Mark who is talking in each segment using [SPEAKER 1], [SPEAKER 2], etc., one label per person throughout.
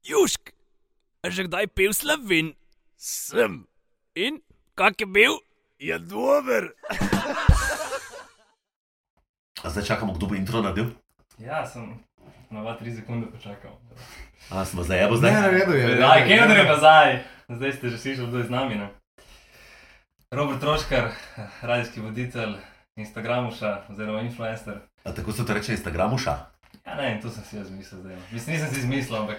[SPEAKER 1] Južk, a že kdaj pil slovin?
[SPEAKER 2] Sem,
[SPEAKER 1] In kak je bil?
[SPEAKER 2] je dober.
[SPEAKER 3] A zdaj čakamo, kdo bo intro naredil?
[SPEAKER 4] Ja, sem na 2-3 sekunde počakal.
[SPEAKER 3] A smo zajebo
[SPEAKER 2] Ne, ne,
[SPEAKER 3] zdaj?
[SPEAKER 2] redu je.
[SPEAKER 4] Ja, kje gre nazaj? Zdaj ste že slišali, kdo je z nami. Ne? Robert Troškar, radijski voditelj, Instagramuša oziroma influencer.
[SPEAKER 3] A tako se to reče Instagramuša?
[SPEAKER 4] Ja, ne, to sem si jaz mislil zdaj. no. Mislim, nisem si izmislil, ampak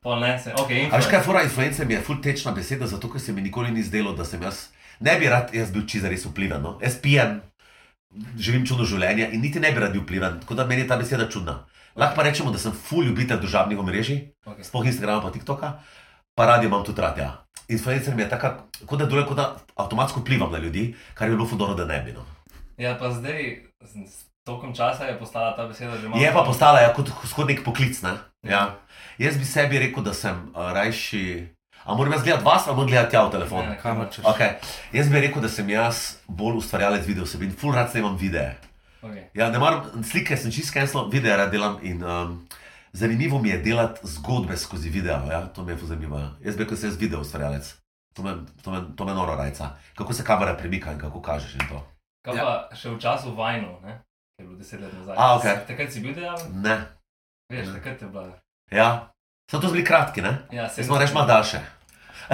[SPEAKER 4] pol ne se. Ok,
[SPEAKER 3] A veš
[SPEAKER 4] influencer.
[SPEAKER 3] kaj, fora influencer mi je full tečna beseda, zato ker se mi nikoli ni zdelo, da sem jaz, ne bi rad jaz bil čisto res vplivan. No? Jaz pijem, živim čudno življenje in niti ne bi rad bil vplivan, tako da meni je ta beseda čudna. Lahko pa rečemo, da sem full ljubitelj družabnih omrežij,
[SPEAKER 4] Okay.
[SPEAKER 3] sploh Instagrama pa TikToka, pa radio imam tudi radia. Influencer mi je tako, kot da deluje, kot da avtomatsko vplivam na ljudi, kar je bilo fudoro, da ne bi. No.
[SPEAKER 4] Ja, pa zdaj, z- s tokom časa je postala ta beseda že malo.
[SPEAKER 3] Je pa postala ja, kot vzhod nek poklic. Ne? Ja. Jaz bi sebi rekel, da sem uh, rajši. A moram jaz gledati vas, ali moram gledati ja v telefon?
[SPEAKER 4] Ne,
[SPEAKER 2] Kaj hočeš?
[SPEAKER 3] Okay. Jaz bi rekel, da sem jaz bolj ustvarjalec video vsebin, full rad snemam videe.
[SPEAKER 4] Okay.
[SPEAKER 3] Ja, ne maram slike, sem čist kenslal, videe rad delam in um, zanimivo mi je delati zgodbe skozi video, ja? to me je ful zanimivo. ja. Jaz bi rekel, da sem jaz video ustvarjalec. To me, to, me, to me noro rajca, kako se kamera premika in kako kažeš in to.
[SPEAKER 4] Kaj
[SPEAKER 3] Ja.
[SPEAKER 4] pa še v času vajno, ne? Ker je bilo 10 let nazaj.
[SPEAKER 3] A, okej.
[SPEAKER 4] Takrat si bil dejaven?
[SPEAKER 3] Ne,
[SPEAKER 4] Veš,
[SPEAKER 3] Ne.
[SPEAKER 4] takrat je bila.
[SPEAKER 3] ja. Samo to so bili kratki, ne?
[SPEAKER 4] Ja,
[SPEAKER 3] Jaz moram reči malo daljše.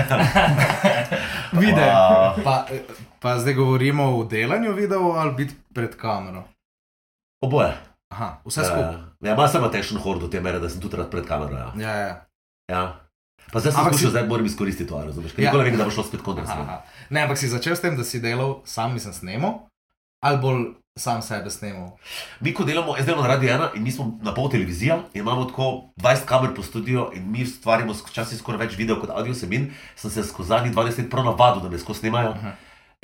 [SPEAKER 2] Vide.
[SPEAKER 3] Uh,
[SPEAKER 2] Pa, eh, pa zdaj govorimo o delanju videov ali biti pred kamero.
[SPEAKER 3] oboje.
[SPEAKER 2] Aha, vse skupaj.
[SPEAKER 3] Ja, malo sem attention hord do te mere, da sem tudi rad pred kamero. Ja.
[SPEAKER 2] Ja, ja.
[SPEAKER 3] ja. Pa zdaj sem
[SPEAKER 2] Ampak
[SPEAKER 3] skušal,
[SPEAKER 2] si-
[SPEAKER 3] zdaj moram izkoristiti to, a razumeš? Ker
[SPEAKER 2] Ja.
[SPEAKER 3] Nikoli ne vem, da bo šlo spet kontra.
[SPEAKER 2] Aha,
[SPEAKER 3] stran.
[SPEAKER 2] aha. Ne, ampak si začel s tem, da si delal sam, nisem snemal, ali bolj sam sebe snemal.
[SPEAKER 3] Mi, ko delamo, jaz delam na Radio 1 in mi smo na pol televizija, in imamo tako 20 kamer po studiu in mi ustvarjamo včasih skoraj več videov kot audio sebin, sem se skozi zadnjih 20 let prav navadil, da me skozi snimajo.
[SPEAKER 2] Aha.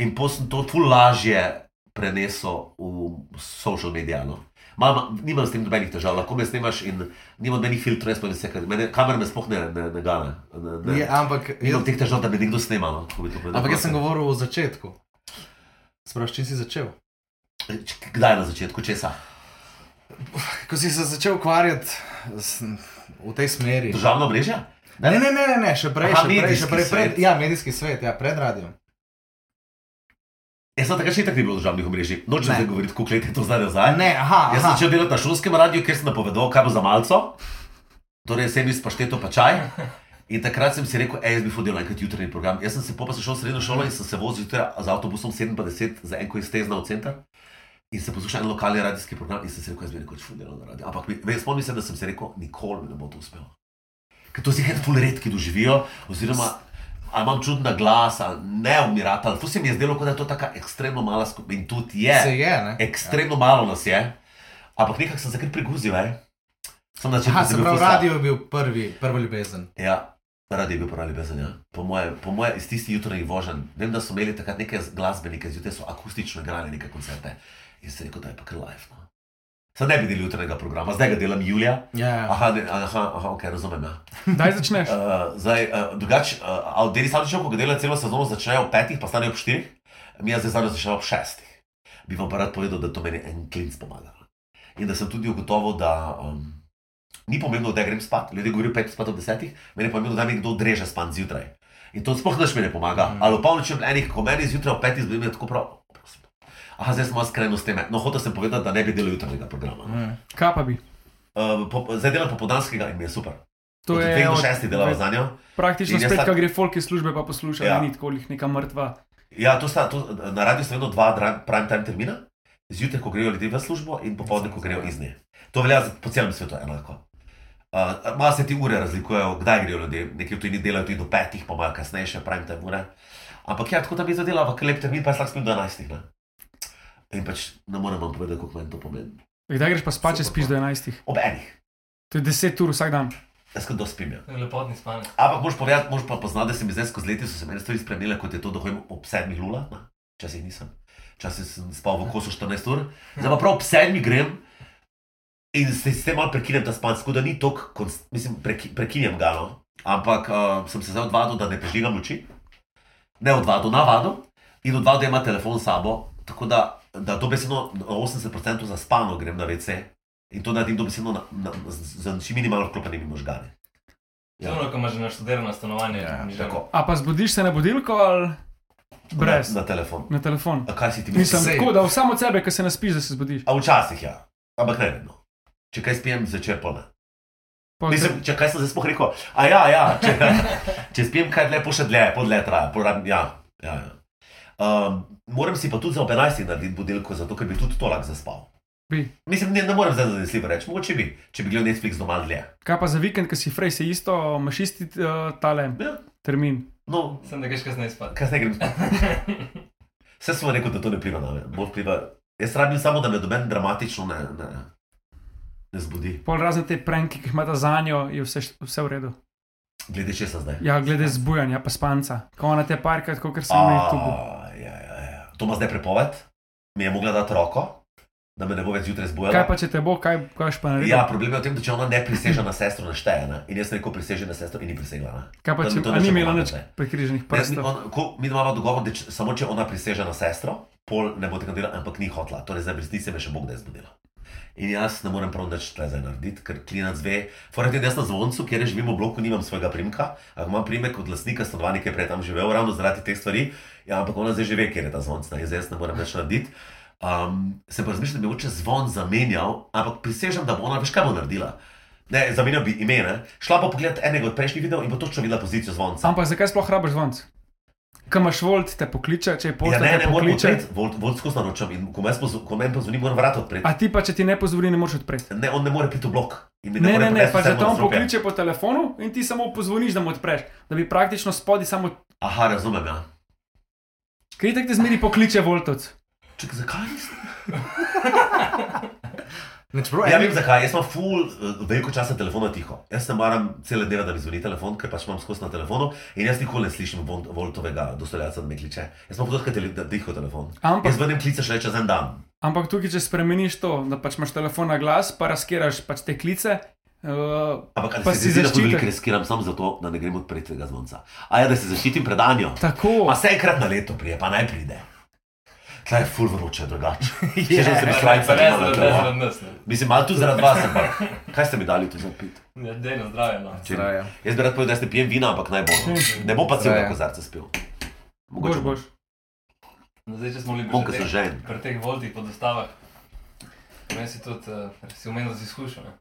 [SPEAKER 3] In potem sem to ful lažje prenesel v social medije. No. Mama, nimam s tem nobenih težav, lahko me snimaš in nimam nobenih filtrov, jaz pa ne vse, kamera me sploh ne, ne, ne gane. Ne, ne.
[SPEAKER 2] Je, ampak,
[SPEAKER 3] Nimam
[SPEAKER 2] jaz,
[SPEAKER 3] teh težav, da bi nekdo snimal. No, kako bi to povedal.
[SPEAKER 2] Ja, ampak jaz sem govoril o začetku. Spraš, čim si začel?
[SPEAKER 3] Č- Kdaj na začetku česa?
[SPEAKER 2] Ko si se začel ukvarjati s- v tej smeri.
[SPEAKER 3] Državno mrežo?
[SPEAKER 2] Ne, ne, ne, ne, ne še prej,
[SPEAKER 3] Aha,
[SPEAKER 2] še prej, še
[SPEAKER 3] medijski
[SPEAKER 2] prej, pred,
[SPEAKER 3] svet.
[SPEAKER 2] ja, medijski svet, ja, pred radijem.
[SPEAKER 3] Jaz sem takrat še tako ni bilo državnih omrežij. Nočem
[SPEAKER 2] Ne.
[SPEAKER 3] zdaj govoriti, koliko let je to zdaj nazaj.
[SPEAKER 2] Ne, aha,
[SPEAKER 3] Jaz sem
[SPEAKER 2] aha.
[SPEAKER 3] začel delati na šolskem radiju, ker sem napovedal, kaj bo za malco, torej sedmi spašteto pa čaj. In takrat sem si rekel, hej, jaz bi hodil na enkrat jutranji program. Jaz sem se po pa sešel v srednjo šolo in sem se vozil zjutraj z avtobusom 57 za eno iztezno v center. In sem poslušal en lokalni radijski program in sem si rekel, jaz bi nekoč fudelal na radiju. Ampak mi- ve, spomnim se, da sem si rekel, nikoli mi ne bo to uspelo. Ker to si jih ful redki doživijo, oziroma ali imam čudna glas, ali ne umirata. ali- To se mi je zdelo, kot da je to tako ekstremno mala skupina in tudi je.
[SPEAKER 2] Se je,
[SPEAKER 3] ja,
[SPEAKER 2] ne?
[SPEAKER 3] Ekstremno malo nas je, ampak nekako sem se kar priguzil. ej. Sem na
[SPEAKER 2] Aha,
[SPEAKER 3] začetku
[SPEAKER 2] se
[SPEAKER 3] sem bil ful
[SPEAKER 2] pravi,
[SPEAKER 3] slab.
[SPEAKER 2] radio je bil prvi, prva ljubezen.
[SPEAKER 3] Ja, radi je bil pravi ljubezen. Ja. Po mojem, po moje, iz tistih jutranjih voženj. Vem, da so imeli takrat neke glasbenike, zjutraj so akustično igrali neke koncerte. In sem rekel, da je pa kar live. No. Sam ne bi delil jutranjega programa, zdaj ga delam julija.
[SPEAKER 2] Ja, ja.
[SPEAKER 3] Aha, ne, aha, aha ok, razumem. Ja.
[SPEAKER 5] Daj začneš.
[SPEAKER 2] Eh,
[SPEAKER 3] Uh, zdaj, uh, drugače, uh, Deli Savčičev, ko ga dela celo sezono, začnejo ob petih, pa stanejo ob štirih, mi jaz zdaj začnejo ob šestih. Bi vam pa rad povedal, da to meni en klinc pomaga. In da sem tudi ugotovil, da um, ni pomembno, da grem spat. Ljudje govorijo pet spat ob desetih, meni je pomembno, da mi kdo dreže span zjutraj. In to sploh nič mi ne pomaga. Mm.
[SPEAKER 2] Mhm.
[SPEAKER 3] Ali opolnoči ob enih, ko meni zjutraj ob petih zbudim, je tako prav. prosim. Aha, zdaj sem malo skrenil s tem. No, hotel sem povedati, da ne bi delal jutranjega programa.
[SPEAKER 5] Mhm.
[SPEAKER 3] Mm.
[SPEAKER 2] Mm.
[SPEAKER 5] Kaj pa bi?
[SPEAKER 3] Uh, po, zdaj delam popodanskega in mi je super.
[SPEAKER 5] To
[SPEAKER 3] od
[SPEAKER 5] je
[SPEAKER 3] dveh do
[SPEAKER 5] od-
[SPEAKER 3] šestih delam za njo.
[SPEAKER 5] Praktično
[SPEAKER 3] In jaz
[SPEAKER 5] spet,
[SPEAKER 3] tak-
[SPEAKER 5] ko gre folk iz službe, pa posluša,
[SPEAKER 3] Ja.
[SPEAKER 5] ja. ni tako jih neka mrtva.
[SPEAKER 3] Ja, to sta to, na radiju sta vedno dva dra- prime time termina, zjutraj, ko grejo ljudje v službo, in popoldne, ko grejo iz nje. To velja za- po celem svetu enako. Uh, malo se ti ure razlikujejo, kdaj grejo ljudje, nekje tudi delajo tudi do petih, pa malo kasnejše, prime time ure. Ampak ja, tako da bi zadela v lep termin, pa jaz lahko spim do enajstih. Ne? In pač ne morem vam povedati, koliko meni to pomeni.
[SPEAKER 5] Kdaj greš pa spat, če spiš do 11?
[SPEAKER 3] Ob enih,
[SPEAKER 5] To je 10 ur vsak dan.
[SPEAKER 3] jaz kot dospim. Ja.
[SPEAKER 4] To je lepotni spanec.
[SPEAKER 3] Ampak moš povedati, moš pa poznati, da se mi zdaj skozi leta so se meni stvari spremenile, kot je to, da hodim ob sedmih lula, ne, včasih nisem. Včasih sem spal v kosu 14 ur, zdaj pa prav ob sedmih grem in se s tem malo prekinem ta spanc, tako da ni tok, mislim, preki, prekinjam ga, no. ampak uh, sem se zdaj odvadil, da ne prežigam luči, ne odvadil, navadil in odvadil, da ima telefon s sabo, tako da, da dobesedno na 80% zaspano grem na WC in to naredim dobesedno na, na, z, z, z minimalno vklopenimi možgani. Ja.
[SPEAKER 4] Zelo, ko imaš že naštudirano stanovanje.
[SPEAKER 3] Ja,
[SPEAKER 4] ni že-
[SPEAKER 3] tako.
[SPEAKER 5] A pa zbudiš se na budilko ali brez?
[SPEAKER 3] Na, na telefon.
[SPEAKER 5] Na telefon.
[SPEAKER 3] A kaj si ti misliš?
[SPEAKER 5] Mislim,
[SPEAKER 2] sej.
[SPEAKER 5] tako da samo od sebe, ko se naspiš, da se zbudiš.
[SPEAKER 3] A včasih ja, ampak ne vedno. Če kaj spijem, zvečer pa ne.
[SPEAKER 5] Pa
[SPEAKER 3] Mislim, če kaj sem zdaj sploh rekel, a ja, ja, če, če spijem kaj dlje, pošlje dlje, pol dlje traja, porabim, ja. ja, ja. Um, moram si pa tudi za ob 11 narediti budilko, zato ker bi tudi to lahko zaspal.
[SPEAKER 5] Bi.
[SPEAKER 3] Mislim, ne, ne morem zdaj zanesljivo reči, mogoče bi, če bi gledal Netflix doma dlje.
[SPEAKER 5] Kaj pa za vikend, ki si frej, se isto, imaš isti uh, tale
[SPEAKER 3] Ja.
[SPEAKER 5] termin.
[SPEAKER 3] No,
[SPEAKER 4] Sem da greš kasneje spat.
[SPEAKER 3] Kasneje grem spat. Vse sem rekel, da to ne vpliva na me. Bolj vpliva. Jaz rabim samo, da me doben dramatično ne, ne, ne zbudi.
[SPEAKER 5] Pol razne te pranki, ki jih imata za njo, je vse, št- vse v redu.
[SPEAKER 3] Glede česa zdaj.
[SPEAKER 5] Ja, glede zbujanja, pa spanca. Ko ona te parkrat, kot sem na YouTubu.
[SPEAKER 3] A, ja, ja, ja. To ima zdaj prepoved, mi je mogla dati roko, da me ne bo več zjutraj
[SPEAKER 5] Kaj
[SPEAKER 3] zbujala.
[SPEAKER 5] pa če te bo, kaj boš pa naredil?
[SPEAKER 3] Ja, problem je v tem, da če ona ne priseže na sestro, ne šteje. Ne? In jaz sem rekel, priseže na sestro in ni prisegla. Ne?
[SPEAKER 5] Kaj pa
[SPEAKER 3] da mi
[SPEAKER 5] če
[SPEAKER 3] to
[SPEAKER 5] a
[SPEAKER 3] ne
[SPEAKER 5] ni
[SPEAKER 3] še
[SPEAKER 5] imela
[SPEAKER 3] pomaga
[SPEAKER 5] nič
[SPEAKER 3] zdaj.
[SPEAKER 5] prekriženih
[SPEAKER 3] Ne, jaz ni-
[SPEAKER 5] prstov?
[SPEAKER 3] on- ko- Mi imamo dogovor, da če, samo če ona priseže na sestro, pol ne bo kandidirala, ampak ni hotla. Torej, zdaj v resnici me še Bog da je zbudila. In jaz ne morem prav nič tle zdaj narediti, ker klinac ve. Foraj jaz na zvoncu, kjer živim v bloku, nimam svojega primka, ampak imam primek od lastnika stanovanja, ki je prej tam živel, ravno zaradi teh stvari. Ja, ampak ona zdaj že ve, kjer je ta zvonc, ne, in zdaj jaz ne morem več narediti. Um, se pa razmišljam, da bi mogoče zvon zamenjal, ampak prisežem, da bo ona, veš kaj bo naredila. Ne, zamenjal bi ime, ne? šla pa pogledat enega od prejšnjih videov in bo točno videla pozicijo zvonca.
[SPEAKER 5] Ampak zakaj sploh rabiš zvonc? Kaj imaš volt, te pokliče, če je
[SPEAKER 3] Ja,
[SPEAKER 5] pošta,
[SPEAKER 3] ne,
[SPEAKER 5] te
[SPEAKER 3] ne morem
[SPEAKER 5] pokliče.
[SPEAKER 3] odpreti, Volt- Volt skozi naročam in ko meni pozv- ko meni pozvoni, moram vrat odpreti.
[SPEAKER 5] A ti pa, če ti ne pozvoni, ne moreš odpreti.
[SPEAKER 3] Ne, on ne more priti v blok. in mi
[SPEAKER 5] Ne,
[SPEAKER 3] more
[SPEAKER 5] ne, ne,
[SPEAKER 3] prinesti
[SPEAKER 5] pa
[SPEAKER 3] vse
[SPEAKER 5] že
[SPEAKER 3] moje
[SPEAKER 5] tam
[SPEAKER 3] stropje.
[SPEAKER 5] pokliče po telefonu in ti samo pozvoniš, da mu odpreš. Da bi praktično spodi samo.
[SPEAKER 3] Aha, razumem, ja.
[SPEAKER 5] Kaj tak te zmeri pokliče voltovc?
[SPEAKER 3] Čekaj, zakaj nisem?
[SPEAKER 2] Nič prav,
[SPEAKER 3] Ja, vem zakaj, jaz imam full eh, veliko časa telefona tiho. Jaz ne maram cele dneve, da mi zvoni telefon, ker pač imam skozi na telefonu in jaz nikoli ne slišim Vol- Voltovega dostojanstva, da me kliče. Jaz imam podatka, da tiho telefon.
[SPEAKER 5] Ampak
[SPEAKER 3] Jaz vrnem klice šele čez en dan.
[SPEAKER 5] Ampak tukaj, če spremeniš to, da pač imaš telefon na glas, pa razkiraš pač te klice. Uh,
[SPEAKER 3] Ampak ali
[SPEAKER 5] Pa
[SPEAKER 3] se ti
[SPEAKER 5] si
[SPEAKER 3] zdi, da
[SPEAKER 5] zaščiten.
[SPEAKER 3] veliko riskiram samo zato, da ne grem odpreti tega zvonca. A ja, da se zaščitim pred Anjo.
[SPEAKER 5] tako,
[SPEAKER 3] Pa se enkrat na leto prije, pa naj pride. Tla je ful vroče, drugače. Še
[SPEAKER 2] Ja.
[SPEAKER 3] že sem
[SPEAKER 4] Ne,
[SPEAKER 3] štrajca,
[SPEAKER 4] pa
[SPEAKER 3] ne
[SPEAKER 4] ne zaradi ne
[SPEAKER 3] znam.
[SPEAKER 4] zaradi nas. ne.
[SPEAKER 3] Mislim, malo tu zaradi vas, ampak kaj ste mi dali tu za pit?
[SPEAKER 4] Ja, dej na zdravje. No.
[SPEAKER 3] Če- Jaz bi rad povedal, da ste pijem vina, ampak naj bo. no. Ne bo pa celega
[SPEAKER 2] Ja.
[SPEAKER 3] kozarca spil.
[SPEAKER 5] boš, boš.
[SPEAKER 4] No, zdaj, če smo bili
[SPEAKER 3] Bom,
[SPEAKER 4] pri
[SPEAKER 3] ko sem
[SPEAKER 4] teh,
[SPEAKER 3] žen.
[SPEAKER 4] pri teh voltih po dostavah, meni si tudi, uh, si umenil z izkušnjo. ne.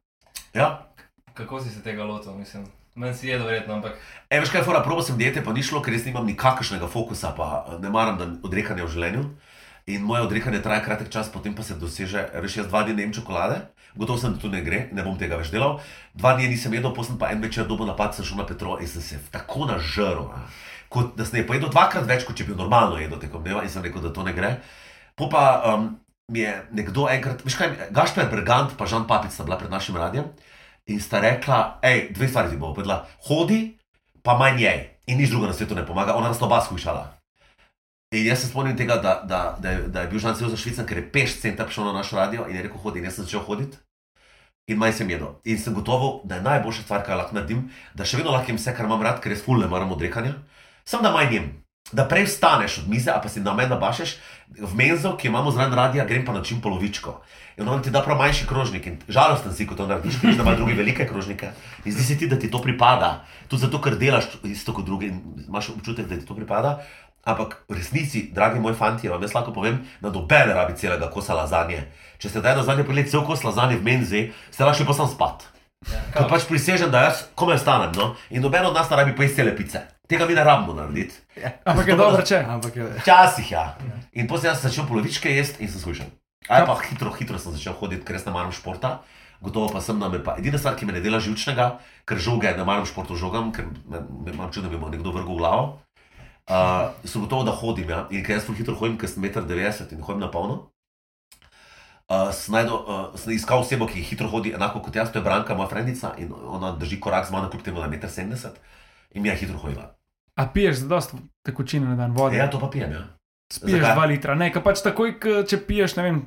[SPEAKER 3] Ja?
[SPEAKER 4] Kako si se tega lotil, mislim. Meni si jedel verjetno, ampak
[SPEAKER 3] E, veš kaj, fora, probo sem dijete, pa ni šlo, ker jaz nimam nikakršnega fokusa, pa eh, ne maram da odrekanja v življenju. In moje odrekanje traja kratek čas, potem pa se doseže, veš, jaz dva dni ne jem čokolade, gotovo sem, da tu ne gre, ne bom tega več delal. Dva dni nisem jedel, potem pa en večer dobo napad sem šel na Petro in sem se tako nažrl, a, kot da sem je pojedel dvakrat več, kot če bi normalno jedel tekom dneva in sem rekel, da to ne gre. Po pa um, mi je nekdo enkrat, veš kaj, Gašper Bergant pa Žan Papic sta bila pred našim radjem in sta rekla, hej, dve stvari ti bo povedala, hodi, pa manj jej in nič drugega na svetu ne pomaga, ona sta oba skušala. In jaz se spomnim tega, da, da, da, je- da je bil Žan cel za Švicem, ker je peš centa prišel na naš radio in je rekel: hodi, in jaz sem začel hoditi. In manj sem jedel. In sem gotovo, da je najboljša stvar, kar lahko naredim, da še vedno lahko jem vse, kar imam rad, ker jaz ful ne maram odrekanja. Sem da manj jem. Da prej vstaneš od mize, a pa si na meni nabašeš, v menzo, ki jo imamo zraven radia, grem pa na čim polovičko. In on ti da prav manjši krožnik in žalosten si, ko to narediš, ker imaš druge velike krožnike. In zdi se ti, da ti to pripada. Tudi zato, ker delaš isto kot drugi in imaš občutek, da ti to pripada. Ampak v resnici, dragi moji fanti, vam jaz lahko povem, da noben ne rabi celega kosa lazanje. Če ste daj lazanje pojeli cel kos lazanje v menzi, ste lahko še posam spat. Ker pač prisežem, da jaz komaj stanem no? in noben od nas ne rabi pojesti cele pice. Tega mi ne rabimo narediti.
[SPEAKER 5] Ampak je dobro, če.
[SPEAKER 2] Ampak je.
[SPEAKER 3] Včasih ja. In potem sem začel polovičke jesti in sem slišal. Ali pa hitro, hitro sem začel hoditi, ker jaz ne maram športa. Gotovo pa sem, da me pa edina stvar, ki me ne dela živčnega, ker žoge, ne maram športu žogam, ker me- me- imam čudo, da mi bo nekdo vrgel v glavo. Uh, sem gotovo, da hodim. Ja. In ker jaz ful hitro hodim, ker sem 1,90 m in hodim na polno. Uh, sem, najdu, uh, sem iskal osebo, ki hitro hodi, enako kot jaz, to je Branka, moja frendica, in ona drži korak z mano, kljub temu, da je 1,70 m in mi je hitro hodila.
[SPEAKER 5] A piješ dosta tekočine na dan, vode.
[SPEAKER 3] Ja, to pa pijem. Ja.
[SPEAKER 5] Spiješ
[SPEAKER 3] zakaj?
[SPEAKER 5] 2 litra. Ne, ka pač takoj, ke- če piješ, ne vem,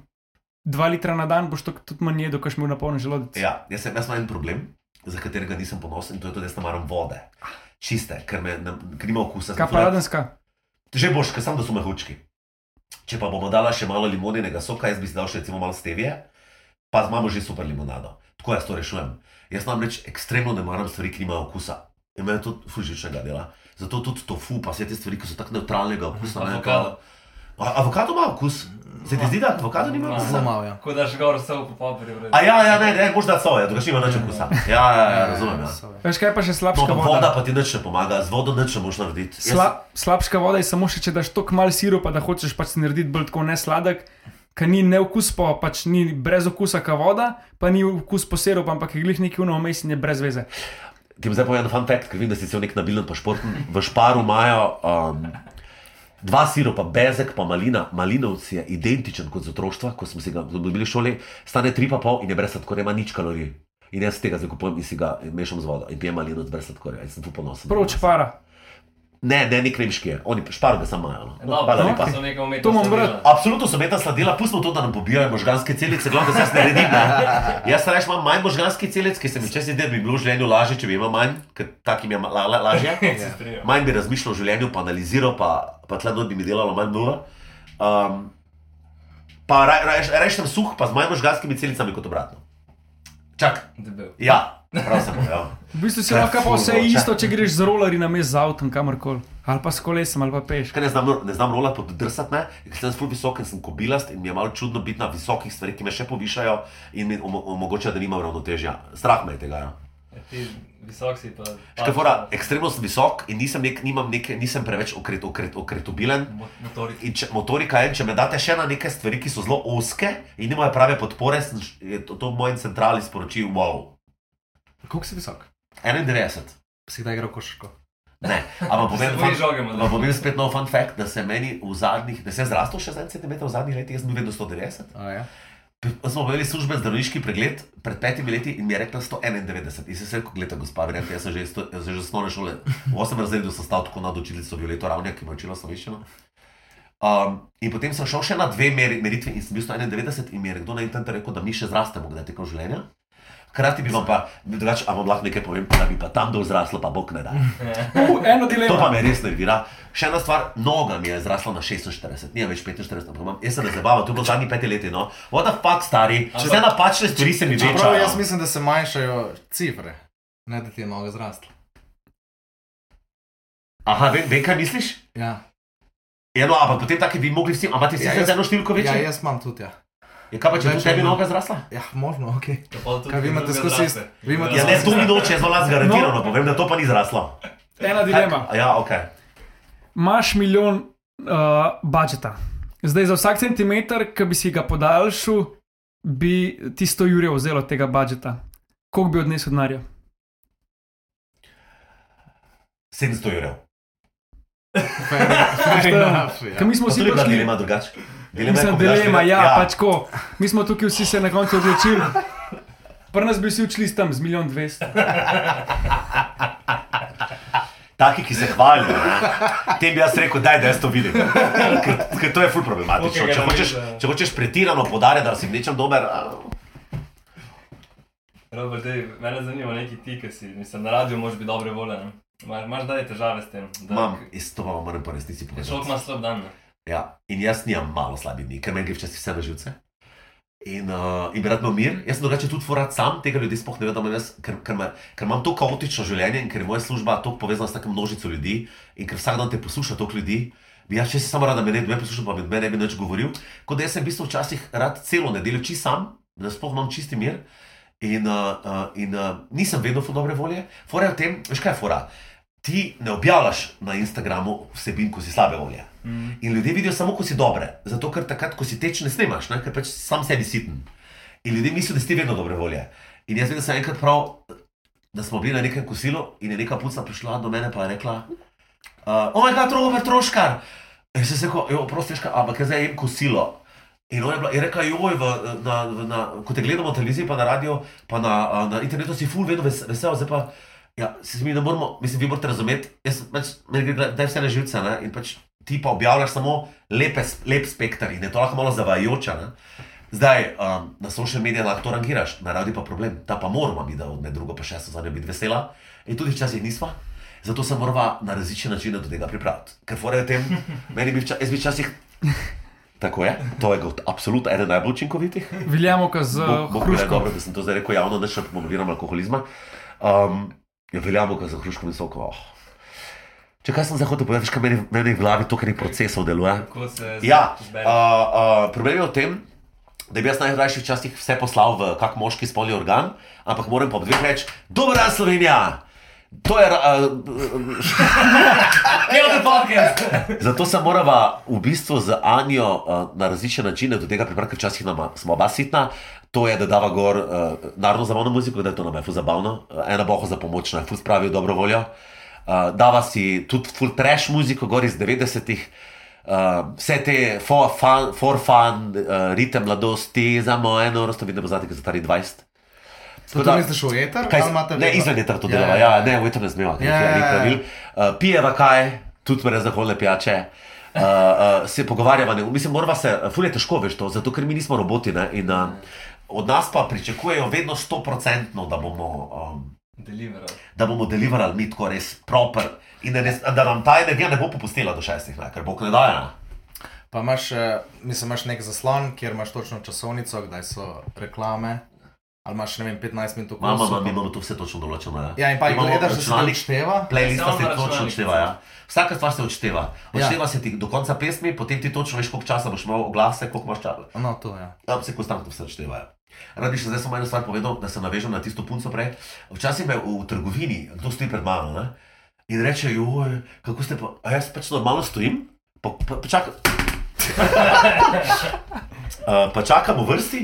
[SPEAKER 5] 2 litra na dan, boš to tudi manj jedel, kaš mu na polno želodec.
[SPEAKER 3] Ja, jaz, sem, jaz imam en problem, za katerega nisem ponosen, in to je to, da jaz ne maram vode.
[SPEAKER 4] Ah.
[SPEAKER 3] Čiste, ker, me, ne, ker nima okusa. Sem
[SPEAKER 5] Kaj pa
[SPEAKER 3] ful rad-
[SPEAKER 5] radenska?
[SPEAKER 3] Že boš, ker sem da so mehurčki. Če pa bomo dala še malo limoninega soka, jaz bi si dal še recimo malo stevije, pa imamo že super limonado. Tako jaz to rešujem. Jaz namreč ekstremno ne maram stvari, ki nimajo okusa. In meni je to fužičnega dela. Zato tudi tofu, pa vse te stvari, ki so tako neutralnega okusa. ne,
[SPEAKER 4] Avokado.
[SPEAKER 3] kao- A- Avokado ima okus. Se ti zdi, da avokado nima
[SPEAKER 4] Ma.
[SPEAKER 3] okusa?
[SPEAKER 2] Zelo malo, ja.
[SPEAKER 4] Ko daš gor vse v popovrju,
[SPEAKER 3] A ja, ja, ne, ne, možda soja, drugače ima nič okusa. Ja, ja, ja razumem. Ja.
[SPEAKER 2] Sorry.
[SPEAKER 5] Veš kaj je pa še
[SPEAKER 3] No,
[SPEAKER 5] slabša
[SPEAKER 3] pa
[SPEAKER 5] voda?
[SPEAKER 3] voda pa ti nič ne pomaga, z vodo nič ne moš narediti. Jaz-
[SPEAKER 5] Sla, slabška voda je samo še, če daš tako malo sirupa, da hočeš pač narediti bolj tako nesladek, ker ni neokus, pa pač ni brez okusa, kot voda, pa ni okus po sirupu, ampak je glih neki uno vmes in je brez veze.
[SPEAKER 3] Ti bom zdaj povedal en fun fact, ker vem, da si cel nek nabilen pa športen. V Šparu imajo um, dva siropa, bezek pa malina. Malinovci je identičen kot z otroštva, ko smo si ga ko smo bili v šoli, stane tri pa pol in je brez sladkorja, ima nič kalorij. In jaz tega zdaj kupujem in si ga mešam z vodo in pijem malinovc brez sladkorja in sem tu ponosen.
[SPEAKER 5] Proč para?
[SPEAKER 3] Ne, ne, nek nemški je, oni šparo ga samo imajo. no. No,
[SPEAKER 4] Dobro,
[SPEAKER 3] hvala
[SPEAKER 4] to
[SPEAKER 3] lepa.
[SPEAKER 4] so neka umetnost.
[SPEAKER 5] To bom bral.
[SPEAKER 4] dela.
[SPEAKER 3] Absolutno so meta sladila, pustimo to, da nam pobirajo možganske celice, glavno, da se jaz ne redim. Ne. Jaz rečem, imam manj možganskih celic, ki se mi čez ide, bi bilo v življenju lažje, če bi imel manj, ker takim je ma- la, la, lažje.
[SPEAKER 4] Se strinjam.
[SPEAKER 3] Manj bi razmišljal o življenju, pa analiziral, pa, pa tle dol bi mi delalo manj nula. Um, pa ra, ra, rečem suh, pa z manj možganskimi celicami kot obratno. Čak,
[SPEAKER 4] Debel.
[SPEAKER 3] ja, prav sem povedal.
[SPEAKER 5] V bistvu si
[SPEAKER 3] Kaj
[SPEAKER 5] lahko pa
[SPEAKER 3] ful,
[SPEAKER 5] vse
[SPEAKER 3] no, če-
[SPEAKER 5] isto, če greš z rolerji na mest z avtom, kamorkoli, ali pa s kolesom, ali pa peš.
[SPEAKER 3] Ker ne znam, ne znam rola poddrsati, ne, ker sem zelo visok, ker sem kobilast in mi je malo čudno biti na visokih stvareh, ki me še povišajo in mi omo- omogočajo, da nimam ravnotežja. Strah me je tega. Ja.
[SPEAKER 4] Ti visok si pa.
[SPEAKER 3] Škafora, ekstremno sem visok in nisem, nek, nimam neke, nisem preveč okret, okret, okretobilen.
[SPEAKER 4] Mo- Motorika.
[SPEAKER 3] In če, motorika je, če me date še na neke stvari, ki so zelo oske in nimajo prave podpore, sem, š- je to, to moj centrali sporočil, wow,
[SPEAKER 2] Koliko si visok?
[SPEAKER 3] 91.
[SPEAKER 2] Si kdaj igral košarko?
[SPEAKER 3] Ne, ampak povem,
[SPEAKER 4] Se boji
[SPEAKER 3] fun,
[SPEAKER 4] žoge, mlade.
[SPEAKER 3] ampak povem spet nov fun fact, da se meni v zadnjih, da se je zrastel še za en centimeter v zadnjih letih, jaz sem bil vedno 190.
[SPEAKER 2] A, ja.
[SPEAKER 3] Pri- Smo imeli služben zdravniški pregled pred petimi leti in mi je rekla 191. In sem se rekel, gledaj, gospa, verjamem, jaz sem že, sto, jaz sem že osnovne šole, v osmem razredu sem stal tako nad učilnico Violeto Ravnja, ki me je učila slovenščino. Um, in potem sem šel še na dve meri, meritvi in sem bil 191 in mi je nekdo na internetu rekel, da mi še zrastemo, kdaj tekom življenja. Hkrati bi vam pa, drugače, a vam lahko nekaj povem, da bi pa tam dol zraslo, pa bog ne da.
[SPEAKER 5] Uh, eno
[SPEAKER 3] To pa
[SPEAKER 5] dilemo.
[SPEAKER 3] me res nervira. Še ena stvar, noga mi je zrasla na 46, ni več 45, ampak imam, jaz sem razdebaval, to je bilo zadnji pet let, no. Voda fakt stari, če se napačne stvari se mi
[SPEAKER 2] Čeprav
[SPEAKER 3] večajo.
[SPEAKER 2] No, jaz mislim, da se manjšajo cifre, ne da ti je noga zrasla.
[SPEAKER 3] Aha, vem, vem kaj misliš?
[SPEAKER 2] Ja,
[SPEAKER 3] Ja, no, ampak potem taki bi mogli vsi, ampak ti si
[SPEAKER 2] Ja,
[SPEAKER 3] zdaj z
[SPEAKER 2] jaz-
[SPEAKER 3] eno številko
[SPEAKER 2] ja
[SPEAKER 3] večji.
[SPEAKER 2] jaz imam tudi, ja.
[SPEAKER 3] Ja, kaj pa če
[SPEAKER 2] Več
[SPEAKER 3] bi tebi
[SPEAKER 2] imam.
[SPEAKER 3] noga zrasla?
[SPEAKER 2] Ja, možno, ok.
[SPEAKER 4] Ja, pol tudi
[SPEAKER 2] Kaj vi imate
[SPEAKER 4] druga
[SPEAKER 2] skozi
[SPEAKER 4] zraste.
[SPEAKER 2] ist- vi imate
[SPEAKER 3] Ja,
[SPEAKER 2] Ja,
[SPEAKER 3] ne,
[SPEAKER 2] skozi-
[SPEAKER 3] to ni noče, jaz vam
[SPEAKER 2] No.
[SPEAKER 3] lahko garantirano povem, da to pa ni zraslo.
[SPEAKER 5] Ena
[SPEAKER 3] Kaj-
[SPEAKER 5] dilema.
[SPEAKER 3] Ja, ok.
[SPEAKER 5] Imaš milijon uh, budžeta. Zdaj za vsak centimeter, ki bi si ga podaljšal, bi ti 100 jurjev vzelo tega budžeta. Koliko bi odnesel denarja?
[SPEAKER 3] 700 jurjev.
[SPEAKER 2] Fair, fair enough,
[SPEAKER 5] Ker
[SPEAKER 2] ja.
[SPEAKER 5] mi smo
[SPEAKER 3] Pa
[SPEAKER 5] vsi
[SPEAKER 3] tudi bila
[SPEAKER 5] prišli.
[SPEAKER 3] dilema drugače. Dilema je,
[SPEAKER 5] Mislim,
[SPEAKER 3] ko bi daš
[SPEAKER 5] dilema,
[SPEAKER 3] vedeti-
[SPEAKER 5] ja, ja. pač ko. Mi smo tukaj vsi se na koncu odločili. Prvo nas bi vsi učili s tam z milijon dvesto.
[SPEAKER 3] Taki, ki se hvalijo, ne, tem bi jaz rekel, daj, da jaz to vidim. Ker, ker to je ful problematično.
[SPEAKER 4] Okej,
[SPEAKER 3] Če
[SPEAKER 4] ga
[SPEAKER 3] hočeš,
[SPEAKER 4] naveže.
[SPEAKER 3] če hočeš pretirano podariti, da si v nečem dober, a,
[SPEAKER 4] Robert, dej, mene zanima neki ti, ki si, mislim, na radiju moraš biti dobre volje. ne. Imaš- Imaš zdaj težave s tem? da-
[SPEAKER 3] imam, jaz to vam moram po resnici
[SPEAKER 4] Človek
[SPEAKER 3] povedati.
[SPEAKER 4] ima slab dan. ne.
[SPEAKER 3] Ja, in jaz nimam malo slabih dni, ker meni gre včasih vse na živce. In, uh, in bi rad imel mir, jaz sem drugače tudi furat sam, tega ljudi sploh ne vem, da imam jaz, ker, ker, me, ker imam to kaotično življenje in ker je moja služba tako povezana s tako množico ljudi in ker vsak dan te posluša toliko ljudi. Bi jaz če si samo rad, da me nekdo posluša, pa med mene ne bi nič govoril. Kot da jaz sem v bistvu včasih rad celo nedeljo čist sam, da sploh imam čisti mir. In, uh, uh, in uh, nisem vedno v dobre volje. Fora je v tem, veš kaj je fora. Ti ne objavljaš na Instagramu vsebin, ko si slabe volje. In ljudje vidijo samo, ko si dobre. Zato, ker takrat, ko si teč, ne snemaš, ne? ker pač sam sebi siten. In ljudje mislijo, da si ti vedno dobre volje. In jaz vem, da sem enkrat prav, da smo bili na nekem kosilu in je neka puca prišla do mene in je rekla: uh, O moj bog, Robert Troškar! In sem se rekel: Jo, prosti, Troškar, ampak jaz zdaj jem kosilo. In ona je, bila, je rekla, joj, v, na, v, na, ko te gledamo na televiziji, pa na radiju, pa na, a, na internetu si ful, vedno ves, vesel, zdaj pa. Ja, se mi ne moramo, mislim, vi morate razumeti, jaz pač, meni gre da vse na živce, ne? in pač ti pa objavljaš samo lepe, s- lep spektr in je to lahko malo zavajajoče. Ne? Zdaj, um, na social medijih lahko to rangiraš, na radiju pa problem, ta pa moramo mi, da od med drugo pa še so zadnje biti vesela in tudi včasih nismo. Zato se moramo na različne načine do tega pripraviti. Ker fora je v tem, meni bi včasih, jaz bi včasih, tako je, to je kot absolutno eden najbolj učinkovitih.
[SPEAKER 5] Veljamo ka z uh,
[SPEAKER 3] Bog, Bog mi je
[SPEAKER 5] hruško.
[SPEAKER 3] dobro, da sem to zdaj rekel javno, da še promoviram alkoholizma. Um, Ja, velja bo, ker za hruško visoko. Oh. Če kaj sem zdaj hotel povedati, veš, kaj meni, meni v glavi toliko enih procesov deluje.
[SPEAKER 4] Kako se
[SPEAKER 3] Ja,
[SPEAKER 4] zbere?
[SPEAKER 3] uh, uh, problem je v tem, da bi jaz najrajši včasih vse poslal v kak moški spolni organ, ampak moram pa ob dveh reči: Dobro, dan Slovenija! To je. Uh,
[SPEAKER 4] Hell the podcast!
[SPEAKER 3] zato se morava v bistvu z Anjo uh, na različne načine do tega pripraviti, ker včasih nama, smo oba sitna. To je, da dava gor uh, narodno zabavno muziko, da je to nam je fuz zabavno, uh, ena boha za pomoč, naj fuz pravijo dobro voljo. Uh, dava si tudi full trash muziko, gor iz 90-ih. Uh, vse te for fun, for fun uh, ritem mladosti, za moje norost, to vidim, da bo znati, ker so stari 20.
[SPEAKER 2] To
[SPEAKER 3] da-
[SPEAKER 2] da, misliš v eter?
[SPEAKER 3] Kaj,
[SPEAKER 2] ali imate
[SPEAKER 3] ne,
[SPEAKER 2] vedno-
[SPEAKER 3] izven je to delo, ja, ne, v eter ne smemo, ker
[SPEAKER 2] Ja,
[SPEAKER 3] je
[SPEAKER 2] ja,
[SPEAKER 3] ni
[SPEAKER 2] ja.
[SPEAKER 3] pravil. Uh, Pijeva kaj, tudi me razahole pijače. Uh, uh, se pogovarjava, ne, mislim, moramo se, fulje težko veš to, zato ker mi nismo roboti. Ne, in, uh, od nas pa pričakujejo vedno 100%, da bomo, um,
[SPEAKER 4] Deliveral.
[SPEAKER 3] da bomo deliverali mi tako res proper in da, res, da nam ta energija ne bo popustila do šestih, ne, ker bo kledajna.
[SPEAKER 2] Pa imaš, eh, mislim, imaš nek zaslon, kjer imaš točno časovnico, kdaj so reklame, ali imaš, ne vem, 15 minut
[SPEAKER 3] Mama, mama, mi
[SPEAKER 2] pa-
[SPEAKER 3] imamo to vse točno določeno. ne.
[SPEAKER 2] No, Ja, in pa jih
[SPEAKER 3] Imamo
[SPEAKER 2] gledaš, da se to
[SPEAKER 3] računalnik,
[SPEAKER 2] odšteva.
[SPEAKER 3] Playlista
[SPEAKER 4] Samo
[SPEAKER 3] se
[SPEAKER 4] na
[SPEAKER 3] točno
[SPEAKER 4] računalniku.
[SPEAKER 3] odšteva. Ja. Vsaka stvar se odšteva.
[SPEAKER 2] Ja.
[SPEAKER 3] Odšteva ja. se ti do konca pesmi, potem ti točno veš, koliko časa boš imel oglase, koliko imaš časa.
[SPEAKER 2] No, to je. Ja.
[SPEAKER 3] Tam se konstantno vse odšteva. ja. Rad bi še zdaj samo eno stvar povedal, da se navežem na tisto punco prej. Včasih me v trgovini kdo stoji pred mano ne? in reče: Joj, kako ste pa. A jaz pač normalno stojim, pa, pa, pa čakam. uh, pa čakam v vrsti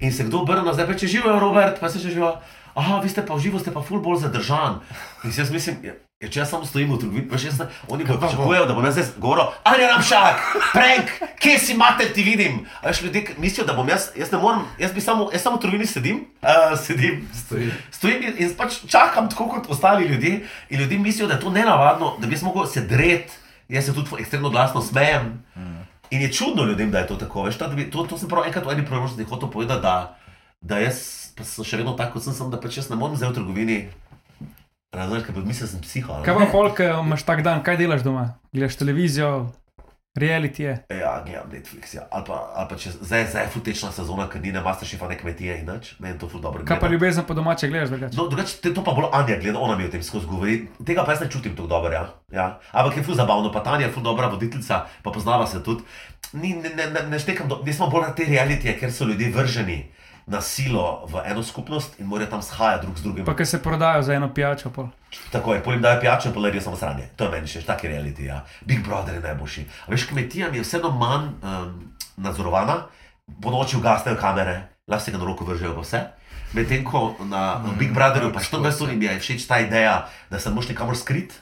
[SPEAKER 3] in se kdo obrne, zdaj pa če živijo, Robert, pa se še živijo. Aha, vi ste pa v živo, ste pa ful bolj zadržan. In si jaz mislim, ja, ja, če jaz samo stojim v trgovini, pa še jaz, ne- oni bodo
[SPEAKER 2] pa bo?
[SPEAKER 3] pričakujejo, da bom jaz zdaj goro, ali nam šak, prank, kje si mater ti vidim. A veš, ljudje k- mislijo, da bom jaz, jaz ne morem, jaz bi samo, jaz samo v trgovini sedim, uh, sedim,
[SPEAKER 2] Stojim.
[SPEAKER 3] stojim in, in pač čakam, tako kot ostali ljudje. In ljudje mislijo, da je to nenavadno, da bi jaz mogel sedreti, jaz se tudi ekstremno glasno smejem. In je čudno ljudem, da je to tako. Veš, ta, da bi, to, to sem prav enkrat v eni priložnosti hotel povedati, da, da jaz pa sem še vedno tako, kot sem, sem da pač jaz ne morem zdaj v trgovini. Razumeš, kaj mislim, da sem psiho. ali ne?
[SPEAKER 5] Kaj pa polk imaš tak dan, kaj delaš doma? Gledaš televizijo, reality je.
[SPEAKER 3] Ja, gledam Netflix. Ja. Ali pa, ali pa če zdaj zdaj je futečna sezona, ker ni na Masterchefa ne kmetije in nič, meni to ful dobro.
[SPEAKER 5] Kaj pa
[SPEAKER 3] gledam.
[SPEAKER 5] ljubezen po domače gledaš drugače?
[SPEAKER 3] No, drugače, te, to pa bolj Anja gleda, ona mi o tem skozi govori. Tega pa jaz ne čutim tako dobro. Ja. Ja. Ampak je ful zabavno, pa Tanja je ful dobra voditeljica, pa poznava se tudi. Ni, ne, ne, ne, ne štekam, do, nismo bolj na te realitije, ker so ljudje vrženi na silo v eno skupnost in morajo tam shajati drug z drugim.
[SPEAKER 5] Pa, ki se prodajo za eno pijačo. Pol.
[SPEAKER 3] Tako je, pojem dajo pijačo, pa naredijo samo sranje. To je meni še taki reality. Ja. Big Brother je najboljši. A veš, kmetija mi je vseeno manj um, nadzorovana, po noči ugasnejo kamere, lahko se ga na roko vržejo pa vse. Medtem ko na mm, Big Brotherju pa 14 ur jim je všeč ta ideja, da se ne moš nikamor skrit,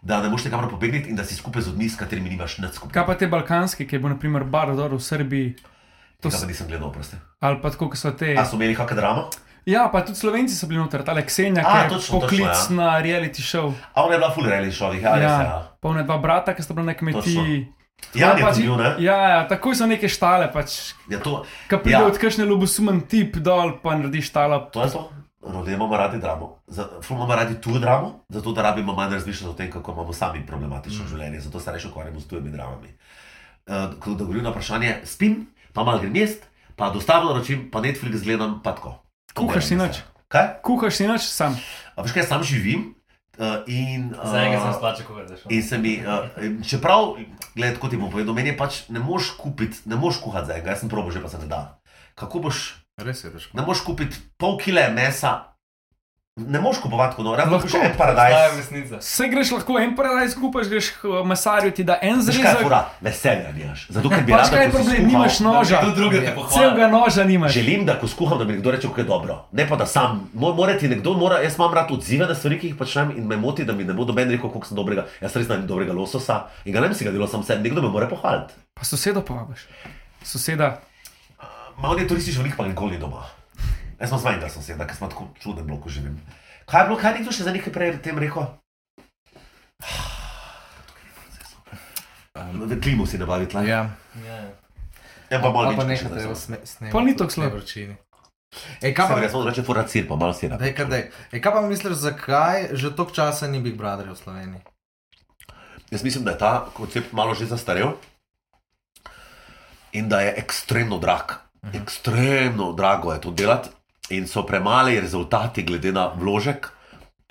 [SPEAKER 3] da ne moš nikamor pobegniti in da si skupaj z ljudmi, s katerimi nimaš nič skupaj.
[SPEAKER 5] Kaj pa te balkanske, ki je bil naprimer bar dol v Srbiji,
[SPEAKER 3] Tega
[SPEAKER 5] s- E.
[SPEAKER 3] pa nisem gledal, prosti.
[SPEAKER 5] ali pa tako, ki so te.
[SPEAKER 3] A so imeli kakšno dramo?
[SPEAKER 5] Ja, pa tudi slovenci so bili noter, ta
[SPEAKER 3] A,
[SPEAKER 5] Ksenija, ki je
[SPEAKER 3] točno, točno,
[SPEAKER 5] poklic
[SPEAKER 3] ja.
[SPEAKER 5] na reality show.
[SPEAKER 3] A ona je bila full reality šovih, ja, res je, ja.
[SPEAKER 5] polne dva brata, ki sta bila na kmetiji.
[SPEAKER 3] Jan je
[SPEAKER 5] Ja, pač-
[SPEAKER 3] tudi bil, ne?
[SPEAKER 5] Ja, ja, takoj so neke štale, pač,
[SPEAKER 3] Ja, to,
[SPEAKER 5] ki pride ja. od kakšne ljubosumen tip dol, pa naredi štala.
[SPEAKER 3] To je to. Ljudje imamo radi dramo, zelo imamo radi tujo dramo, zato da rabimo manj razmišljati o tem, kako imamo sami problematično mm. življenje, zato se reče, ukvarjamo s tujimi dramami. Uh, ko odgovorim na vprašanje, spim, pa malo grem jesti, pa dostavno naročim, pa Netflix gledam, pa tako. To
[SPEAKER 5] Kuhaš si
[SPEAKER 3] delam
[SPEAKER 5] nič?
[SPEAKER 3] jaz. Kaj?
[SPEAKER 5] Kuhaš si noč sam.
[SPEAKER 3] A veš kaj, sam živim uh, in. Uh,
[SPEAKER 4] Za enega sem splačal, ko gledaš.
[SPEAKER 3] In se mi, uh, čeprav, gled, kot ti bom povedal, meni je pač ne moš kupiti, ne moš kuhati za enega, jaz sem probo že pa se ne da. Kako boš
[SPEAKER 2] Res je težko.
[SPEAKER 3] ne moš kupiti pol kile mesa, ne moš kupovati kot nora,
[SPEAKER 5] Lahko.
[SPEAKER 3] lahko še en
[SPEAKER 4] Stajem
[SPEAKER 3] paradajz.
[SPEAKER 4] resnica.
[SPEAKER 5] Vse greš lahko en paradajz kupaš, greš k eh, mesarju, ti da en
[SPEAKER 3] Znaš kaj, je
[SPEAKER 5] zrezek.
[SPEAKER 3] fura, veselja nimaš. Zato, ker bi
[SPEAKER 5] Pač
[SPEAKER 3] rad,
[SPEAKER 5] kaj je problem, nimaš noža.
[SPEAKER 4] Kdo drugi te pohvali?
[SPEAKER 5] Celega noža nimaš.
[SPEAKER 3] Želim, da ko skuham, da mi nekdo reče, kako je dobro. Ne pa da sam, Mo- mora ti nekdo, mora, jaz imam rad odzive na stvari, ki jih počnem in me moti, da mi ne bo doben rekel, koliko sem dobrega. Jaz res znam dobrega lososa in ga ne bi si ga delal sam sebi, nekdo me mora pohvaliti.
[SPEAKER 5] Pa sosedo povabiš. Soseda,
[SPEAKER 3] Malo je turističnih velik, pa nikoli ni doma. Jaz sem zmanjkal soseda, ker sem tako čuden blok živim. Kaj je bilo, kaj je nekdo še za nekaj prej tem rekel? Klimo si nabavi tla.
[SPEAKER 2] Ah, Ja,
[SPEAKER 4] Ja.
[SPEAKER 3] Ja, pa malo
[SPEAKER 2] ali pa
[SPEAKER 3] več
[SPEAKER 2] nekaj
[SPEAKER 3] še
[SPEAKER 2] treba
[SPEAKER 3] za-
[SPEAKER 2] sme- snemati.
[SPEAKER 5] Pol ni tako
[SPEAKER 2] v tej
[SPEAKER 5] slabo.
[SPEAKER 2] vročini. Ej, kaj
[SPEAKER 3] Kaj
[SPEAKER 2] Ja, pa,
[SPEAKER 3] pa jaz sem reče, fura sir, pa malo sira.
[SPEAKER 2] dej, kar dej. Ej, kaj pa misliš, zakaj že toliko časa ni Big Brother v Sloveniji?
[SPEAKER 3] Jaz mislim, da je ta koncept malo že zastarel in da je ekstremno drag.
[SPEAKER 2] Mhm.
[SPEAKER 3] Ekstremno drago je to delati in so premali rezultati glede na vložek.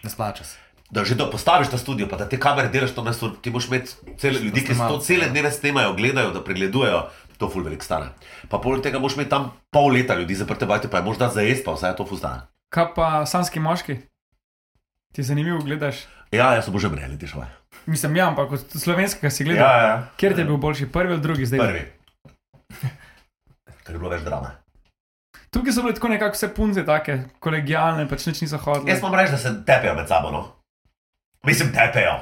[SPEAKER 2] Ne splača se.
[SPEAKER 3] Da že da postaviš ta studio, pa da te kamere delaš 14 ur, ti boš imel cele ljudi, ki se to
[SPEAKER 2] snimalce,
[SPEAKER 3] cele dneve snimajo, gledajo, da pregledujejo, to ful velik stane. Pa poleg tega boš imel tam pol leta ljudi zaprte bajte, pa je možda za jesti, pa vsaj to ful stane.
[SPEAKER 5] Kaj pa sanski moški? Ti je zanimivo gledaš.
[SPEAKER 3] Ja, jaz sem že mreli, ti švaj.
[SPEAKER 5] Mislim, ja, ampak kot slovenskega si gledal.
[SPEAKER 3] Ja, ja.
[SPEAKER 5] Kjer ti je bil boljši, prvi ali drugi zdaj?
[SPEAKER 3] Prvi. Ker je bilo več drame.
[SPEAKER 5] Tukaj so bile tako nekako vse punce, tako kolegijalne, pač nič niso hodile.
[SPEAKER 3] Jaz moram reči, da se tepejo med sabo. No. Mislim, tepejo.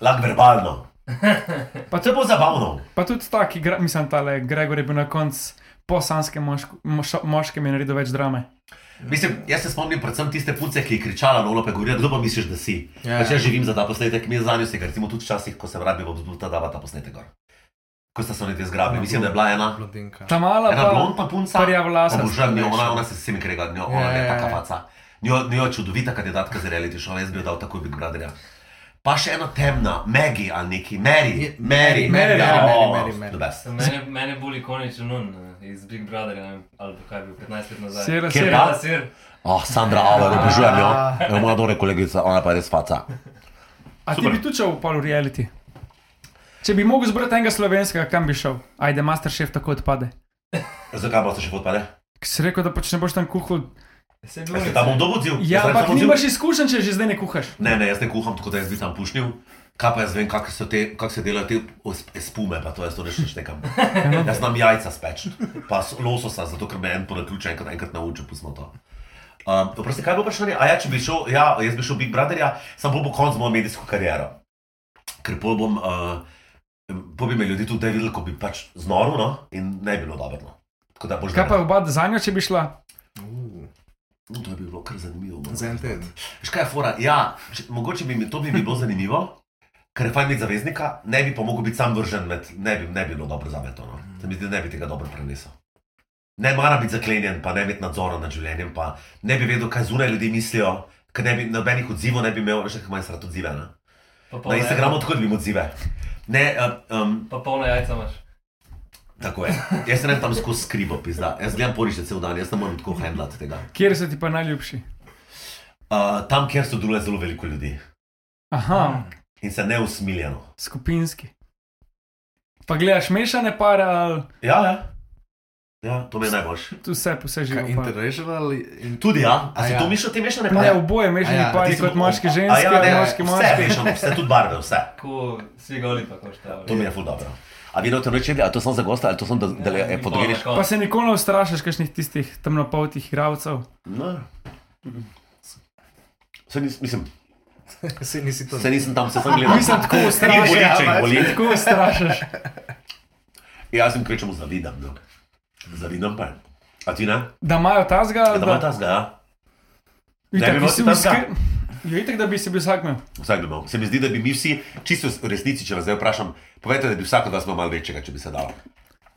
[SPEAKER 3] Lahko verbalno.
[SPEAKER 5] Pa
[SPEAKER 3] Pa to je bilo zabavno.
[SPEAKER 5] Pa tudi taki, gra- mislim, tale Gregor je bil na koncu po sanskem mošk- moš- moškem in naredil več drame.
[SPEAKER 3] Mislim, jaz se spomnim predvsem tiste punce, ki je kričala na Lope Gorila, kdo pa misliš, da si.
[SPEAKER 2] Ja,
[SPEAKER 3] Ja. Če jaz živim za ta posnetek, mi za njo se grdimo tudi včasih, ko se vrabimo v zbuta, dava ta posnetek gor. Ko sta se ne te
[SPEAKER 2] Ja,
[SPEAKER 3] zgrabili, mislim, da je bila ena.
[SPEAKER 2] Blondinka.
[SPEAKER 5] Ta mala
[SPEAKER 3] Ena
[SPEAKER 5] pa,
[SPEAKER 3] blondna punca,
[SPEAKER 5] rjavolasa.
[SPEAKER 3] obožujem njo, ona, ona se s vsemi krega, njo, ona
[SPEAKER 2] Ja,
[SPEAKER 3] je
[SPEAKER 2] ja,
[SPEAKER 3] taka
[SPEAKER 2] ja.
[SPEAKER 3] faca. Njo, njo je čudovita kandidatka za reality show, jaz bi jo dal takoj Big Brotherja. Pa še ena temna, Maggie ali neki, Mary,
[SPEAKER 2] Je-
[SPEAKER 3] Mary,
[SPEAKER 2] Mary, Mary,
[SPEAKER 3] ja,
[SPEAKER 2] Mary,
[SPEAKER 3] o,
[SPEAKER 2] Mary, Mary.
[SPEAKER 3] the best.
[SPEAKER 4] Mene, mene je bolj ikoničen on eh, iz Big Brotherja, ne vem, ali pa kaj je bil 15 let nazaj.
[SPEAKER 5] Sira,
[SPEAKER 3] Kjer
[SPEAKER 5] sira.
[SPEAKER 3] pa?
[SPEAKER 4] Ja, sir.
[SPEAKER 3] Oh, Sandra
[SPEAKER 2] Ja.
[SPEAKER 3] Auer, obožujem jo, je moja dobra kolegica, ona pa je res faca.
[SPEAKER 5] A ti
[SPEAKER 3] Super.
[SPEAKER 5] bi tučal v polu reality? Če bi mogel zbrati enega slovenskega, kam bi šel? Ajde, Masterchef tako odpade.
[SPEAKER 3] Zakaj pa ste še podpade?
[SPEAKER 5] Ker si rekel, da pač ne boš tam kuhal.
[SPEAKER 4] Se je
[SPEAKER 3] Jaz se
[SPEAKER 4] bil
[SPEAKER 3] tam bom dobudzil.
[SPEAKER 5] Ja, ampak nimaš izkušenj, če že zdaj ne kuhaš.
[SPEAKER 3] Ne, ne, jaz ne kuham, tako da jaz bi tam pušnil. Kaj pa jaz vem, kako se, te- kako se delajo te os- espume, pa to jaz to ne štekam. Jaz znam jajca speč, pa s- lososa, zato ker me en ponaključe enkrat, enkrat naučil, pustimo to. Um, Prosti, kaj bo vprašanje? A ja, če bi šel, ja, jaz bi šel Big Brotherja, sam bo konc z mojo medijsko kariero. Ker pol bom, uh, pol bi me ljudi tudi videli, ko bi pač znoril, no, in ne bi bilo dobro. No. Tako da boš
[SPEAKER 5] Kaj pa
[SPEAKER 3] dobro.
[SPEAKER 5] oba za njo, če bi šla?
[SPEAKER 3] No, to bi bilo kar zanimivo. no. moram
[SPEAKER 2] Za en
[SPEAKER 3] priznati.
[SPEAKER 2] teden.
[SPEAKER 3] Veš kaj je fora? Ja, če, mogoče bi mi to bi mi bilo zanimivo, ker je fajn biti zaveznika, ne bi pa mogel biti sam vržen med, ne bi, ne bi bilo dobro za me to. No. Se mi zdi, da ne bi tega dobro prenesel. Ne mara biti zaklenjen, pa ne imeti nadzora nad življenjem, pa ne bi vedel, kaj zunaj ljudi mislijo, ker ne bi nobenih odzivov ne bi imel, veš, kaj manj srat odzive. Ne?
[SPEAKER 4] pa polna
[SPEAKER 3] Na Instagramu
[SPEAKER 4] jajca.
[SPEAKER 3] tako dobim odzive. Ne, uh, um,
[SPEAKER 4] Pa polna jajca imaš.
[SPEAKER 3] tako je. Jaz se ne tam skozi skribo, pizda. Jaz gledam porišče cel dan, jaz ne morem tako handlati tega.
[SPEAKER 5] Kjer so ti pa najljubši?
[SPEAKER 3] Uh, tam, kjer sodeluje zelo veliko ljudi
[SPEAKER 5] Aha,
[SPEAKER 3] in se no. neusmiljeno.
[SPEAKER 5] skupinski. Pa gledaš mešane pare ali
[SPEAKER 3] Ja, ja. ja to mi je najboljše.
[SPEAKER 5] tu vse, vse živo.
[SPEAKER 2] Kaj,
[SPEAKER 5] par?
[SPEAKER 2] interracial in
[SPEAKER 3] Tudi ja, a
[SPEAKER 2] A
[SPEAKER 3] si
[SPEAKER 2] ja.
[SPEAKER 3] to misliš, ti mešane
[SPEAKER 5] Ne,
[SPEAKER 3] pare?
[SPEAKER 5] oboje mešani
[SPEAKER 2] A ja,
[SPEAKER 5] pari
[SPEAKER 3] Ti si
[SPEAKER 5] kot
[SPEAKER 3] bo-
[SPEAKER 5] moški
[SPEAKER 3] a
[SPEAKER 5] ženski,
[SPEAKER 3] ja, ne,
[SPEAKER 5] moški
[SPEAKER 3] Vse
[SPEAKER 5] moški.
[SPEAKER 3] mešano, vse tudi barve, vse.
[SPEAKER 4] Ko si ga olipa, ko šta.
[SPEAKER 3] To mi je ful dobro. A vi noter rečete, a to sem za gosta, ali to sem, da, da le
[SPEAKER 4] Ja,
[SPEAKER 3] eh, fotografiraš?
[SPEAKER 5] Pa se nikoli ne ustrašiš kakšnih tistih temnopoltih igralcev.
[SPEAKER 3] No. Se nis, mislim,
[SPEAKER 2] se nisi to.
[SPEAKER 3] se nisem tam, se sem gledal.
[SPEAKER 5] Nisem tako
[SPEAKER 3] Ni
[SPEAKER 5] ustrašen.
[SPEAKER 3] boleče, jih boli.
[SPEAKER 5] Tako ustrašiš.
[SPEAKER 3] Ja, Jaz sem kvečemu zavidam. No. Zavidam pa. A ti ne?
[SPEAKER 5] Da imajo tazga,
[SPEAKER 3] Ja,
[SPEAKER 5] ali
[SPEAKER 3] Da ima ta zga,
[SPEAKER 5] Itak,
[SPEAKER 3] ne bi
[SPEAKER 5] ki
[SPEAKER 3] imel
[SPEAKER 5] si
[SPEAKER 3] si tazga.
[SPEAKER 5] uskr- Ja, itak, da bi si bil vsak imel.
[SPEAKER 3] vsak bi imel. Se mi zdi, da bi mi vsi, čisto v resnici, če vas zdaj vprašam, povejte, da bi vsak od vas imel malo večjega, če bi se dalo.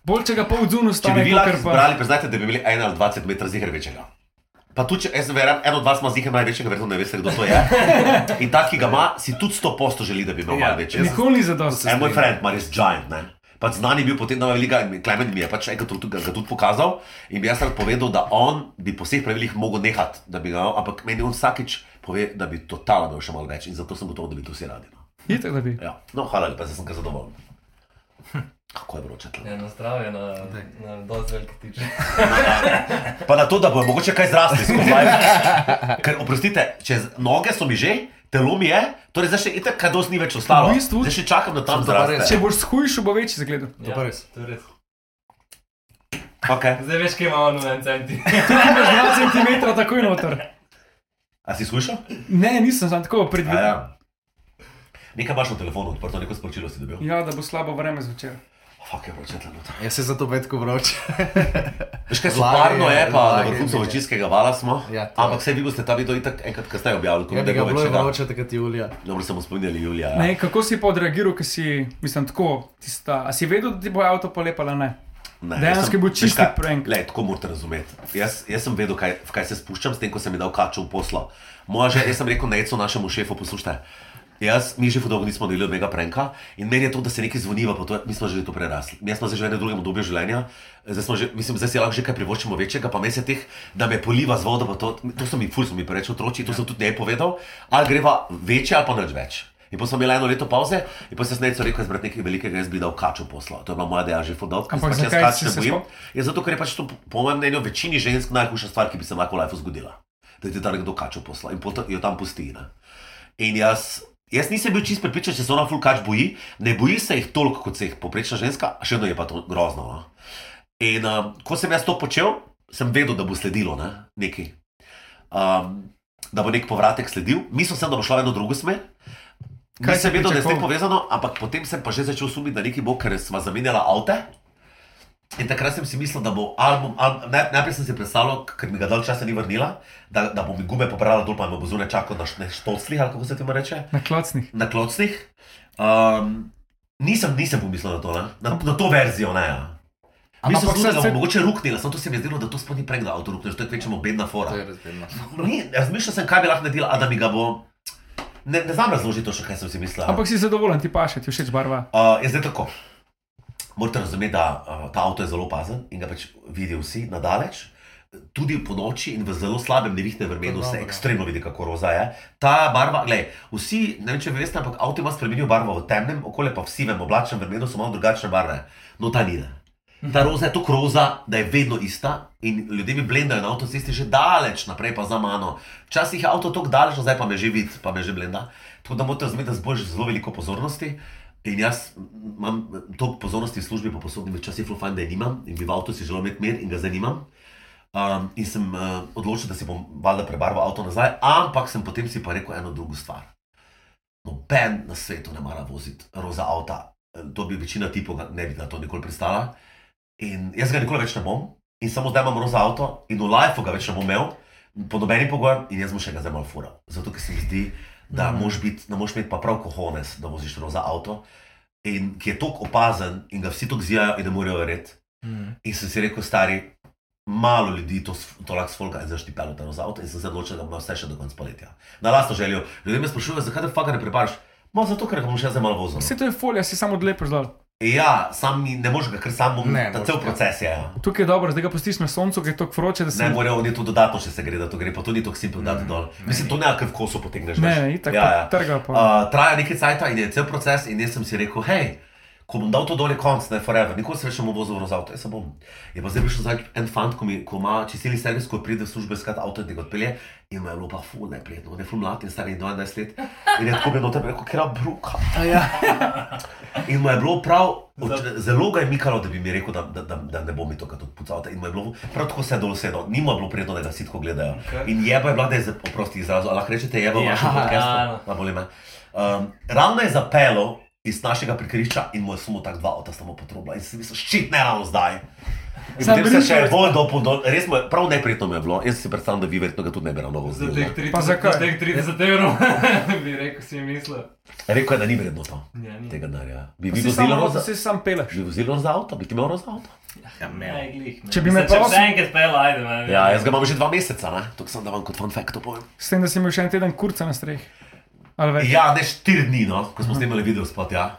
[SPEAKER 5] Bolj če ga pol
[SPEAKER 3] Če
[SPEAKER 5] dzunu
[SPEAKER 3] bi
[SPEAKER 5] stane,
[SPEAKER 3] vi
[SPEAKER 5] kakor
[SPEAKER 3] lahko
[SPEAKER 5] pa.
[SPEAKER 3] izbrali, priznajte, da bi imeli 1 ali 20 metrov zihar večjega. Pa tudi, če jaz verjamem, eno od vas ima zihar največjega, verjetno ne veste, kdo to je. In ta, ki ga ima, si tudi 100% želi, da bi imel
[SPEAKER 2] Ja,
[SPEAKER 3] malo večjega.
[SPEAKER 5] Nikoli ni zadost.
[SPEAKER 3] En moj friend, ima res giant, ne. Pač znan je bil potem Nova Liga in Klemen mi je pač enkrat tudi, ga tudi pokazal in bi jaz rad povedal, da on bi po vseh pravilih mogel nehati, da bi ga, ampak meni on vsakič pove, da bi totalno imel še malo več in zato sem gotovo, da bi to vsi radi. No,
[SPEAKER 5] Itak, da bi.
[SPEAKER 3] ja. no hvala lepa, zdaj sem ga zadovoljen. Hm. Kako je vroče tle.
[SPEAKER 4] Ja, na zdravje, na, na dosti velike tiče.
[SPEAKER 3] Pa na to, da bo mogoče kaj zrasti skupaj. Ker oprostite, čez noge so mi že, telo mi je, torej zdaj še itak kaj dosti ni več ostalo.
[SPEAKER 5] V bistvu-
[SPEAKER 3] Zdaj še čakam, da tam
[SPEAKER 2] Sem to pa
[SPEAKER 3] zraste.
[SPEAKER 5] Če boš shujšal, bo večji zgled.
[SPEAKER 2] To pa res.
[SPEAKER 4] Ja, To je res.
[SPEAKER 3] Okay.
[SPEAKER 4] Zdaj veš, kje imamo na en centi.
[SPEAKER 5] Imaš 2 cm takoj noter.
[SPEAKER 3] A si slišal?
[SPEAKER 5] Ne, nisem sam tako
[SPEAKER 3] A Ja.
[SPEAKER 5] predvidel.
[SPEAKER 3] Nekaj imaš na telefonu odprto, neko sporočilo si dobil.
[SPEAKER 5] Ja, da bo slabo vreme zvečer.
[SPEAKER 3] Fak je vroče tle noter.
[SPEAKER 2] Jaz se zato petko vroče.
[SPEAKER 3] Veš kaj,
[SPEAKER 2] Vlage,
[SPEAKER 3] soparno je pa, na
[SPEAKER 2] vlage,
[SPEAKER 3] vrhuncu
[SPEAKER 2] vlage.
[SPEAKER 3] vročinskega vala smo,
[SPEAKER 2] Ja, to je.
[SPEAKER 3] ampak vse vi boste ta video itak enkrat kasneje objavili, ko
[SPEAKER 2] Ja, bi
[SPEAKER 3] ne
[SPEAKER 2] ga
[SPEAKER 3] bo
[SPEAKER 2] bilo je
[SPEAKER 3] več tega.
[SPEAKER 2] vroče takrat julija.
[SPEAKER 3] Dobro, sem spominjali Julija. ja.
[SPEAKER 5] Ne, kako si pa odreagiral, ker si, mislim, tako, tista, a si vedel, da ti bo avto polepala, ne?
[SPEAKER 3] Ne,
[SPEAKER 5] Dejansko
[SPEAKER 3] jaz sem-
[SPEAKER 5] je bil
[SPEAKER 3] veš
[SPEAKER 5] čisti
[SPEAKER 3] kaj,
[SPEAKER 5] prank.
[SPEAKER 3] Lej, tako morate razumeti. Jaz, jaz sem vedel, kaj, v kaj se spuščam, s tem, ko sem mi dal kačo v poslo. Moja že, jaz sem rekel, nečo našemu šefu poslušajte. Jaz, mi že dolgo nismo delili mega prenka in meni je to, da se nekaj zvoniva, pa to, mi smo že to prerasli. Mi smo zdaj že v enem drugem obdobju življenja, zdaj, smo že, mislim, zdaj si lahko že kaj privoščimo večjega, pa me se teh, da me poliva z vodo, pa to, to so mi ful, so mi preveč otroci, to sem tudi ne povedal, ali greva večje ali pa nič več. In potem sem imel eno leto pauze, in potem sem se rekel, da nekaj velikega jaz bi dal kačo posla. To je bila moja ideja že fudovka.
[SPEAKER 5] Ampak zakaj si se sploh-
[SPEAKER 3] Je zato, ker je pač to, po mojem mnenju, večini žensk najhujša stvar, ki bi se lahko v lifeu zgodila. Da ti ta nekdo kačo posla in potem jo tam pusti. Ne? In jaz, jaz nisem bil čist prepričan, če se ona fulkač boji, ne boji se jih toliko kot se jih poprečna ženska, še vedno je pa to grozno. No? In um, ko sem jaz to počel, sem vedel, da bo sledilo ne? nekaj. Um, da bo nek povratek sledil, mislil sem, da bo šlo v eno drugo smer.
[SPEAKER 5] Kaj
[SPEAKER 3] Kaj
[SPEAKER 5] si
[SPEAKER 3] sem vedel, da je s tem
[SPEAKER 5] pričakoval?
[SPEAKER 3] povezano, ampak potem sem pa že začel sumiti, da nekaj bo, ker smo zamenjali avto. In takrat sem si mislil, da bo album, album naj, najprej sem si predstavljal, ker mi ga dal časa ni vrnila, da, da bo mi gume pobrala dol, pa me bo zunaj čakal na št- na štoclih, ali kako se temu reče,
[SPEAKER 5] Na klocnih.
[SPEAKER 3] na klocnih. Um, nisem, nisem pomislil na to, ne? na, na to verzijo. Ne, ja.
[SPEAKER 5] Ampak
[SPEAKER 3] Mislim,
[SPEAKER 5] saj
[SPEAKER 3] da
[SPEAKER 5] se-
[SPEAKER 3] bo mogoče ruknila, samo to se mi je zdelo, da to sploh ni pregledal, avto rukneš, to je kvečemo bedna fora.
[SPEAKER 2] To je razbirno.
[SPEAKER 3] Ni, razmišljal sem, kaj bi lahko naredila, a da mi ga bo. Ne, ne znam razložiti točno, kaj sem si mislila.
[SPEAKER 5] Ampak si zadovoljen, ti paše, ti všeč barva.
[SPEAKER 3] Uh, je zdaj tako. Morate razumeti, da uh, ta avto je zelo opazen in ga pač vidijo vsi na daleč. Tudi po noči in v zelo slabem nevihtnem vremenu se
[SPEAKER 2] Dobro.
[SPEAKER 3] ekstremno vidi, kako roza je. Ta barva, gledaj, vsi, ne vem če veste, ampak avto ima spremenil barvo v temnem okolju, pa v sivem oblačnem vremenu so malo drugačne barve. No, ta ni. Ne. Ta roza je tako roza, da je vedno ista in ljudje mi blendajo na avtocesti že daleč naprej, pa za mano. Včasih je avto tako daleč, zdaj pa me že vidi, pa me že blenda. Tako da morate razumeti, da zbožiš zelo veliko pozornosti. In jaz m, imam toliko pozornosti v službi, pa posodnim včasih fulfajn, da je nimam in bi v avtu si želel imeti mir in ga zanimam. Um, in sem uh, odločil, da si bom valjda prebarval avto nazaj, ampak sem potem si pa rekel eno drugo stvar. Noben na svetu ne mara voziti roza avta, Eh, to bi večina tipov ga- ne bi na to nikoli pristala. In jaz ga nikoli več ne bom, in samo zdaj imam roza avto, in v lifeu ga več ne bom imel, po nobeni pogojem, in jaz mu še ga zdaj malo fura. Zato, ker se mi zdi, da
[SPEAKER 2] Mhm.
[SPEAKER 3] mm. moraš biti- da moraš imeti pa prav kohones, da voziš roza avto, in ki je tako opazen in ga vsi tako zijajo, in da morajo verjeti.
[SPEAKER 2] Mm.
[SPEAKER 3] In sem si rekel, stari, malo ljudi to, s- to lahko sfolka in zaštipelo tam za avto in sem se odločil, da bom vse še do konca poletja. Na lastno željo. Ljudje me sprašujejo, zakaj te fakar ne preparaš? Ma zato, ker ga bom še zdaj malo vozil. no.
[SPEAKER 5] Vse to je folija, si samo odlepiš dol.
[SPEAKER 3] Ja, sam ni- ne moreš ga, ker sam bom,
[SPEAKER 2] Ne
[SPEAKER 3] ta
[SPEAKER 2] moreš
[SPEAKER 3] cel
[SPEAKER 2] ga.
[SPEAKER 3] proces je. Ja.
[SPEAKER 5] Tukaj je dobro, zdaj ga pustiš na soncu, ker je tako vroče, da se
[SPEAKER 3] Ne morejo oni to dodatno, če se gre, da to gre, pa to ni tako simpel dati dol. Mislim, to ne, ker v kosu potegneš.
[SPEAKER 5] Ne,
[SPEAKER 3] veš.
[SPEAKER 5] Mm, ne, itak pa trga pa.
[SPEAKER 3] Uh, traja nekaj cajt in je cel proces in jaz sem si rekel, hej, ko bom dal to dol, je konc, ne forever, nikoli se več ne bom vozil z avto, jaz se bom. Je pa zdaj prišel zdaj en fant, ko, mi, ko ima čistili servis, ko pride v službo iskat avto in tega odpelje in me je bilo pa ful neprijetno, on je ful mlad in star je 12 let in je tako bilo tam rekel, kera bruka.
[SPEAKER 5] ja.
[SPEAKER 3] In mu je bilo prav, od, zelo ga je mikalo, da bi mi rekel, da, da, da, da ne bo mi to kot odpucal. In mu je bilo prav tako vse dol sedel, nima bilo prijetno, da ga vsi tako gledajo.
[SPEAKER 4] Okej.
[SPEAKER 3] In jeba je bila, da je, za- oprosti izrazu, ali lahko rečete jeba v
[SPEAKER 2] Ja,
[SPEAKER 3] vašem
[SPEAKER 4] ja.
[SPEAKER 3] podkastu, na bolj me. Um, ravno je zapeljal iz našega prikrišča in mu je samo tako dva avta samo potrobila. In sem mislil, ščit ne ravno zdaj. In
[SPEAKER 5] Samo
[SPEAKER 3] Potem se še
[SPEAKER 5] brisal
[SPEAKER 3] je
[SPEAKER 5] je-
[SPEAKER 3] bolj dopol, dol, res mu je prav neprijetno mi je bilo. Jaz si predstavljam, da vi verjetno ga tudi ne bi ravno
[SPEAKER 4] Za
[SPEAKER 3] vozili.
[SPEAKER 4] teh
[SPEAKER 3] ne.
[SPEAKER 4] 30,
[SPEAKER 5] Pa zakaj? Ja.
[SPEAKER 4] Za teh 30 evrov bi rekel, si mi mislil.
[SPEAKER 3] Rekel je, da ni vredno to.
[SPEAKER 4] Ja, ni.
[SPEAKER 3] Tega denarja. Bi vi
[SPEAKER 5] si
[SPEAKER 3] vozili
[SPEAKER 5] samo,
[SPEAKER 3] roza?
[SPEAKER 5] si sam peleš.
[SPEAKER 3] Bi vozili roza avto? Bi ti imel roza avto?
[SPEAKER 2] Ja,
[SPEAKER 4] Ne,
[SPEAKER 2] ne.
[SPEAKER 4] glih. ne.
[SPEAKER 5] Če bi me
[SPEAKER 4] Mislim,
[SPEAKER 5] prosil-
[SPEAKER 4] Če bi še enkrat pel, ajde, man.
[SPEAKER 3] Ja, jaz ga imam že dva meseca, ne? to sem da vam kot fun fact to povem.
[SPEAKER 5] S tem, da si imel še en teden kurca na streh. Ali več.
[SPEAKER 3] Ja, ne štiri dni, no, ko smo snimali video spot. Ja.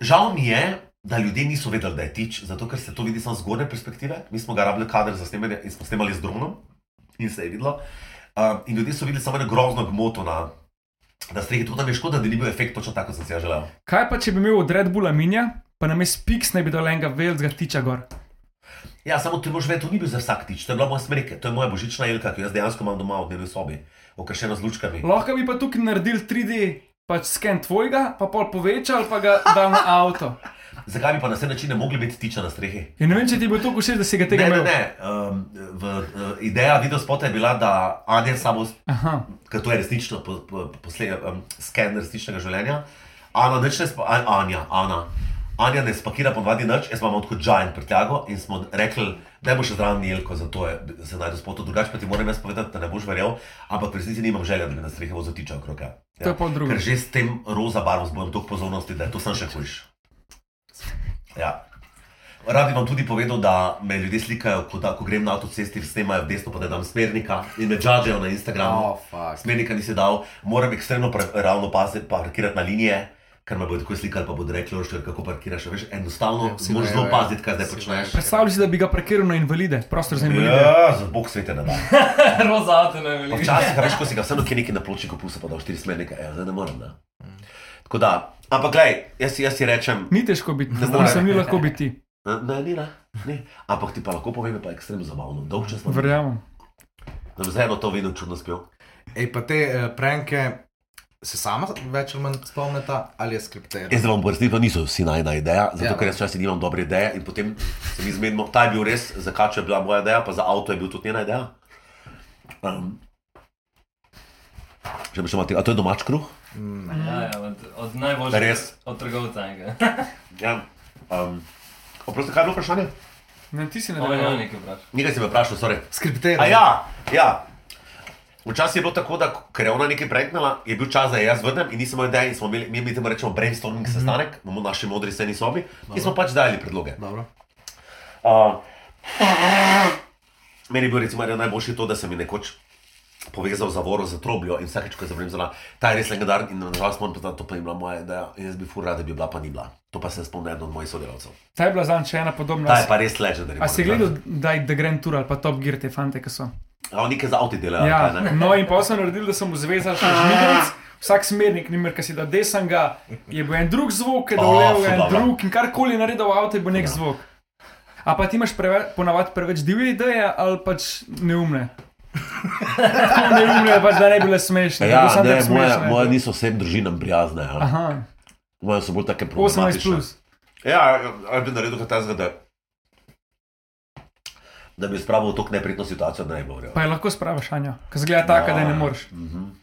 [SPEAKER 3] Žal mi je, da ljudje niso vedeli, da je tič, zato ker se to vidi samo z zgornje perspektive. Mi smo ga rabili kader za snemanje in smo snemali z dronom in se je videlo. Um, in ljudje so videli samo eno grozno gmoto na, na strehi, tudi nam je škoda, da ni bil efekt točno tako, kot sem si ga želel.
[SPEAKER 5] Kaj pa, če bi imel od Red Bulla minja, pa namesto Piks ne bi dal enega velikega tiča gor.
[SPEAKER 3] Ja, samo ti moraš vedeti, to ni bil za vsak tič, to je bila moja smreke, to je moja božična jelka, ki jo jaz dejansko imam doma v dnevni sobi, okrašena z lučkami.
[SPEAKER 5] Lahko bi pa tukaj naredil 3D, pač sken tvojega, pa pol povečal, pa ga dal na avto.
[SPEAKER 3] Zakaj bi pa na vse načine mogli imeti tiča na strehi?
[SPEAKER 5] In ne vem, če ti bo to všeč, da si ga
[SPEAKER 3] Ne,
[SPEAKER 5] tega
[SPEAKER 3] ne,
[SPEAKER 5] imel.
[SPEAKER 3] ne. Um, v, uh, ideja videospota je bila, da Anja samo,
[SPEAKER 5] Aha,
[SPEAKER 3] ker to je resnično po, po, posle, um, sken resničnega življenja, Ana nič ne spakira, Anja, Ana. Anja ne spakira ponovadi nič, jaz imam kot giant prtljago in smo rekli, da boš zraven jelko, zato je, se najdeš spoto, drugače pa ti moram jaz povedati, da ne boš verjel, ampak v resnici nimam želje, da bi nas strehe vozil okrog. Ja.
[SPEAKER 5] To je pa drugo.
[SPEAKER 3] Ker že s tem roza barvo zbudem toliko pozornosti, da je to sem še hujš. Ja. Rad bi vam tudi povedal, da me ljudje slikajo, ko, da, ko grem na avtocesti, snemajo v desno, pa da dam smernika in me žadžejo na Instagramu.
[SPEAKER 2] Oh, fuck.
[SPEAKER 3] Smernika nisi dal, moram ekstremno pre, ravno paziti, pa parkirati na linije, ker me bodo tako slikali, pa bodo rekli, "Ošter, kako parkiraš. Veš, enostavno
[SPEAKER 2] Ja, vsi
[SPEAKER 3] moraš
[SPEAKER 2] vejo,
[SPEAKER 3] zelo
[SPEAKER 2] ja.
[SPEAKER 3] paziti, kaj zdaj
[SPEAKER 2] Vsi
[SPEAKER 3] počneš.
[SPEAKER 5] Predstavljaj si, da bi ga prekiral na invalide, prostor za invalide.
[SPEAKER 3] Ja, za bog sveta ne da.
[SPEAKER 4] Roza avto ne
[SPEAKER 3] Pa
[SPEAKER 4] veli.
[SPEAKER 3] Včasih, a veš, ko si ga vseeno kje nekaj na pločniku pusa, pa da v štiri smernike, ja, zdaj ne morem. Ne. Tako da, ampak gledaj, jaz, jaz si rečem,
[SPEAKER 5] Ni težko biti,
[SPEAKER 3] more.
[SPEAKER 5] mislim, ni lahko biti.
[SPEAKER 3] "Ne, ne, ni, ne, ni. Ampak ti pa lahko povem, da je pa ekstremno zabavno, dolg čas.
[SPEAKER 5] Verjamem.
[SPEAKER 3] Da bi zdaj eno to vedno čudno spil.
[SPEAKER 2] Ej, pa te uh, pranke se sama več ali manj spomnite, ali je skriptirano?
[SPEAKER 3] Jaz da vam pojasnim, da niso vsi najna ideja, zato
[SPEAKER 2] Ja.
[SPEAKER 3] ker jaz včasih nimam dobre ideje in potem se mi zmedimo, ta je bil res, za kačo je bila moja ideja, pa za avto je bil tudi njena ideja. Um, že bi še malo tega, a to je domač kruh?
[SPEAKER 4] Ja, ja, od, od najboljšega.
[SPEAKER 3] Res?
[SPEAKER 4] Od trgovca enega.
[SPEAKER 3] Ja. Um, Oprosti, kaj je bilo vprašanje?
[SPEAKER 5] Ne, ti si
[SPEAKER 4] Ovo je
[SPEAKER 5] nadaljeval.
[SPEAKER 4] nekaj vprašanje.
[SPEAKER 3] Nekaj si me vprašal, sorry.
[SPEAKER 2] Skriptirano.
[SPEAKER 3] A ja, ja. Včasih je bilo tako, da ko- ker je ona nekaj pregnala, je bil čas, da jaz vrnem in nismo imeli ideje in smo imeli, mi, mi temu rečemo
[SPEAKER 5] Mhm.
[SPEAKER 3] brainstorming sestanek, imamo v naši modri sejni sobi in smo pač dali predloge.
[SPEAKER 2] Dobro.
[SPEAKER 3] Uh, meni je bil recimo eden najboljši to, da sem jih nekoč povezal zavoro za trobljo in vsakeč, ko je zabrim zala, ta je res legendaren in nažalost moram priznati, to pa je bila moja ideja in jaz bi fur rad, da bi bila, pa ni bila. To pa se spomnim eden od mojih sodelavcev.
[SPEAKER 5] Ta je bila zanj še ena podobna.
[SPEAKER 3] Ta je pa res legendaren.
[SPEAKER 5] A si gledal, da je The Grand Tour ali pa Top Gear te fante, ki so?
[SPEAKER 3] A Ah. oni nekaj za avto delajo.
[SPEAKER 5] Ja,
[SPEAKER 3] kaj ne?
[SPEAKER 5] no in pa sem naredil, da sem zvezal še žmigalic. Vsak smernik, nimer, ki si da desen, ga, je bil en drug zvok, ki je
[SPEAKER 3] O,
[SPEAKER 5] dolev,
[SPEAKER 3] ful
[SPEAKER 5] en
[SPEAKER 3] dobro.
[SPEAKER 5] drug in karkoli je naredil avto, je bil nek zvok. A pa ti imaš preve, ponavadi preveč divje ideje ali pač neumne. Tako neumne, pač, da ne bi bile smešne. da bi
[SPEAKER 3] Ja,
[SPEAKER 5] bile samo
[SPEAKER 3] ne,
[SPEAKER 5] tako
[SPEAKER 3] moja,
[SPEAKER 5] smešne.
[SPEAKER 3] moja niso vsem družinam prijazne. Ja.
[SPEAKER 5] Aha,
[SPEAKER 3] Moje so bolj take
[SPEAKER 5] 18
[SPEAKER 3] problematične.
[SPEAKER 5] plus.
[SPEAKER 3] Ja, ali bi naredil kaj takega, da, da bi spravil v tako neprijetno situacijo, da ne bi govoril.
[SPEAKER 5] Pa je lahko spravaš, Anja, ki zgleda taka, da je ne
[SPEAKER 3] Ja.
[SPEAKER 5] moreš.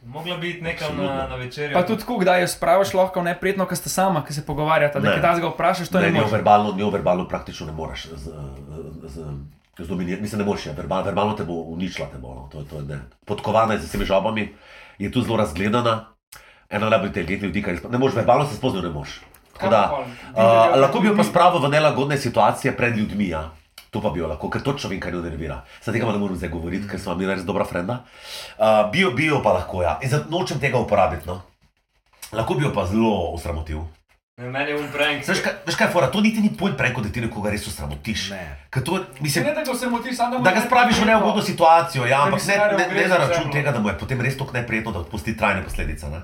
[SPEAKER 4] Mogla bi iti nekam
[SPEAKER 3] Absolutno.
[SPEAKER 4] na, na večerjo.
[SPEAKER 5] Pa tudi, tako, kdaj jo spravaš, lahko v neprijetno, ker ste sama, ki se pogovarjata, da
[SPEAKER 3] Ne.
[SPEAKER 5] kaj takega vprašaš, to
[SPEAKER 3] Ne,
[SPEAKER 5] je
[SPEAKER 3] njo
[SPEAKER 5] nemožno.
[SPEAKER 3] verbalno, njo verbalno praktično ne moreš z, z, z, zdominirati, mislim, ne moreš, ja, verbal, verbalno te bo uničila, te bo, no, to, je- to je ne. Podkovana je z vsemi žabami, je tu zelo razgledana, ena najbolj inteligentnih ljudi, kar je, spo- ne moreš, verbalno se spoznati, ne moreš. Tako Da, uh, lahko bi jo pa spravil v nelagodne situacije pred ljudmi, ja. to pa bi jo lahko, ker točno vem, kaj jo nervira. Zdaj tega pa ne morem zdaj govoriti, ker smo mi res dobra frenda. Uh, bi jo, bi jo pa lahko, ja. In zato nočem tega uporabiti, no. Lahko bi jo pa zelo osramotil.
[SPEAKER 4] Ne, Meni je un prank.
[SPEAKER 3] Veš kaj, veš kaj je fora, to niti ni pojent preko, da ti nekoga res osramotiš.
[SPEAKER 2] Ne.
[SPEAKER 3] Ker To, mislim,
[SPEAKER 5] da ga se motiš, samo
[SPEAKER 3] da ga spraviš v neugodno situacijo, ja, ampak ne, ne, ne za račun
[SPEAKER 5] Zemljo.
[SPEAKER 3] tega, da mu je potem res tako neprijetno, da odpusti trajne posledice. Ne?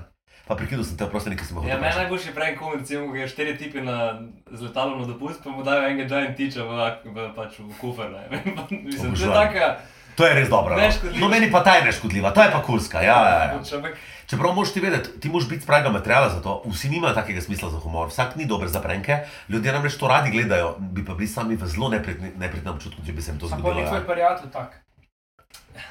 [SPEAKER 3] Pa prekinil sem te oprosti, nekaj sem jih
[SPEAKER 4] Ja, meni je najboljši prank, ko recimo, ko je štiri tipi na, z letalom na dopust, pa mu dajo enega giant tiča v, v, pač v kufer. ne. Mislim, to je
[SPEAKER 3] Obožujem.
[SPEAKER 4] taka.
[SPEAKER 3] To je res dobro. No.
[SPEAKER 4] Neškodljivo.
[SPEAKER 3] no, meni pa ta je neškodljiva, to je pa kurska. Ja, ja, ja.
[SPEAKER 4] Človek,
[SPEAKER 3] Čeprav moš ti vedeti, ti moš biti pravega materijala za to, vsi nimajo takega smisla za humor, vsak ni dober za prenke, ljudje namreč to radi gledajo, bi pa bili sami v zelo neprijetni- neprijetnem občutku, če bi se jim to zgodilo. ja.
[SPEAKER 5] prijatelj tak.
[SPEAKER 4] ne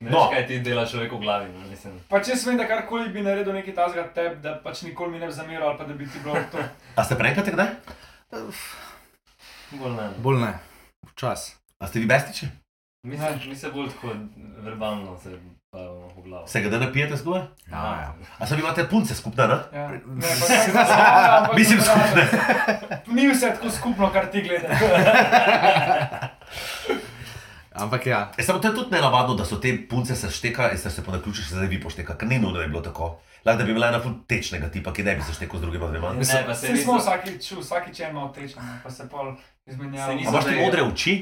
[SPEAKER 3] No.
[SPEAKER 4] veš, kaj ti dela človek v glavi. no, Mislim.
[SPEAKER 5] Pa če sem, da karkoli bi naredil neki tazga teb, da pač nikoli mi ne bi zameral ali pa da bi ti bilo to.
[SPEAKER 3] A ste prenkate kdaj?
[SPEAKER 4] Bolj ne.
[SPEAKER 2] Bolj ne, včasih.
[SPEAKER 3] A ste vi bestiči?
[SPEAKER 4] Mi se, mi se bolj tako verbalno se bavimo v glavo.
[SPEAKER 3] Se ga da ne pijete skupaj?
[SPEAKER 2] Ja, ja.
[SPEAKER 3] A sem imate punce skupne, ne?
[SPEAKER 5] Ja. Ne, pa kaj znaš, ampak
[SPEAKER 3] Mislim skupne.
[SPEAKER 5] Ni vse tako skupno, kar ti gledaš.
[SPEAKER 2] Ampak ja,
[SPEAKER 3] E, samo to je tudi nenavadno, da so te punce se šteka in se, se po naključju še zdaj vi pošteka, ker ni nujno da je bilo tako. Lahko da bi bila ena ful tečnega tipa, ki ne bi se štekal z drugima dvema.
[SPEAKER 4] Ne, pa se
[SPEAKER 5] Vsi
[SPEAKER 4] niso-
[SPEAKER 5] smo vsakič, vsakič je malo tečen, pa se pol
[SPEAKER 4] Se
[SPEAKER 5] izmenjavamo.
[SPEAKER 3] A
[SPEAKER 4] niso-
[SPEAKER 3] imaš ti modre oči?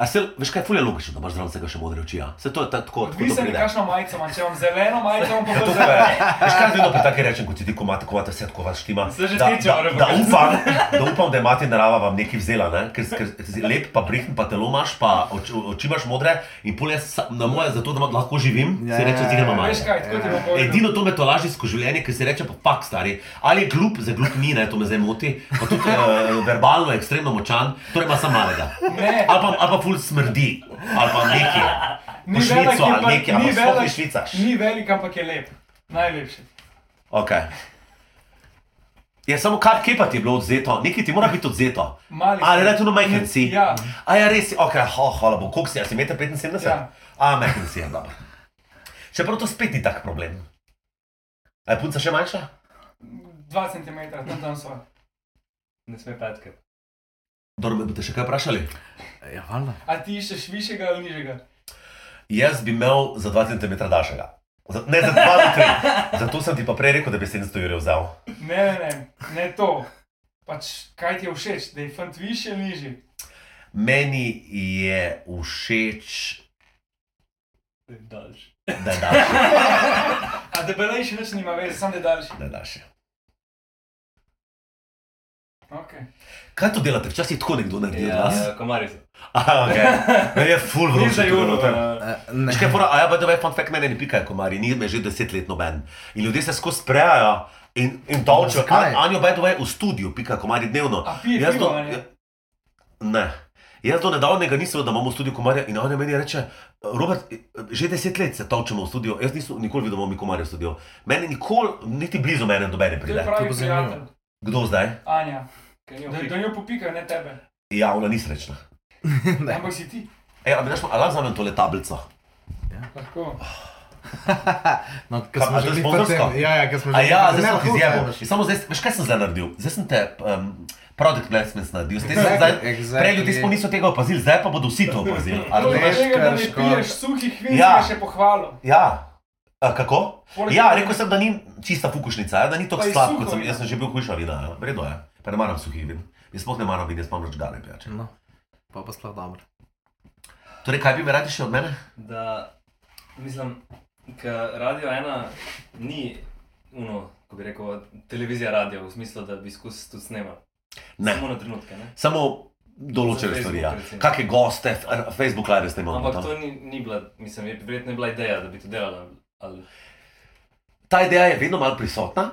[SPEAKER 3] A se, veš kaj, ful je logično, da imaš zraven vsega še modre oči, ja? Se to je ta- tako, tako
[SPEAKER 5] Vi
[SPEAKER 3] to
[SPEAKER 5] ste
[SPEAKER 3] pride.
[SPEAKER 5] nekakšno majico, imam, če vam zeleno majico, vam pa
[SPEAKER 3] Ja,
[SPEAKER 5] bo
[SPEAKER 3] to pa
[SPEAKER 5] zeleno.
[SPEAKER 3] je. Veš kaj, vedno pri taki rečem, ko ti ti komate, komate vse tako vas štima.
[SPEAKER 4] Se že
[SPEAKER 3] da,
[SPEAKER 4] tiče,
[SPEAKER 3] da,
[SPEAKER 4] moram
[SPEAKER 3] da,
[SPEAKER 4] pokazati.
[SPEAKER 3] upam, da upam, da je mati narava vam nekaj vzela, ne? ker, ker si lep, pa brihn, pa telo imaš, pa oči, oči imaš modre in pol jaz sa- na moje, zato da lahko živim,
[SPEAKER 2] Ja,
[SPEAKER 3] se reče,
[SPEAKER 2] ja,
[SPEAKER 3] ti
[SPEAKER 2] ja.
[SPEAKER 3] gremo malo.
[SPEAKER 5] Veš kaj, tako ti bo povedal.
[SPEAKER 3] Edino to me to laži skozi življenje, ker se reče, pa fakt stari. Ali je glup, za glup ni, ne, to me zdaj moti, pa tudi uh, verbalno je ekstremno močan, torej ima samo malega.
[SPEAKER 5] Ne.
[SPEAKER 3] Ali pa, ali pa ful smrdi, ali pa neki.
[SPEAKER 5] Ni
[SPEAKER 3] Po
[SPEAKER 5] velik,
[SPEAKER 3] Švico ali
[SPEAKER 5] ampak-
[SPEAKER 3] neki, ampak
[SPEAKER 5] ni
[SPEAKER 3] sploh ni
[SPEAKER 5] velik-
[SPEAKER 3] švicaš.
[SPEAKER 5] Ni velik, ampak je lep. Najlepši.
[SPEAKER 3] Okay. Je samo kar kepa ti je bilo odzeto, nekaj ti mora biti odzeto.
[SPEAKER 5] Mali si.
[SPEAKER 3] Ali relativno majhen si.
[SPEAKER 5] Ja.
[SPEAKER 3] A ja, res si, ok, ho, hvala Bogu, koliko si, a si 1,75 m?
[SPEAKER 5] Ja.
[SPEAKER 3] A, majhen si, ja, dobro. Čeprav to spet ni tak problem. A je punca še manjša?
[SPEAKER 5] 2 cm, tam, tam so.
[SPEAKER 4] Ne sme petke.
[SPEAKER 3] Dobro, me boste še kaj vprašali?
[SPEAKER 2] Ja, valjda.
[SPEAKER 5] A ti iščeš višjega ali nižjega?
[SPEAKER 3] Jaz bi imel za 2 cm dašega. Za, ne, za 2 cm. Zato sem ti pa prej rekel, da bi 700 jurjev vzel.
[SPEAKER 5] Ne, ne, ne, ne to. Pač kaj ti je všeč, da je fant višji ali nižji?
[SPEAKER 3] Meni je všeč,
[SPEAKER 4] Daljši.
[SPEAKER 3] da je daš.
[SPEAKER 5] A debelejši več nima veze, sam da daljši.
[SPEAKER 3] Da je daš.
[SPEAKER 5] Okay.
[SPEAKER 3] Kaj to delate? Včasih je tako nekdo naredi od vas.
[SPEAKER 4] Ja, komarji so.
[SPEAKER 3] Aha, ok. Meni je full
[SPEAKER 4] Ni
[SPEAKER 3] vroče.
[SPEAKER 4] za
[SPEAKER 3] tukaj
[SPEAKER 4] juno.
[SPEAKER 3] noter.
[SPEAKER 2] Eh, Ne,
[SPEAKER 3] Še kaj fora, a ja, da je fun fact, mene ne pikajo komarji, ni me že deset let noben. In ljudje se skozi sprejajo in, in tolčejo.
[SPEAKER 2] Zakaj?
[SPEAKER 3] Anjo, by the way, v studiu pika komarji dnevno.
[SPEAKER 5] A pije
[SPEAKER 3] Jaz Ja,
[SPEAKER 5] pivo,
[SPEAKER 3] do-
[SPEAKER 5] a ne?
[SPEAKER 3] Ne. Jaz do nedavnega nisem, vedel, da imamo v studiu komarja in Anja meni reče, Robert, že deset let se tolčemo v studiu, jaz nisem nikoli videl, da imamo mi komarje v studiu. Meni nikoli, niti blizu mene nobene
[SPEAKER 5] To je
[SPEAKER 3] pride.
[SPEAKER 5] pravi
[SPEAKER 2] to bo zanimivo.
[SPEAKER 5] prijatelj,
[SPEAKER 3] Kdo zdaj?
[SPEAKER 5] Anja.
[SPEAKER 4] Ker
[SPEAKER 5] Da,
[SPEAKER 4] njo
[SPEAKER 5] da
[SPEAKER 4] pika.
[SPEAKER 5] njo popika, ne tebe.
[SPEAKER 3] Ja, ona ni srečna.
[SPEAKER 2] Ne.
[SPEAKER 5] Ampak si ti,
[SPEAKER 3] E, a bi našel, ali vzamem tole tablico?
[SPEAKER 5] lahko.
[SPEAKER 2] no, ker
[SPEAKER 3] Kaj,
[SPEAKER 2] smo
[SPEAKER 3] a
[SPEAKER 2] že
[SPEAKER 3] to je
[SPEAKER 2] bili pri tem.
[SPEAKER 3] sponzorsko?
[SPEAKER 2] Ja, ja, ker smo že
[SPEAKER 3] A
[SPEAKER 2] bili
[SPEAKER 3] ja,
[SPEAKER 2] pri tem.
[SPEAKER 3] zdaj
[SPEAKER 2] Ne,
[SPEAKER 3] sem jih
[SPEAKER 2] lahko
[SPEAKER 3] izjemal.
[SPEAKER 2] vzameš.
[SPEAKER 3] Samo zdaj, veš kaj sem zdaj naredil? Zdaj sem te um, product placement naredil. Zdaj, sem
[SPEAKER 2] Exactly,
[SPEAKER 3] zdaj,
[SPEAKER 2] exactly.
[SPEAKER 3] prej ljudje sploh niso tega opazili, zdaj pa bodo vsi to opazili. a
[SPEAKER 5] Poleg
[SPEAKER 3] razumeš?
[SPEAKER 5] tega, da ne
[SPEAKER 2] Krško.
[SPEAKER 5] piješ suhih vin,
[SPEAKER 3] Ja.
[SPEAKER 5] ja. še pohvalo.
[SPEAKER 3] Ja. A, kako?
[SPEAKER 5] Poleg
[SPEAKER 3] Ja,
[SPEAKER 5] tega-
[SPEAKER 3] rekel sem, da ni čista fukušnica, ja, da ni
[SPEAKER 5] Pa
[SPEAKER 3] tako
[SPEAKER 5] je
[SPEAKER 3] slab,
[SPEAKER 5] suho
[SPEAKER 3] kot sem.
[SPEAKER 5] vino.
[SPEAKER 3] Jaz sem že bil hujša vina, ja. vredno je. Pa ne maram suhih vin. Jaz sploh ne maram vin, jaz imam več gale pijače.
[SPEAKER 2] No, pa pa sploh dobro.
[SPEAKER 3] Torej, kaj bi mi radi še od mene?
[SPEAKER 4] Da, mislim, da radio ena ni, uno, ko bi rekel, televizija radio, v smislu, da bi skus tudi snemal.
[SPEAKER 3] Ne.
[SPEAKER 4] Samo na trenutke, ne?
[SPEAKER 3] Samo določene
[SPEAKER 4] Za
[SPEAKER 3] stvari.
[SPEAKER 4] Facebook,
[SPEAKER 3] Ja.
[SPEAKER 4] recimo.
[SPEAKER 3] Kakšne goste, f- a, Facebook live ste imeli. no.
[SPEAKER 4] Ampak to ni, ni bila, mislim, je, verjetno je bila ideja, da bi to delala. Ali,
[SPEAKER 3] ta ideja je vedno malo prisotna.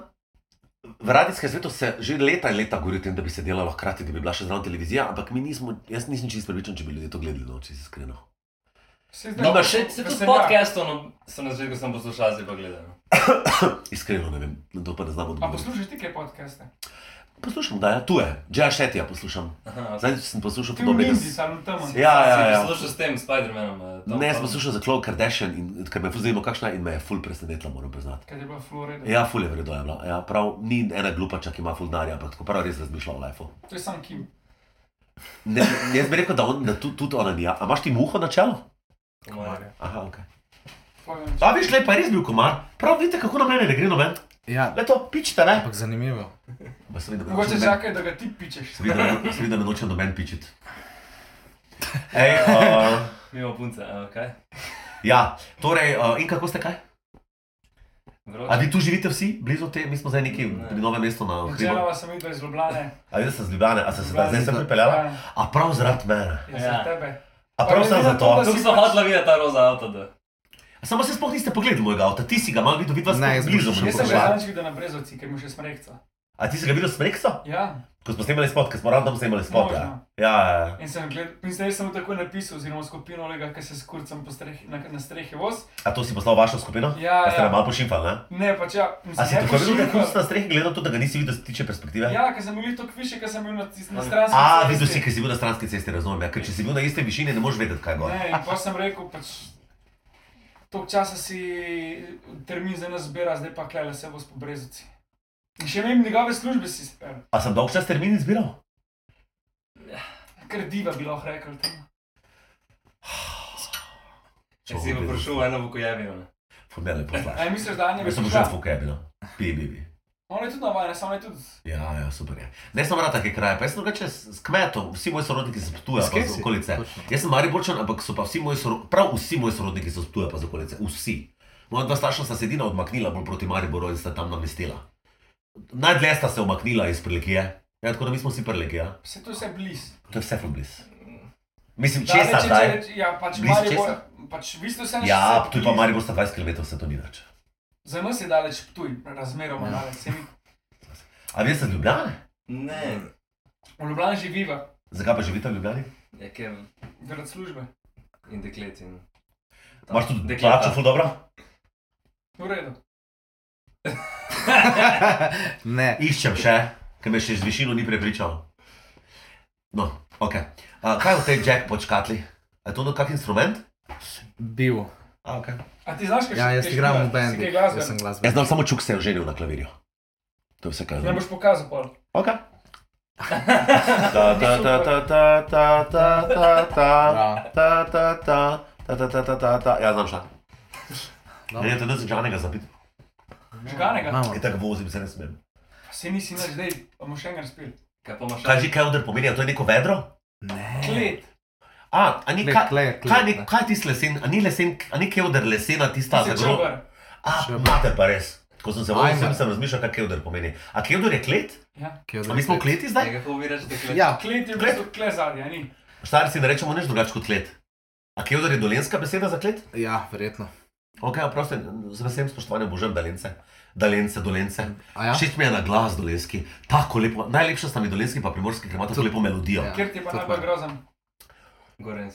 [SPEAKER 3] V radijskem svetu se že leta in leta govori o tem, da bi se delalo hkrati, da bi bila še zraven televizija, ampak mi nismo, jaz nisem čisto pripričan, če bi ljudje to gledali, no, če si iskreno.
[SPEAKER 5] Se zdaj-
[SPEAKER 4] no, še, se tudi
[SPEAKER 5] veselja.
[SPEAKER 4] podcastov no, sem na začetku sem poslušal, zdaj pa gledam.
[SPEAKER 3] Iskreno ne vem, na to pa ne znam
[SPEAKER 5] A
[SPEAKER 3] odgovoriti.
[SPEAKER 5] poslušaj ti kaj podcaste?
[SPEAKER 3] Poslušam, da ja, je tu je, Džeja Šetija poslušam.
[SPEAKER 4] Aha,
[SPEAKER 3] Zdaj sem poslušal
[SPEAKER 5] Ti v
[SPEAKER 3] podobnega.
[SPEAKER 5] Indiji, ali tam.
[SPEAKER 3] Ja, ja, ja.
[SPEAKER 4] Poslušal s tem Spider-Manom. eh, Tom
[SPEAKER 3] Ne, sem
[SPEAKER 4] Hollandom.
[SPEAKER 3] poslušal za Chloe Kardashian, in, ker me je ful zanimalo, kakšna je in me je ful presenetila, moram priznati.
[SPEAKER 5] Kaj je bila Florida?
[SPEAKER 3] Ja, ful je vredno je bila. Ja, prav, ni ena glupača, ki ima ful denarja, ampak tako prav res razmišlja o lifeu.
[SPEAKER 5] To je sam Kim.
[SPEAKER 3] Ne, jaz bi rekel, da, on, da tu- tudi ona ni. A imaš ti muho na čelu?
[SPEAKER 4] Komarje.
[SPEAKER 3] Aha, ok.
[SPEAKER 5] Florida.
[SPEAKER 3] A veš, le pa je res bil komar, prav vidite, kako na mene ne gre noben.
[SPEAKER 2] Ja,
[SPEAKER 3] Le to pičite, ne?
[SPEAKER 2] ampak zanimivo.
[SPEAKER 3] Pa se vidi, da me
[SPEAKER 5] Mogoče
[SPEAKER 3] noče noben-
[SPEAKER 5] čakaj, da ga ti pičeš.
[SPEAKER 3] se vidi, da- se vidi, da me noče noben pičiti. Ej, uh,
[SPEAKER 4] Mimo punce, eh, a, kaj?
[SPEAKER 3] ja, torej, uh, in kako ste kaj? A
[SPEAKER 4] Vroče.
[SPEAKER 3] vi tu živite vsi, blizu te, mi smo zdaj neki
[SPEAKER 4] Ne.
[SPEAKER 3] pri novem mestu na Hribu.
[SPEAKER 5] Načeloma sem videl iz Ljubljane.
[SPEAKER 3] A jaz sem z Ljubljane, a sem se
[SPEAKER 5] Ljubljana.
[SPEAKER 3] zdaj sem pripeljala?
[SPEAKER 5] Ja,
[SPEAKER 3] A prav zaradi mene.
[SPEAKER 5] ja.
[SPEAKER 4] Ja.
[SPEAKER 5] za tebe.
[SPEAKER 3] A prav
[SPEAKER 5] Pa
[SPEAKER 3] sem
[SPEAKER 5] glede na to,
[SPEAKER 3] zato.
[SPEAKER 5] da si-
[SPEAKER 4] Tu sem hodila videti ta roza avto, da.
[SPEAKER 3] Samo se sploh niste pogledali mojega avta, ti si ga malo videl, videl
[SPEAKER 2] Ne, jaz
[SPEAKER 3] si
[SPEAKER 2] sem
[SPEAKER 3] blizu.
[SPEAKER 2] šel
[SPEAKER 3] mu
[SPEAKER 5] Jaz sem
[SPEAKER 3] nisi
[SPEAKER 5] že
[SPEAKER 3] šla.
[SPEAKER 5] zadnjič videl na brezovci, ker mu še smrekca.
[SPEAKER 3] A ti si ga videl s Mrekso?
[SPEAKER 5] Ja,
[SPEAKER 3] Ko smo snemali spot, ko smo ravno tam snemali spot. Ja,
[SPEAKER 5] Možno.
[SPEAKER 3] ja, ja. ja.
[SPEAKER 5] in sem gledal, mislim, da sem mu tako napisal, oziroma skupino Olega, ki se s kurcem po strehi, na, na strehi voz.
[SPEAKER 3] A to si poslal v vašo skupino?
[SPEAKER 5] Ja,
[SPEAKER 3] Pa ste
[SPEAKER 5] ja.
[SPEAKER 3] nam malo pošimfali, ne?
[SPEAKER 5] Ne, pač ja,
[SPEAKER 3] A si
[SPEAKER 5] ne
[SPEAKER 3] tako videl,
[SPEAKER 5] pošiljka.
[SPEAKER 3] kako si na strehi gledal, tudi da ga nisi videl, se tiče perspektive?
[SPEAKER 5] Ja, ker sem bil tako više, ker sem bil na, tis- na stranski
[SPEAKER 3] A,
[SPEAKER 5] cesti.
[SPEAKER 3] videl si, ker si bil na stranski cesti, razumem. Ja. Ker če si bil na iste višini, ne moreš vedeti, kaj je gor.
[SPEAKER 5] Ne, in pa sem rekel, pač toliko časa si termin za nas zbira, zdaj pa klele se bo s pobrezovci. In še vem, njegove službe si spel,
[SPEAKER 3] A sem dolg čas termin izbiral?
[SPEAKER 5] Ja, ker diva bi lahko rekel tam.
[SPEAKER 4] Če si pa prišel v eno vokojevino, ne.
[SPEAKER 3] Fumele
[SPEAKER 5] ja. A
[SPEAKER 3] poslaš.
[SPEAKER 5] je misliš, da Anja bi
[SPEAKER 3] Jaz sem prišel v
[SPEAKER 5] prišla?
[SPEAKER 3] Fukebino. Bi, bi, bi.
[SPEAKER 5] Ona je tudi navajena, samo je tudi...
[SPEAKER 3] Ja, ja, super je. Ne samo na take kraje, pa jaz sem drugače s s kmetom, vsi moji sorodniki so tuja,
[SPEAKER 2] S
[SPEAKER 3] pa
[SPEAKER 2] kje
[SPEAKER 3] iz
[SPEAKER 2] si?
[SPEAKER 3] okolice.
[SPEAKER 2] Točno.
[SPEAKER 3] Jaz sem Mariborčan, ampak so pa vsi moji sorodniki, prav vsi moji sorodniki so tuja, pa iz okolice. Vsi. Moja dva starša sta se edina odmaknila bolj proti Mariboru in sta tam namestila. Najdlje sta se umaknila iz prelegije. Ja, tako da mi smo vsi prelegija.
[SPEAKER 5] Vse to je vse bliz.
[SPEAKER 3] To je vse ful blizu. Mislim, če
[SPEAKER 5] Daleč
[SPEAKER 3] sta
[SPEAKER 5] je, če
[SPEAKER 3] zdaj.
[SPEAKER 5] reč- Ja, pač
[SPEAKER 3] Blizu
[SPEAKER 5] Maribor,
[SPEAKER 3] česa?
[SPEAKER 5] pač vi ste vse
[SPEAKER 3] Ja,
[SPEAKER 5] vse
[SPEAKER 3] tu pa
[SPEAKER 5] blizu.
[SPEAKER 3] Maribor sta 20 km, se to ni več.
[SPEAKER 5] Za nas je daleč Ptuj,
[SPEAKER 3] Ja.
[SPEAKER 5] razmeroma daleč. se mi-
[SPEAKER 3] A vi ste iz Ljubljane?
[SPEAKER 4] Ne,
[SPEAKER 3] Mm.
[SPEAKER 5] V Ljubljani živiva,
[SPEAKER 3] Zakaj pa živite v Ljubljani?
[SPEAKER 4] Ja, je ker
[SPEAKER 5] grad službe.
[SPEAKER 4] in deklet in... Ta-
[SPEAKER 3] Imaš tudi
[SPEAKER 4] dekleta.
[SPEAKER 3] plačo ful dobro?
[SPEAKER 5] V redu.
[SPEAKER 2] Ne,
[SPEAKER 3] Iščem še, ker me še z višino ni prepričal. No, ok. A, kaj je v tej jackpot škatli? A je to kak instrument?
[SPEAKER 2] bil.
[SPEAKER 3] A, ok.
[SPEAKER 5] A ti znaš, kaj
[SPEAKER 2] Ja,
[SPEAKER 5] še-
[SPEAKER 2] jaz
[SPEAKER 5] kaj
[SPEAKER 2] igram
[SPEAKER 5] študiraš?
[SPEAKER 2] v bendu.
[SPEAKER 5] Si kaj
[SPEAKER 2] Jaz sem
[SPEAKER 5] glasben?
[SPEAKER 2] glasbenik.
[SPEAKER 3] Jaz znam samo čuk se je oženil na klavirju. To je vse, kar
[SPEAKER 5] Ne
[SPEAKER 3] znam.
[SPEAKER 5] boš pokazal pol.
[SPEAKER 3] Ok. Ta, ta, ta, ta, ta, ta, ta, ta, ta,
[SPEAKER 2] Ja,
[SPEAKER 3] ta, ta, ta, ta, ta, ta, ta, ta, ta. Ja, znam šta.
[SPEAKER 2] No.
[SPEAKER 3] Ne, to ne znam žanega zapit.
[SPEAKER 5] Žganega.
[SPEAKER 2] imamo.
[SPEAKER 3] Je Ja, tako vozim, se ne smem.
[SPEAKER 5] Vsi nisi nič, zdaj bomo še enkrat spil.
[SPEAKER 4] Kaj pa imaš?
[SPEAKER 3] Kaj že kaj under pomeni, a to je neko vedro?
[SPEAKER 2] Ne,
[SPEAKER 5] Klet.
[SPEAKER 3] A, a ni
[SPEAKER 2] Ne,
[SPEAKER 3] ka,
[SPEAKER 2] kle je klet,
[SPEAKER 3] kaj, ni,
[SPEAKER 2] ne.
[SPEAKER 3] kaj je tisti lesen, a ni lesen, a ni kevder lesena tista
[SPEAKER 5] Si
[SPEAKER 3] za grob?
[SPEAKER 5] čugar.
[SPEAKER 3] A,
[SPEAKER 2] Čuber.
[SPEAKER 3] mate pa res. Ko sem se vozil,
[SPEAKER 2] Ajme.
[SPEAKER 3] sem, sem razmišljal, kaj kevder pomeni. A kevder je klet?
[SPEAKER 2] kje je
[SPEAKER 3] A mi smo v
[SPEAKER 2] zdaj?
[SPEAKER 3] kleti zdaj?
[SPEAKER 4] Kako vi rečete, kaj?
[SPEAKER 2] Ja,
[SPEAKER 5] Klet je v bistvu kle zadnja, ni.
[SPEAKER 3] Stari si ne rečemo nič drugače kot klet. A kevder je dolenska beseda za klet?
[SPEAKER 2] ja, verjetno.
[SPEAKER 3] Ok, oprosti, z veseljem spoštovanjem božem dalence. Dalence, dolence.
[SPEAKER 2] A ja?
[SPEAKER 3] Všeč mi je na glas dolenski, tako lepo. Najlepša sta mi dolenski pa primorski, ker ima tako
[SPEAKER 2] To-
[SPEAKER 3] lepo melodijo.
[SPEAKER 2] Ja,
[SPEAKER 5] Ker ti je pa
[SPEAKER 2] to
[SPEAKER 5] najbolj
[SPEAKER 2] pa-
[SPEAKER 5] grozen.
[SPEAKER 4] Gorenc.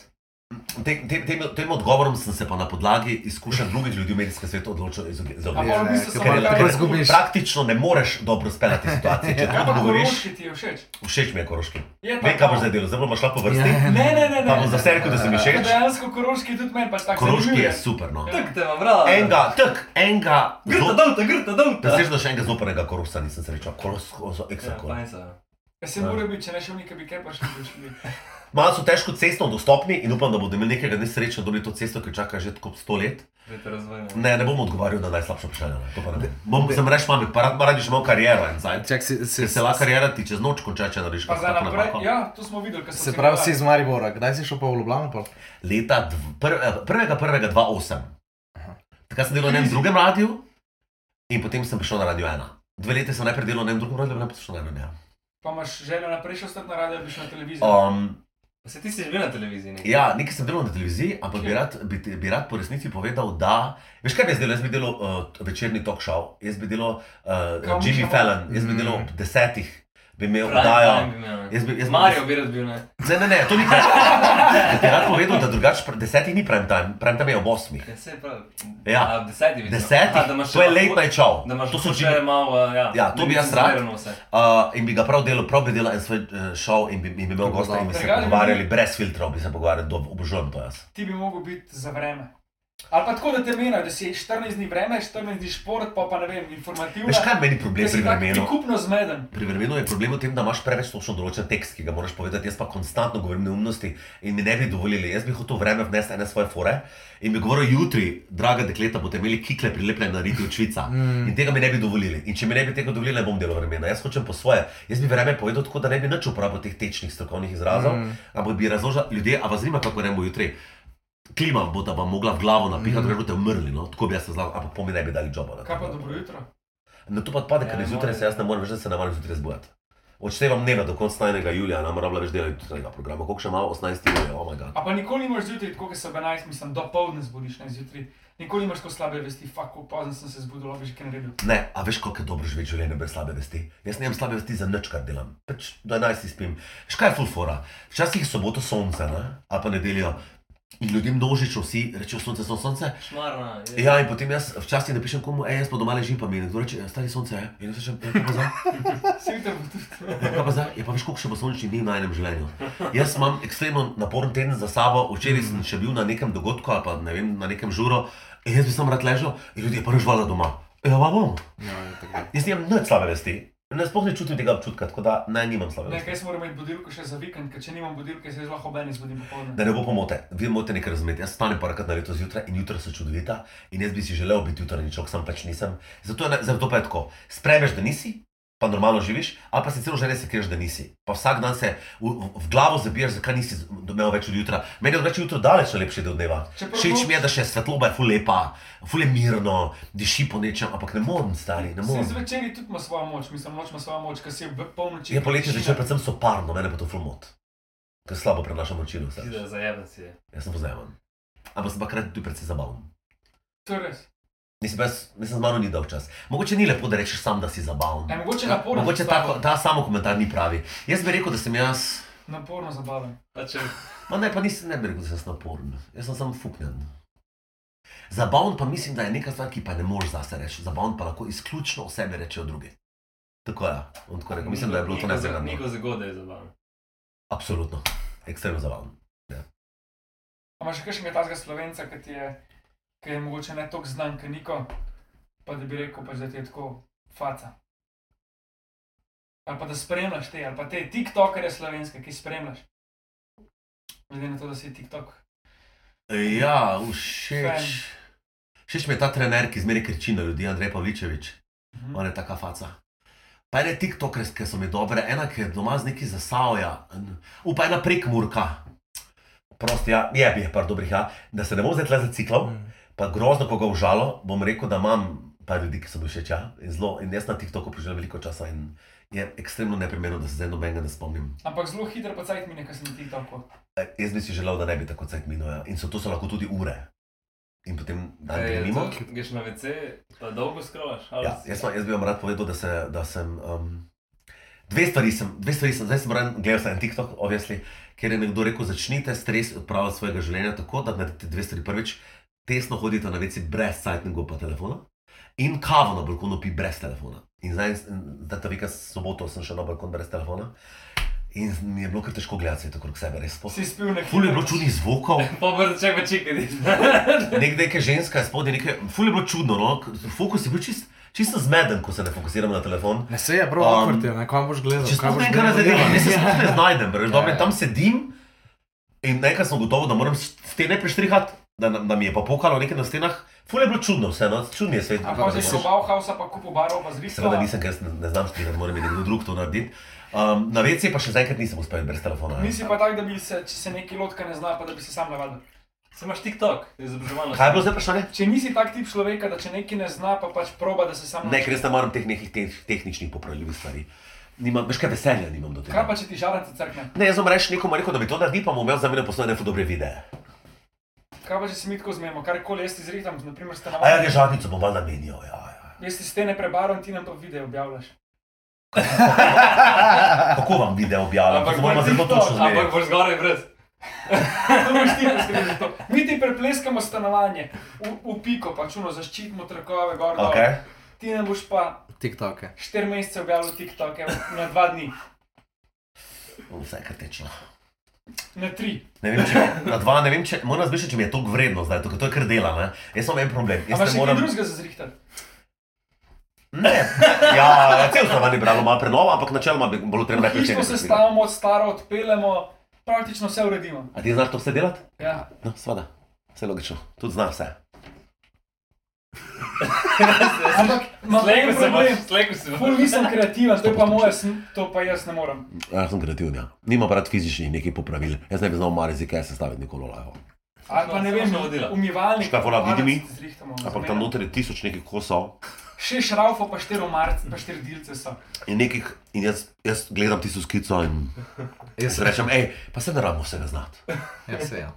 [SPEAKER 3] Tem, tem, tem, tem odgovorom sem se pa na podlagi izkušenj drugih ljudi v medijskem svetu odločil izogi- za
[SPEAKER 5] A
[SPEAKER 3] ognjo.
[SPEAKER 5] pa v bistvu
[SPEAKER 2] Ja,
[SPEAKER 5] samo
[SPEAKER 3] Ker je
[SPEAKER 2] Lahko
[SPEAKER 3] ker
[SPEAKER 5] kar.
[SPEAKER 2] izgubiš. Ja.
[SPEAKER 3] praktično ne moreš dobro speljati situacije. Če
[SPEAKER 5] Kaj
[SPEAKER 3] tako
[SPEAKER 5] Ja, pa
[SPEAKER 3] govoriš,
[SPEAKER 5] koroški ti je všeč?
[SPEAKER 3] všeč mi je koroški.
[SPEAKER 5] Je
[SPEAKER 3] Vem, kaj boš zdaj delal, zdaj boš šla po vrsti.
[SPEAKER 2] Ja.
[SPEAKER 5] Ne, ne, ne,
[SPEAKER 3] Pa bom za
[SPEAKER 5] ne.
[SPEAKER 3] vse rekel, da se mi
[SPEAKER 5] Ker
[SPEAKER 3] všeč.
[SPEAKER 5] Dejansko koroški tudi meni pač tako
[SPEAKER 3] Koroški
[SPEAKER 5] zanimiv
[SPEAKER 3] je super. No.
[SPEAKER 4] Tak te ima bravo.
[SPEAKER 3] Enga, tak, enga.
[SPEAKER 4] Grta dolta, grta dolta.
[SPEAKER 3] Presežno še enega zoprnega korosa nisem srečal. Korosko, so
[SPEAKER 4] Ja,
[SPEAKER 3] eksakol.
[SPEAKER 4] fajn so. ja.
[SPEAKER 5] Ja, se mora biti, če ne še v nekaj bi kaj prišli, bi šli.
[SPEAKER 3] Malo so težko cestno dostopni in upam, da bodo imeli nekega nesreča, da bodo to cesto, ki čaka že tako 100 let.
[SPEAKER 4] Zdaj te razvojno.
[SPEAKER 3] Ne, ne bom odgovarjal na najslabše vprašanje. no, To pa ne bom. Bom sem reč, imam, pa rad ima radiš malo kariero in zdaj.
[SPEAKER 2] Čak, si, si,
[SPEAKER 3] Ker se lahko kariera ti čez noč konča, če narediš
[SPEAKER 5] Pa
[SPEAKER 3] kako
[SPEAKER 5] za
[SPEAKER 3] tako
[SPEAKER 5] naprej,
[SPEAKER 3] napako.
[SPEAKER 5] ja, to smo videli, kaj smo
[SPEAKER 2] se pravi, si iz Maribora. Kdaj si šel pa v Ljubljano? pol?
[SPEAKER 3] Leta 1.1.2008. Takrat sem delal na enem drugem radiju in potem sem prišel na radio 1. Dve leti sem najprej delal na enem drugem radiju, potem sem prišel na radio
[SPEAKER 5] Pa imaš željo naprej še ostati na radiu, ali bi šel na televizijo.
[SPEAKER 3] 1. Um,
[SPEAKER 4] Se ti si že bil na televiziji? nekaj?
[SPEAKER 3] Ja, nekaj sem delal na televiziji, ampak
[SPEAKER 4] Ja.
[SPEAKER 3] bi rad, bi, ti- bi rad po resnici povedal, da. Veš kaj bi jaz delal? Jaz bi delal uh, večerni talk show, jaz bi delal uh,
[SPEAKER 5] Kam
[SPEAKER 3] Jimmy
[SPEAKER 5] šel?
[SPEAKER 3] Fallon, jaz bi delal
[SPEAKER 2] Mm.
[SPEAKER 3] ob desetih, bi imel
[SPEAKER 4] Prime
[SPEAKER 3] oddajo.
[SPEAKER 4] time bi imel, ne.
[SPEAKER 3] Jaz bi, jaz bi-
[SPEAKER 4] Mario bi rad bil, ne?
[SPEAKER 3] Ne, ne, ne, to ni kaj. Bi rad povedal, da drugače pri desetih ni prime time, prime time je ob osmih.
[SPEAKER 4] Ja, se pravi.
[SPEAKER 3] Ja.
[SPEAKER 4] A, ob desetih bi bilo.
[SPEAKER 3] Desetih,
[SPEAKER 4] A, da imaš
[SPEAKER 3] to je
[SPEAKER 4] še-
[SPEAKER 3] late night show.
[SPEAKER 4] Da imaš
[SPEAKER 3] To
[SPEAKER 4] to
[SPEAKER 3] so
[SPEAKER 4] so
[SPEAKER 3] Jimmy-
[SPEAKER 4] že malo, uh, ja.
[SPEAKER 3] Ja, to
[SPEAKER 4] da
[SPEAKER 3] bi
[SPEAKER 4] nisi
[SPEAKER 3] jaz rad.
[SPEAKER 4] zmeren vse.
[SPEAKER 3] Uh, in bi ga prav delal, prav bi delal en svoj uh, šov in bi, bi imel gosta in bi se
[SPEAKER 5] Drugače bi-
[SPEAKER 3] pogovarjali brez filtrov, bi se pogovarjali, do- obožujem to jaz.
[SPEAKER 5] Ti bi mogel biti za vreme. Ali pa tako, da te menijo, da si 14 dni vreme, 14 dni šport, pa pa ne vem, informativno.
[SPEAKER 3] Veš kaj je meni problem pri vremenu?
[SPEAKER 5] Skupno zmeden.
[SPEAKER 3] Pri vremenu je problem v tem, da imaš preveč točno določen tekst, ki ga moraš povedati, jaz pa konstantno govorim neumnosti in mi ne bi dovolili. Jaz bi hotel vreme vnesti ene svoje fore in bi govoril jutri, draga dekleta, boste imeli kikle prilepljene na riti od švica. Mm. In tega mi ne bi dovolili. In če mi ne bi tega dovolili, ne bom delal vremena. Jaz hočem po svoje. Jaz bi vreme povedal tako, da ne bi nič uporabil teh tečnih strokovnih izrazov, mm. ampak bi razložil ljudem, a vas zanima, kako gremo jutri. Klima bo ta vam mogla v glavo napihati, mm. da boste umrli, no? tako bi jaz se znal, ampak po mi ne bi dali džoba. na to. no.
[SPEAKER 5] Kaj pa dobro jutro?
[SPEAKER 3] Na to pa odpade, ker ja,
[SPEAKER 4] Ja, ne
[SPEAKER 3] zjutraj
[SPEAKER 4] morem.
[SPEAKER 3] se jaz ne morem več, da se ne morem zjutraj zbuditi. Odštevam dneve do konca 1. julija, ne morem več delati jutranjega programa, koliko še imamo 18 ur, oh moj bog.
[SPEAKER 5] A pa nikoli nimaš zjutraj, tako kot se ob 11, mislim, do povdne zbudiš, ne zjutraj. Nikoli nimaš tako slabe vesti, fuck, kako pozno sem se zbudil, lahko bi že kaj naredil.
[SPEAKER 3] Ne, a veš, kako je dobro živeti življenje brez slabe vesti? Jaz nimam slabe vesti za nič, kar delam. Pač do 11 spim. Škaj je fulfora. Včasih je soboto sonce, ne? ali pa nedeljo. In ljudem množično vsi rečejo sonce, sonce, sonce.
[SPEAKER 4] Šmarna. je.
[SPEAKER 3] Ja, in potem jaz včasih napišem komu, hej, jaz pa doma ležim, pa mi nekdo reče, "E, stari sonce, je. In jaz rečem, "Ja, kaj pa zdaj?
[SPEAKER 5] Vsi jutri bo tudi.
[SPEAKER 3] Ja, Kaj pa zdaj, je pa veš, koliko še bo sončnih dni v najnem življenju. Jaz imam ekstremno naporen teden za sabo, včeraj sem še bil na nekem dogodku ali pa ne vem, na nekem žuru in jaz bi sam rad ležal in ljudje pa režvala doma. Ja, pa bom.
[SPEAKER 2] Ja, je tako.
[SPEAKER 3] Jaz nimam nič slabe vesti. Ne sploh ne čutim tega občutka, tako da ne, nimam slabe
[SPEAKER 5] Ne,
[SPEAKER 3] vesti.
[SPEAKER 5] kaj se moram imeti budilko še za vikend, ker če nimam budilke, se jaz lahko ob 11 zbudim popoldne.
[SPEAKER 3] Da ne bo pomote, vi morate nekaj razumeti. Jaz stanem parkrat na leto zjutraj in jutra so čudovita in jaz bi si želel biti jutranji človek, sam pač nisem. Zato, je ne, zato pa je tako, spremeš, da nisi, pa normalno živiš, ali pa si celo življenje se križeš, da nisi. Pa vsak dan se v, v, v glavo zabiješ, zakaj nisi z- imel več od jutra. Meni je od več jutro daleč najlepši del dneva.
[SPEAKER 5] Čeprav
[SPEAKER 3] Všeč
[SPEAKER 5] noč-
[SPEAKER 3] mi je, da še svetloba je fulepa, fule mirno, diši po nečem, ampak ne morem, stari, ne
[SPEAKER 5] Vsi
[SPEAKER 3] morem.
[SPEAKER 5] zvečeri tudi ima svojo moč, mislim, noč ima svojo moč, ker si ob polnoči.
[SPEAKER 3] Je poletje
[SPEAKER 5] tišina.
[SPEAKER 3] zvečer predvsem soparno, mene pa to fulmot. Ker slabo prenašam očino,
[SPEAKER 4] Ti da zajeben si je.
[SPEAKER 3] jaz sem pozamen. Ampak sem pa hkrati tudi precej zabaven.
[SPEAKER 5] To je res.
[SPEAKER 3] Mislim, jaz, mislim, z mano ni dolg čas. Mogoče ni lepo, da rečeš sam, da si zabaven.
[SPEAKER 5] E, mogoče naporno.
[SPEAKER 3] Mogoče ta, ta samo komentar ni pravi. Jaz bi rekel, da sem jaz,
[SPEAKER 5] Naporno zabaven.
[SPEAKER 4] Pa če
[SPEAKER 3] ma ne, pa nisem, ne bi rekel, da sem jaz naporen. Jaz sem samo fuknjen. Zabaven pa mislim, da je neka stvar, ki pa ne moreš zase reči. Zabaven pa lahko izključno o sebi rečejo drugi. Tako ja, on tako rekel. Mislim, da je bilo to
[SPEAKER 4] Niko za-
[SPEAKER 3] nezagradno.
[SPEAKER 4] Niko zagode je zabaven.
[SPEAKER 3] Absolutno. Ekstremno zabaven.
[SPEAKER 5] A imaš še kakšnega tazga slovenca, ki ti je, ki je mogoče ne toliko znan, kot Niko, pa da bi rekel, pač, da ti je tako faca. ali pa da spremljaš te, ali pa te TikTokerje slovenske, ki spremljaš. Glede na to, da si TikTok.
[SPEAKER 3] Ja, všeč. Všeč mi je ta trener, ki zmeraj kriči na ljudi, Andrej Pavličevič.
[SPEAKER 5] Mhm.
[SPEAKER 3] On je taka faca. Pa je TikTokerske, ki so mi dobre, ena, ki je doma z neki zasavja, upa ena prekmurka. Prosti, ja, je bi je par dobrih, ja. Da se ne bom zdaj tle zaciklal,
[SPEAKER 2] Mhm. mm.
[SPEAKER 3] pa grozno koga užalo, bom rekel, da imam par ljudi, ki so mi všeč, ja. In, zelo, in jaz na TikToku preživljam veliko časa in je ekstremno neprimerno, da se zdaj nobenega ne spomnim.
[SPEAKER 5] Ampak zelo hitro pa cajt mine, ker sem na TikToku.
[SPEAKER 3] Eh, Jaz bi si želel, da ne bi tako cajt minil. Ja. In so to so lahko tudi ure. In potem dan
[SPEAKER 4] Ej,
[SPEAKER 3] gre mimo.
[SPEAKER 4] to, Greš na WC, pa dolgo skrolaš. ali
[SPEAKER 3] Ja,
[SPEAKER 4] si-
[SPEAKER 3] jaz, sem- jaz bi vam rad povedal, da, se, da sem. Um, dve, stvari sem dve stvari sem, zdaj sem ran, gledal sem en TikTok, obviously, kjer je nekdo rekel: začnite stres odpravljati svojega življenja tako, da naredite dve stvari. Prvič, tesno hodite na veci brez sajtnega pa telefona. In kavo na balkonu pi brez telefona. In zdaj, da ta vika soboto sem še na balkon brez telefona. In mi je bilo kar težko gledati svet okrog sebe, res.
[SPEAKER 5] Si spil nekaj.
[SPEAKER 3] Oh. Ful je bilo čudnih zvokov.
[SPEAKER 4] Pa vrček pa čikati.
[SPEAKER 3] Nekdaj, ki je ženska, spodaj nekaj, ful je bilo čudno, no? k- fokus je bil čist, čisto zmeden, ko se ne fokusiram na telefon.
[SPEAKER 2] Ne se je, bro,
[SPEAKER 3] Um,
[SPEAKER 2] awkward je, ne, kam boš gledal?
[SPEAKER 3] Če
[SPEAKER 2] kaj
[SPEAKER 3] sploh
[SPEAKER 2] boš
[SPEAKER 3] ne vem, kaj naj
[SPEAKER 2] gledal?
[SPEAKER 3] zadevam, ne se sploh ne znajdem, brez,
[SPEAKER 2] Ja,
[SPEAKER 3] dobro,
[SPEAKER 2] ja.
[SPEAKER 3] tam sedim in nekaj sem gotovo, da moram stene preštrihati, da, nam- da mi je pa pokalo nekaj na stenah, ful je bilo čudno, vse, no? čudni je svet.
[SPEAKER 2] A pa
[SPEAKER 5] Pa
[SPEAKER 2] Ampak
[SPEAKER 5] si šel v
[SPEAKER 2] misliš-
[SPEAKER 5] Bauhaus, pa kupo barov, pa zvišal.
[SPEAKER 3] Seveda nisem, ker jaz ne, ne znam štrihati, mora mi nekdo drug to narediti. Um, na veci pa še zaenkrat nisem uspel brez telefona. ja.
[SPEAKER 5] Nisi pa tak, da bi se, če se neki lotka ne zna, pa da bi se sam navadil.
[SPEAKER 4] Se imaš TikTok, izobraževalno.
[SPEAKER 3] Kaj je bilo zdaj vprašanje?
[SPEAKER 5] Če nisi tak tip človeka, da če neki ne zna, pa pač proba, da se sam
[SPEAKER 3] Ne, ker jaz ne maram teh nekih teh, tehničnih popravljivih stvari. Nimam, veš kaj veselja nimam do tega.
[SPEAKER 5] Kaj pa če ti žaranci crkne?
[SPEAKER 3] Ne, jaz sem rekel nekomu, rekel, da bi to naredil, pa mu imel za mene poslovne dobre videe.
[SPEAKER 5] Kaj pa če se mi tako zmemo, karkoli jaz ti zrihtam, naprimer ste
[SPEAKER 3] A ja,
[SPEAKER 5] navadili.
[SPEAKER 3] režatnico bom valjda menil, ja, ja.
[SPEAKER 5] Jaz ti stene prebaram, ti nam pa video objavljaš.
[SPEAKER 3] Kako vam video objavljam? Ampak moramo zelo točno
[SPEAKER 4] Ampak
[SPEAKER 3] zmeriti.
[SPEAKER 4] boš zgoraj brez.
[SPEAKER 5] To boš ti poskrbel za to. Mi ti prepleskamo stanovanje, v, v piko pač uno, zaščitimo trakove, gor. dol.
[SPEAKER 3] Okay.
[SPEAKER 5] Ti nam boš pa
[SPEAKER 2] TikToke.
[SPEAKER 5] 4 mesece objavil TikToke na 2 dni,
[SPEAKER 3] Vse je kritično.
[SPEAKER 5] na 3.
[SPEAKER 3] Ne vem, če, na dva, ne vem, če, moram razmišljati, če mi je to vredno zdaj, to, ker to je kar dela, ne? Jaz imam en problem. Jaz
[SPEAKER 5] Ampak
[SPEAKER 3] ne
[SPEAKER 5] še moram...
[SPEAKER 3] morem...
[SPEAKER 5] kaj drugega za zrihtati.
[SPEAKER 3] Ne, ja, cel stanovanje bi bralo malo prenova, ampak načeloma bi bilo treba najprej
[SPEAKER 5] Hiško
[SPEAKER 3] čekati.
[SPEAKER 5] sestavimo, staro odpeljemo, praktično vse uredimo.
[SPEAKER 3] A ti znaš to vse delati?
[SPEAKER 5] Ja.
[SPEAKER 3] No, sveda. Vse logično. Tudi znaš vse.
[SPEAKER 5] Ampak imam en
[SPEAKER 4] Slejko se
[SPEAKER 5] problem.
[SPEAKER 4] boš, slejko se boš.
[SPEAKER 5] Ful nisem kreativen, to je pa moje, sn- to pa jaz ne morem.
[SPEAKER 3] Ja, sem kreativen, ja. Nimam rad fizičnih nekih popravil. Jaz ne bi znal marezi, kaj sestaviti nikoli lajvo.
[SPEAKER 5] Ali pa ne
[SPEAKER 4] Samo
[SPEAKER 5] vem,
[SPEAKER 4] še vodila.
[SPEAKER 5] umivalnik.
[SPEAKER 3] Škaj, vola,
[SPEAKER 5] komarac
[SPEAKER 3] vidi mi?
[SPEAKER 5] zrihtamo,
[SPEAKER 3] Ampak tam
[SPEAKER 5] zamenjamo.
[SPEAKER 3] noter je tisoč nekih kosov.
[SPEAKER 5] Še šraufo pa 4 marc, pa 4 dilce so.
[SPEAKER 3] In, nekih, in jaz, jaz gledam tisto skico in
[SPEAKER 2] Jaz
[SPEAKER 3] si
[SPEAKER 2] se
[SPEAKER 3] rečem, hej, pa se ne rabimo vsega znati.
[SPEAKER 2] Jaz se ja.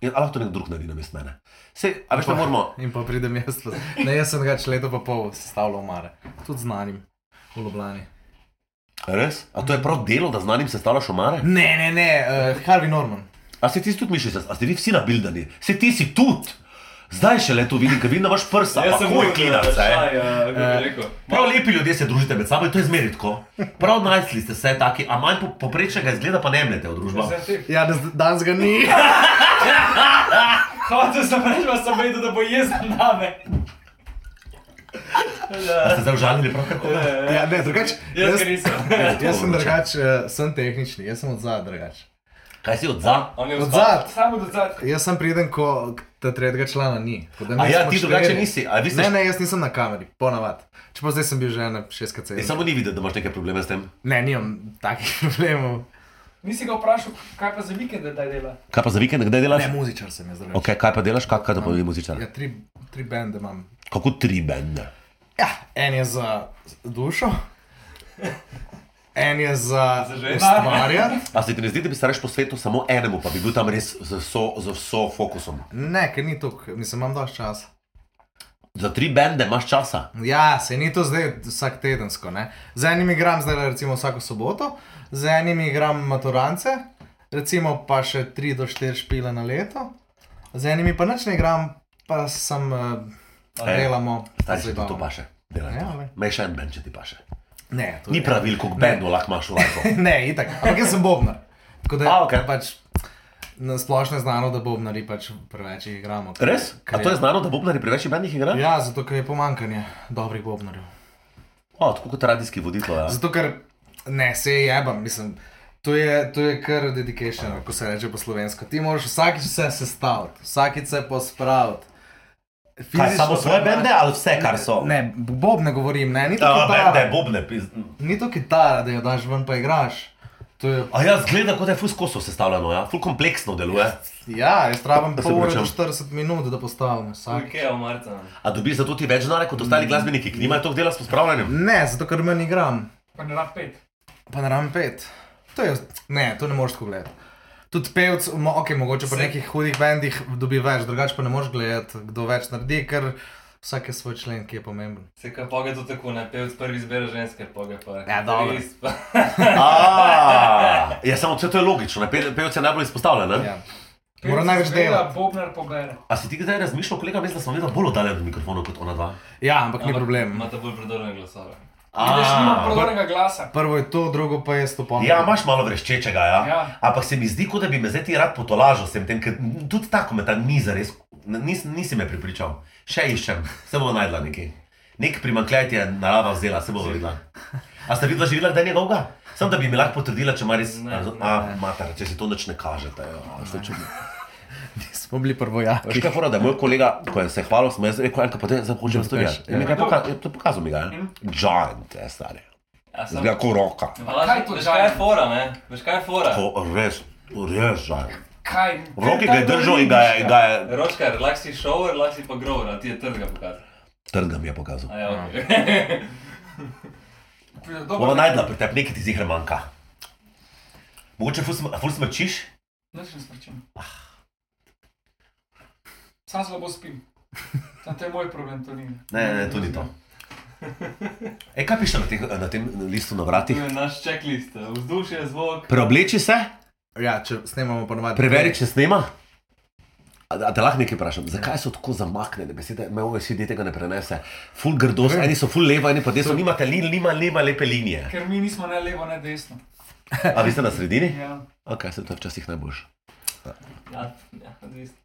[SPEAKER 3] In ali lahko to nekdo drug naredi namesto mene. Se, a veš, ne moramo.
[SPEAKER 2] In pa pridem jaz. pa- Ne, jaz sem ga več leto pa pol sestavljal mare. Tudi znanim. V Ljubljani.
[SPEAKER 3] A Res? A to je prav delo, da znanim sestavljaš omare?
[SPEAKER 2] Ne, ne, ne, uh, Harvey Norman.
[SPEAKER 3] A se ti tudi misliš, a ste vi vsi nabildani? Se ti si tudi. Zdaj še le to vidim, ker vidim, da imaš prsa.
[SPEAKER 4] Jaz
[SPEAKER 3] pa
[SPEAKER 4] sem
[SPEAKER 3] moj
[SPEAKER 4] bil,
[SPEAKER 3] klinac,
[SPEAKER 4] eh,
[SPEAKER 3] eh.
[SPEAKER 4] šaj, eh, kako bi rekel.
[SPEAKER 3] Prav lepi ljudje se družite med sabo in to je zmeraj tako. Prav najstli ste se taki, a manj po- poprečnega izgleda pa ne mnete v družbo.
[SPEAKER 5] Zdaj ti.
[SPEAKER 2] Ja, da- danes ga ni.
[SPEAKER 5] Hotel sem reči, da sem vedel, da bo jezen na me.
[SPEAKER 3] A ste zdaj užalili prav kako?
[SPEAKER 2] Ja, ne, drugače.
[SPEAKER 4] Jaz ga nisem.
[SPEAKER 2] Jaz sem drugačen, uh, sem tehnični, jaz sem odzad drugačen.
[SPEAKER 3] Kaj si odza?
[SPEAKER 4] On je vstal.
[SPEAKER 2] Odzad.
[SPEAKER 5] Samo do zadnjega.
[SPEAKER 2] Jaz sem priden, ko k- ta tretjega člana ni. tako da mi
[SPEAKER 3] A ja,
[SPEAKER 2] smo
[SPEAKER 3] ti
[SPEAKER 2] štirje.
[SPEAKER 3] drugače nisi. A vi ste
[SPEAKER 2] Ne, ne, jaz nisem na kameri, ponavadi. Čeprav zdaj sem bil že na 6KC.
[SPEAKER 3] Jaz samo ni videti, da imaš neke probleme s tem.
[SPEAKER 2] Ne, nimam takih problemov.
[SPEAKER 5] Nisi ga vprašal, kaj pa za vikende zdaj dela.
[SPEAKER 3] Kaj pa za vikend, kdaj delaš?
[SPEAKER 2] Ne, muzičar sem jaz drugačen.
[SPEAKER 3] Ok, kaj pa delaš, kaj, kaj to pomeni muzičar?
[SPEAKER 2] Ja, tri, tri bende imam.
[SPEAKER 3] Kako tri bende?
[SPEAKER 2] Ja, en je za dušo, en je za
[SPEAKER 4] Za ženo.
[SPEAKER 2] ustvarjanje.
[SPEAKER 3] A se ti ne zdi, da bi se reš po svetu samo enemu, pa bi bil tam res z vso, z vso fokusom?
[SPEAKER 2] Ne, ker ni to, mislim, imam dovolj časa.
[SPEAKER 3] Za tri bende imaš časa.
[SPEAKER 2] Ja, se ni to zdaj vsak tedensko. Ne? Z enim igram zdaj recimo vsako soboto, z enim igram maturance, recimo pa še 3 do 4 špile na leto, z enimi pa nič ne igram, pa sem uh,
[SPEAKER 3] Ej,
[SPEAKER 2] delamo.
[SPEAKER 3] Stari se ti to
[SPEAKER 2] zabavamo.
[SPEAKER 3] paše. Delaj
[SPEAKER 2] Ja,
[SPEAKER 3] to.
[SPEAKER 2] glej.
[SPEAKER 3] Mej še en bend, če ti paše.
[SPEAKER 2] Ne, to
[SPEAKER 3] Ni
[SPEAKER 2] je-
[SPEAKER 3] pravil, koliko bendov lahko imaš v lajku.
[SPEAKER 2] Ne, itak. Ampak jaz sem bobnar. Tako da
[SPEAKER 3] A, okej.
[SPEAKER 2] pač na splošno je znano, da bobnari pač preveč jih igramo. Ja, ker-
[SPEAKER 3] Res? A
[SPEAKER 2] ker
[SPEAKER 3] to je znano, da bobnari preveč v bendih igra?
[SPEAKER 2] Ja, zato ker je pomankanje dobrih bobnarjev.
[SPEAKER 3] O, tako kot radijski voditelj. Ja.
[SPEAKER 2] Zato ker Ne, se je jebam, mislim. To je, to je kar dedication, ko se reče po slovensko. Ti moraš vsakič se sestaviti, vsakič se pospraviti.
[SPEAKER 3] Kaj, samo svoje bende ali vse, kar so?
[SPEAKER 2] Ne, Bob ne govorim, ne, ni to
[SPEAKER 3] A, bende,
[SPEAKER 2] kitara.
[SPEAKER 3] bobne, pizd.
[SPEAKER 2] Ni to kitara, da jo daš ven pa igraš. To je,
[SPEAKER 3] A ja, zgleda, kot da je ful skoso sestavljeno, ja. ful kompleksno deluje.
[SPEAKER 2] ja, jaz rabim
[SPEAKER 3] Da se
[SPEAKER 2] pol ure do
[SPEAKER 3] vračam.
[SPEAKER 2] 40 minut, da postavim vsak.
[SPEAKER 4] Kaj je omarca?
[SPEAKER 3] A dobiš zato ti več denarja kot ostali glasbeniki, ki nimajo toliko dela s pospravljanjem?
[SPEAKER 2] Mm. Ne, zato ker meni igram.
[SPEAKER 5] Pa ne rab pet.
[SPEAKER 2] Pa na ram 5. To je, ne, to ne moreš tako gledati. Tudi pevc, mo, ok, mogoče pri nekih hudih bendih dobi več, drugače pa ne moreš gledati, kdo več naredi, ker vsak je svoj člen, ki je pomemben.
[SPEAKER 4] Se kaj poga to tako, ne pevc prvi izbere ženske, poga pa.
[SPEAKER 2] Ja, dobro.
[SPEAKER 4] gitarist pa-
[SPEAKER 3] A, Ja, samo vse to je logično, ne, pe- pevec je najbolj izpostavljen. ne?
[SPEAKER 2] Ja. Mora največ delati.
[SPEAKER 5] Bobnar pobere.
[SPEAKER 3] A si ti kdaj razmišljal, kolega, mislim, da smo vedno bolj oddaljeni od mikrofona kot ona dva?
[SPEAKER 2] Ja, ampak ni
[SPEAKER 4] Ampak
[SPEAKER 2] problem.
[SPEAKER 4] Imate bolj predorene glasove.
[SPEAKER 3] A,
[SPEAKER 5] prodornega glasa.
[SPEAKER 2] Prvo je to, drugo pa je stopanje.
[SPEAKER 3] Ja, imaš malo vreščečega, ja.
[SPEAKER 5] Ja.
[SPEAKER 3] Ampak se mi zdi, kot da bi me zdaj ti rad potolažil, sem tem, ker tudi tako me ta ni zares, nis, nisi me pripričal. Še iščem, se bo najdla nekaj. Nek primankljaj ti je narava vzela, se bo videla. A ste videla že videla, da je njegovega? Sam da bi mi lahko potrdila, če ima res,
[SPEAKER 4] Ne,
[SPEAKER 3] a,
[SPEAKER 4] ne,
[SPEAKER 3] a, mater, če si to nič ne kažete. Ja, ste čudni.
[SPEAKER 2] Smo bili prvojaki.
[SPEAKER 3] Veš kaj, je fora, da je moj kolega, ko je se hvalil, smo jaz rekel, enkrat pa te zdaj hočem storiti.
[SPEAKER 2] Ja.
[SPEAKER 3] In nekaj poka je to pokazal mi ga,
[SPEAKER 4] Mhm.
[SPEAKER 3] ne? Giant, je stari.
[SPEAKER 4] Ja, sem.
[SPEAKER 3] Zgleda kot roka.
[SPEAKER 4] Hvala,
[SPEAKER 5] kaj to
[SPEAKER 4] veš
[SPEAKER 5] žanje?
[SPEAKER 4] kaj je fora, ne? Veš kaj je fora?
[SPEAKER 3] To res, res giant.
[SPEAKER 5] Kaj?
[SPEAKER 3] V roki ga je držal in ga je, ga je
[SPEAKER 4] Ročkar, lahko si šover, lahko si pa grover, a ti je trdega pokazal.
[SPEAKER 3] Trgam je pokazal.
[SPEAKER 4] A ja, ok.
[SPEAKER 3] Bova najdla pri tebi, nekaj ti zihre manjka. Mogoče ful sm- ful smrčiš?
[SPEAKER 6] Nič ne smrčim. Sam slabo spim. Sam to je moj problem, to ni.
[SPEAKER 3] Ne, ne, to ni to. E, kaj piše na, teh, na tem listu na
[SPEAKER 4] To
[SPEAKER 3] vratih?
[SPEAKER 4] je naš checklist. eh, Vzdušje, zvok.
[SPEAKER 3] Preobleči se,
[SPEAKER 2] Ja, če snemamo ponovadi.
[SPEAKER 3] preveri, če snema. A, a te lahko nekaj vprašam, zakaj so tako zamaknjene besede, me ove vsi tega ne prenese. Ful grdost, eni so ful leva, eni pa desno, nimate li, nima leva lepe linije.
[SPEAKER 6] Ker mi nismo ne levo, ne desno.
[SPEAKER 3] A vi ste na sredini?
[SPEAKER 6] Ja.
[SPEAKER 3] Ok, se to je včasih najboljše.
[SPEAKER 4] Ja, ja, odvisno.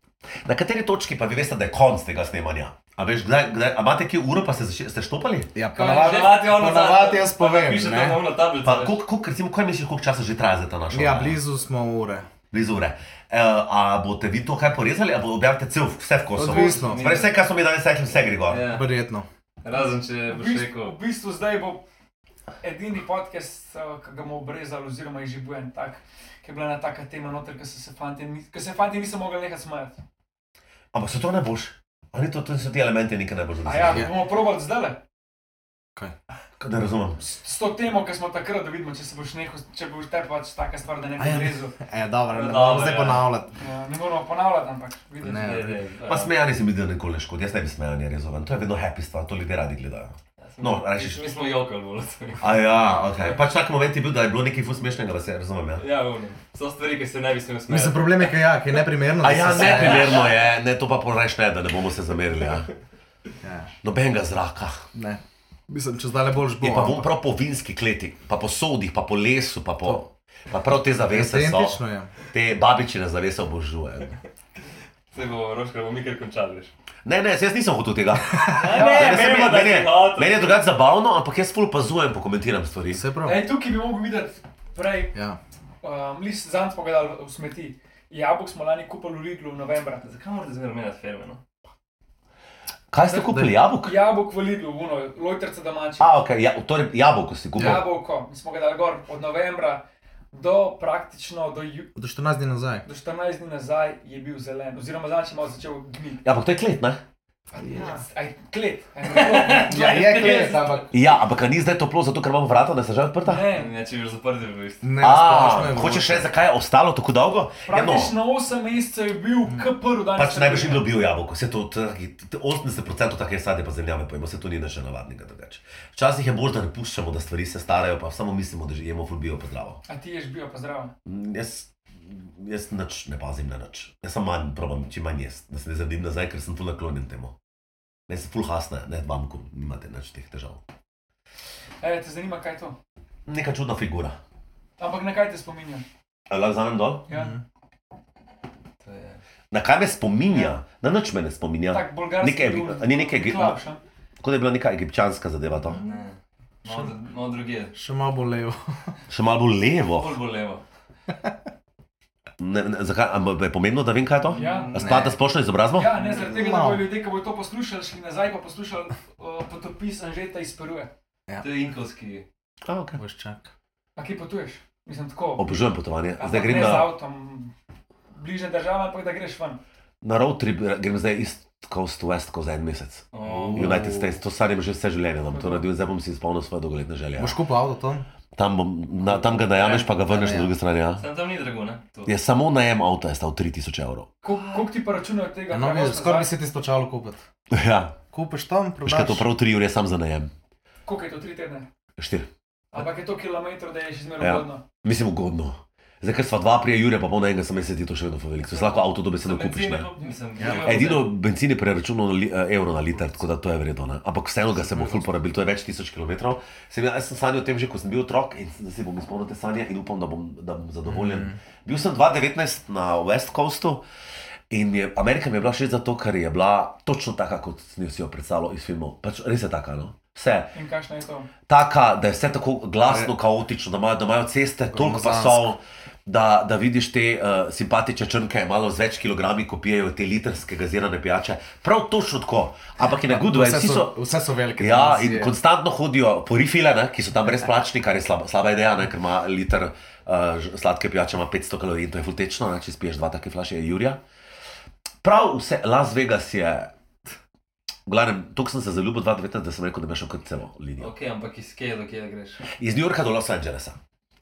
[SPEAKER 3] Na kateri točki pa vi veste, da je konc tega snemanja? A veš, kdaj, kdaj, a imate kje uro pa ste, zač- ste štopali?
[SPEAKER 2] Ja,
[SPEAKER 6] Ponavadi-
[SPEAKER 4] Ponavadi ono
[SPEAKER 2] ponavadi
[SPEAKER 4] zadnje,
[SPEAKER 2] jaz
[SPEAKER 4] pa
[SPEAKER 2] povem,
[SPEAKER 4] Piše
[SPEAKER 2] ne.
[SPEAKER 4] tam na tablici.
[SPEAKER 3] Pa, koliko, koliko, recimo, kaj misliš, koliko časa že traja za ta naša?
[SPEAKER 2] Ja,
[SPEAKER 3] oddaja?
[SPEAKER 2] blizu smo ure.
[SPEAKER 3] Blizu ure. E, a boste vi to kaj porezali, ali objavite cel, vse v kosu?
[SPEAKER 2] Odvisno.
[SPEAKER 3] Torej, vse, kar so mi danes rekli, vse gre gor.
[SPEAKER 4] Ja.
[SPEAKER 2] Verjetno.
[SPEAKER 4] Razen če
[SPEAKER 6] V
[SPEAKER 4] boš
[SPEAKER 6] bistvu,
[SPEAKER 4] rekel.
[SPEAKER 6] v bistvu zdaj bo edini podcast, eh, ki ga bomo obrezali, oziroma je že bil en tak, ki je bila ena taka tema noter, ki so se fanti, ni- ki se fanti niso mogli nehati smajati.
[SPEAKER 3] Ampak so to ne boš. Ali to, to so ti elementi, nekaj ne boš
[SPEAKER 6] A ja,
[SPEAKER 3] razumel?
[SPEAKER 2] Ja.
[SPEAKER 6] bomo probali zdaj le.
[SPEAKER 3] Ne razumem.
[SPEAKER 6] S s to temo, ki smo takrat, da vidimo, če se boš nehal, če boš te pač taka stvar, da ne
[SPEAKER 2] A ja.
[SPEAKER 6] bi rezel.
[SPEAKER 2] E, dobro, ne
[SPEAKER 4] Dobro,
[SPEAKER 2] bom zdaj
[SPEAKER 4] ja.
[SPEAKER 2] ponavljati.
[SPEAKER 6] Ja, ne moramo ponavljati, ampak vidiš.
[SPEAKER 2] Ne.
[SPEAKER 4] Ne, Ja, ne,
[SPEAKER 3] Ja, Pa smejanje se mi zdi, da nikoli ne škodi. Jaz ne bi smejanje rezal, to je vedno happy stvar, to ljudje radi gledajo.
[SPEAKER 4] Ja, sem-
[SPEAKER 3] No, rajši-
[SPEAKER 4] Mi smo jokali, bilo to.
[SPEAKER 3] A ja, ok. Pač tak moment je bil, da je bilo nekaj ful smešnega, da se razumem. Ja.
[SPEAKER 4] Ja, ono. So stvari, ki se ne bi smel smeti.
[SPEAKER 2] Mislim, problem je, kaj ja, kaj je neprimerno. da
[SPEAKER 3] A ja,
[SPEAKER 2] se
[SPEAKER 3] ne,
[SPEAKER 2] smeje.
[SPEAKER 3] primerno je, ne, to pa porajš ne, da ne bomo se zamerili. Ja.
[SPEAKER 2] Ja,
[SPEAKER 3] Nobenega zraka.
[SPEAKER 2] ne. Mislim, če zdaj boš bo.
[SPEAKER 3] Je pa
[SPEAKER 2] No, ampak-
[SPEAKER 3] bom prav po vinski kleti, pa po sodih, pa po lesu, pa po. Pa prav te zavese so,
[SPEAKER 2] Identično ja. je.
[SPEAKER 3] te babičine zavese obožujem.
[SPEAKER 4] Se bo roškar, bo mi kar končali. veš.
[SPEAKER 3] Ne, ne, jaz nisem hotel tega.
[SPEAKER 4] Ne,
[SPEAKER 3] Mene se
[SPEAKER 4] vemo,
[SPEAKER 3] mi-
[SPEAKER 4] da
[SPEAKER 3] Ja, meni je-
[SPEAKER 4] si hotel.
[SPEAKER 3] Meni je drugače zabavno, ampak jaz ful pazujem, ko komentiram stvari.
[SPEAKER 2] Vse prav.
[SPEAKER 6] Ej, E, tukaj bi mogel videti prej,
[SPEAKER 2] Ja.
[SPEAKER 6] um, list zanj pogledal v smeti. Jabolk smo lani kupili v Lidlu v novembru.
[SPEAKER 4] Zakaj morate zmeraj menjati firme? No?
[SPEAKER 3] Kaj ste kupili jabolk?
[SPEAKER 6] Jabolk v Lidlu, uno, lojtrca domači.
[SPEAKER 3] A, ok, ja, torej jabolko si kupil.
[SPEAKER 5] Ja.
[SPEAKER 6] Jabolko, mi smo ga dali gor od novembra do praktično do, ju,
[SPEAKER 2] Do 14 dni nazaj.
[SPEAKER 6] do 14 dni nazaj je bil zelen, oziroma zanj je malo začel gniti.
[SPEAKER 3] Ja, ampak to je klet, ne?
[SPEAKER 6] Aj, klet. Aj, ne,
[SPEAKER 2] Ja, je klet, ampak.
[SPEAKER 3] Ja, ampak a ni zdaj toplo, zato ker imamo vrata, da se že odprta.
[SPEAKER 6] ne.
[SPEAKER 4] Ne, ja, če bi zaprli, bi isto.
[SPEAKER 2] Ne, splošno
[SPEAKER 3] A,
[SPEAKER 2] je bilo.
[SPEAKER 3] hočeš reči, zakaj je ostalo tako dolgo? Ja, no,
[SPEAKER 6] Praktično 8 mesecev je bil, kot prvi dan.
[SPEAKER 3] pač najbrž ni dobil jabolko, vse to, taki- 80% takih sadje pa zemljave pojmo, vse to ni naše navadnega drugače. Včasih je bolj, da ne puščamo, da stvari se starajo, pa samo mislimo, da že jemo ful bijo pa zdravo.
[SPEAKER 6] A ti ješ bil, pozdravljen.
[SPEAKER 3] Mm, Jaz, jaz nič ne pazim na nič. Jaz sem manj, probam, čim manj jaz, da se ne zadim nazaj, ker sem tu naklonjen temu. Ne, sem full hasna, ne, vam, ko nimate nič teh težav.
[SPEAKER 6] Ej, te zanima, kaj je to?
[SPEAKER 3] Neka čudna figura.
[SPEAKER 6] Ampak na kaj te spominja?
[SPEAKER 3] A Lahko zamem dol?
[SPEAKER 6] Ja?
[SPEAKER 2] Mhm.
[SPEAKER 4] To je-
[SPEAKER 3] Na kaj me spominja? Na nič me ne spominja.
[SPEAKER 6] Tak bolgarski
[SPEAKER 3] Nekaj bi-
[SPEAKER 6] un-
[SPEAKER 3] a ni nekaj gi-
[SPEAKER 6] klapš, a?
[SPEAKER 3] Kot da je bila neka egipčanska zadeva to.
[SPEAKER 4] Ne. malo malo drugje,
[SPEAKER 2] Še malo bo levo.
[SPEAKER 3] Še malo bolj levo.
[SPEAKER 4] bolj bo levo.
[SPEAKER 3] Ne, ne, zakaj, ampak je pomembno, da vem, kaj je to?
[SPEAKER 5] Ja.
[SPEAKER 3] A Spada splošno izobrazbo?
[SPEAKER 5] Ja, ne zaradi tega, da
[SPEAKER 2] Malo.
[SPEAKER 5] bodo ljudje, ki bodo to poslušali, šli nazaj pa poslušali uh,
[SPEAKER 6] eh,
[SPEAKER 5] potopis Anžeta iz Peruja.
[SPEAKER 4] To je inkovski.
[SPEAKER 3] A, okay.
[SPEAKER 2] Boš čak.
[SPEAKER 5] A kje potuješ? Mislim tako.
[SPEAKER 3] Obožujem potovanje. Zdaj
[SPEAKER 5] Ampak
[SPEAKER 3] grem
[SPEAKER 5] ne z
[SPEAKER 3] na,
[SPEAKER 5] avtom, bližnje države, ampak da greš ven.
[SPEAKER 3] na road trip, grem zdaj East Coast to West Coast za en mesec.
[SPEAKER 4] Oh,
[SPEAKER 3] United States, to sanjam že vse življenje, da bom to naredil, zdaj bom si izpolnil svoje dolgoletne želje. ja.
[SPEAKER 2] Boš kupil avto tam?
[SPEAKER 3] Tam, bom, na, tam ga najameš, pa ga vrneš na druge strani. Ja.
[SPEAKER 4] Sam tam ni drago, ne? To.
[SPEAKER 3] Je samo najem avta je stal 3000 evrov.
[SPEAKER 5] Kol- Koliko ti pa računajo tega?
[SPEAKER 2] No,
[SPEAKER 5] prevoz
[SPEAKER 2] vidiš, skoraj bi
[SPEAKER 5] nazaj?
[SPEAKER 2] se ti splačalo kupiti.
[SPEAKER 3] Ja,
[SPEAKER 2] Kupiš tam,
[SPEAKER 3] veš kaj,
[SPEAKER 2] prodaš.
[SPEAKER 3] to prav 3 ure sam za najem.
[SPEAKER 5] Koliko je to, tri tedne?
[SPEAKER 3] 4.
[SPEAKER 5] Ampak je to kilometrov, da je še zmeraj
[SPEAKER 3] Ja.
[SPEAKER 5] ugodno.
[SPEAKER 3] Mislim, ugodno. Zdaj, ker sva dva prije Jure, pa pol na enega sem mesec, ti to še vedno veliko. To si lahko avto dobi, se ne kupiš. Ne?
[SPEAKER 4] Mislim,
[SPEAKER 2] Ja.
[SPEAKER 4] ja.
[SPEAKER 3] Edino bencin je preračunal na li, eh, evro na liter, tako da to je vredno. Ne? Ampak vseeno ga se bo ful porabil, to je več tisoč kilometrov. Sem, jaz jaz sem sanjal o tem že, ko sem bil otrok in da se bom izpolnil te sanje in upam, da bom, da bom zadovoljen. Mm. Bil sem 2019 na West Coastu. In je, Amerika mi je bila všeč zato, ker je bila točno taka, kot sem jo si jo predstavljal iz filmov. Pač res je taka, no. Vse.
[SPEAKER 5] In kakšno je to?
[SPEAKER 3] Taka, da je vse tako glasno, kaotično, da imajo, da imajo ceste toliko
[SPEAKER 2] Gromozansko.
[SPEAKER 3] pasov, da, da vidiš te uh, simpatične črnke, malo z več kilogrami, ko pijejo te litrske gazirane pijače. Prav točno tako, ampak je na good way.
[SPEAKER 2] Vse
[SPEAKER 3] Vsi
[SPEAKER 2] so,
[SPEAKER 3] so.
[SPEAKER 2] vse so velike.
[SPEAKER 3] Ja, in
[SPEAKER 2] dimenzije.
[SPEAKER 3] konstantno hodijo po rifile, ne, ki so tam brezplačni, kar je slaba, slaba ideja, ne, ker ima liter uh, ž- sladke pijače, ima 500 kalorij in to je fultečno, ne, če spiješ dva take flaše, je Jurija. Prav vse, Las Vegas je. V glavnem, tukaj sem se zaljubil 2019, da sem rekel, da me še kot celo linijo
[SPEAKER 4] Ok, ampak iz kje do kje greš?
[SPEAKER 3] iz New Yorka do Los Angelesa.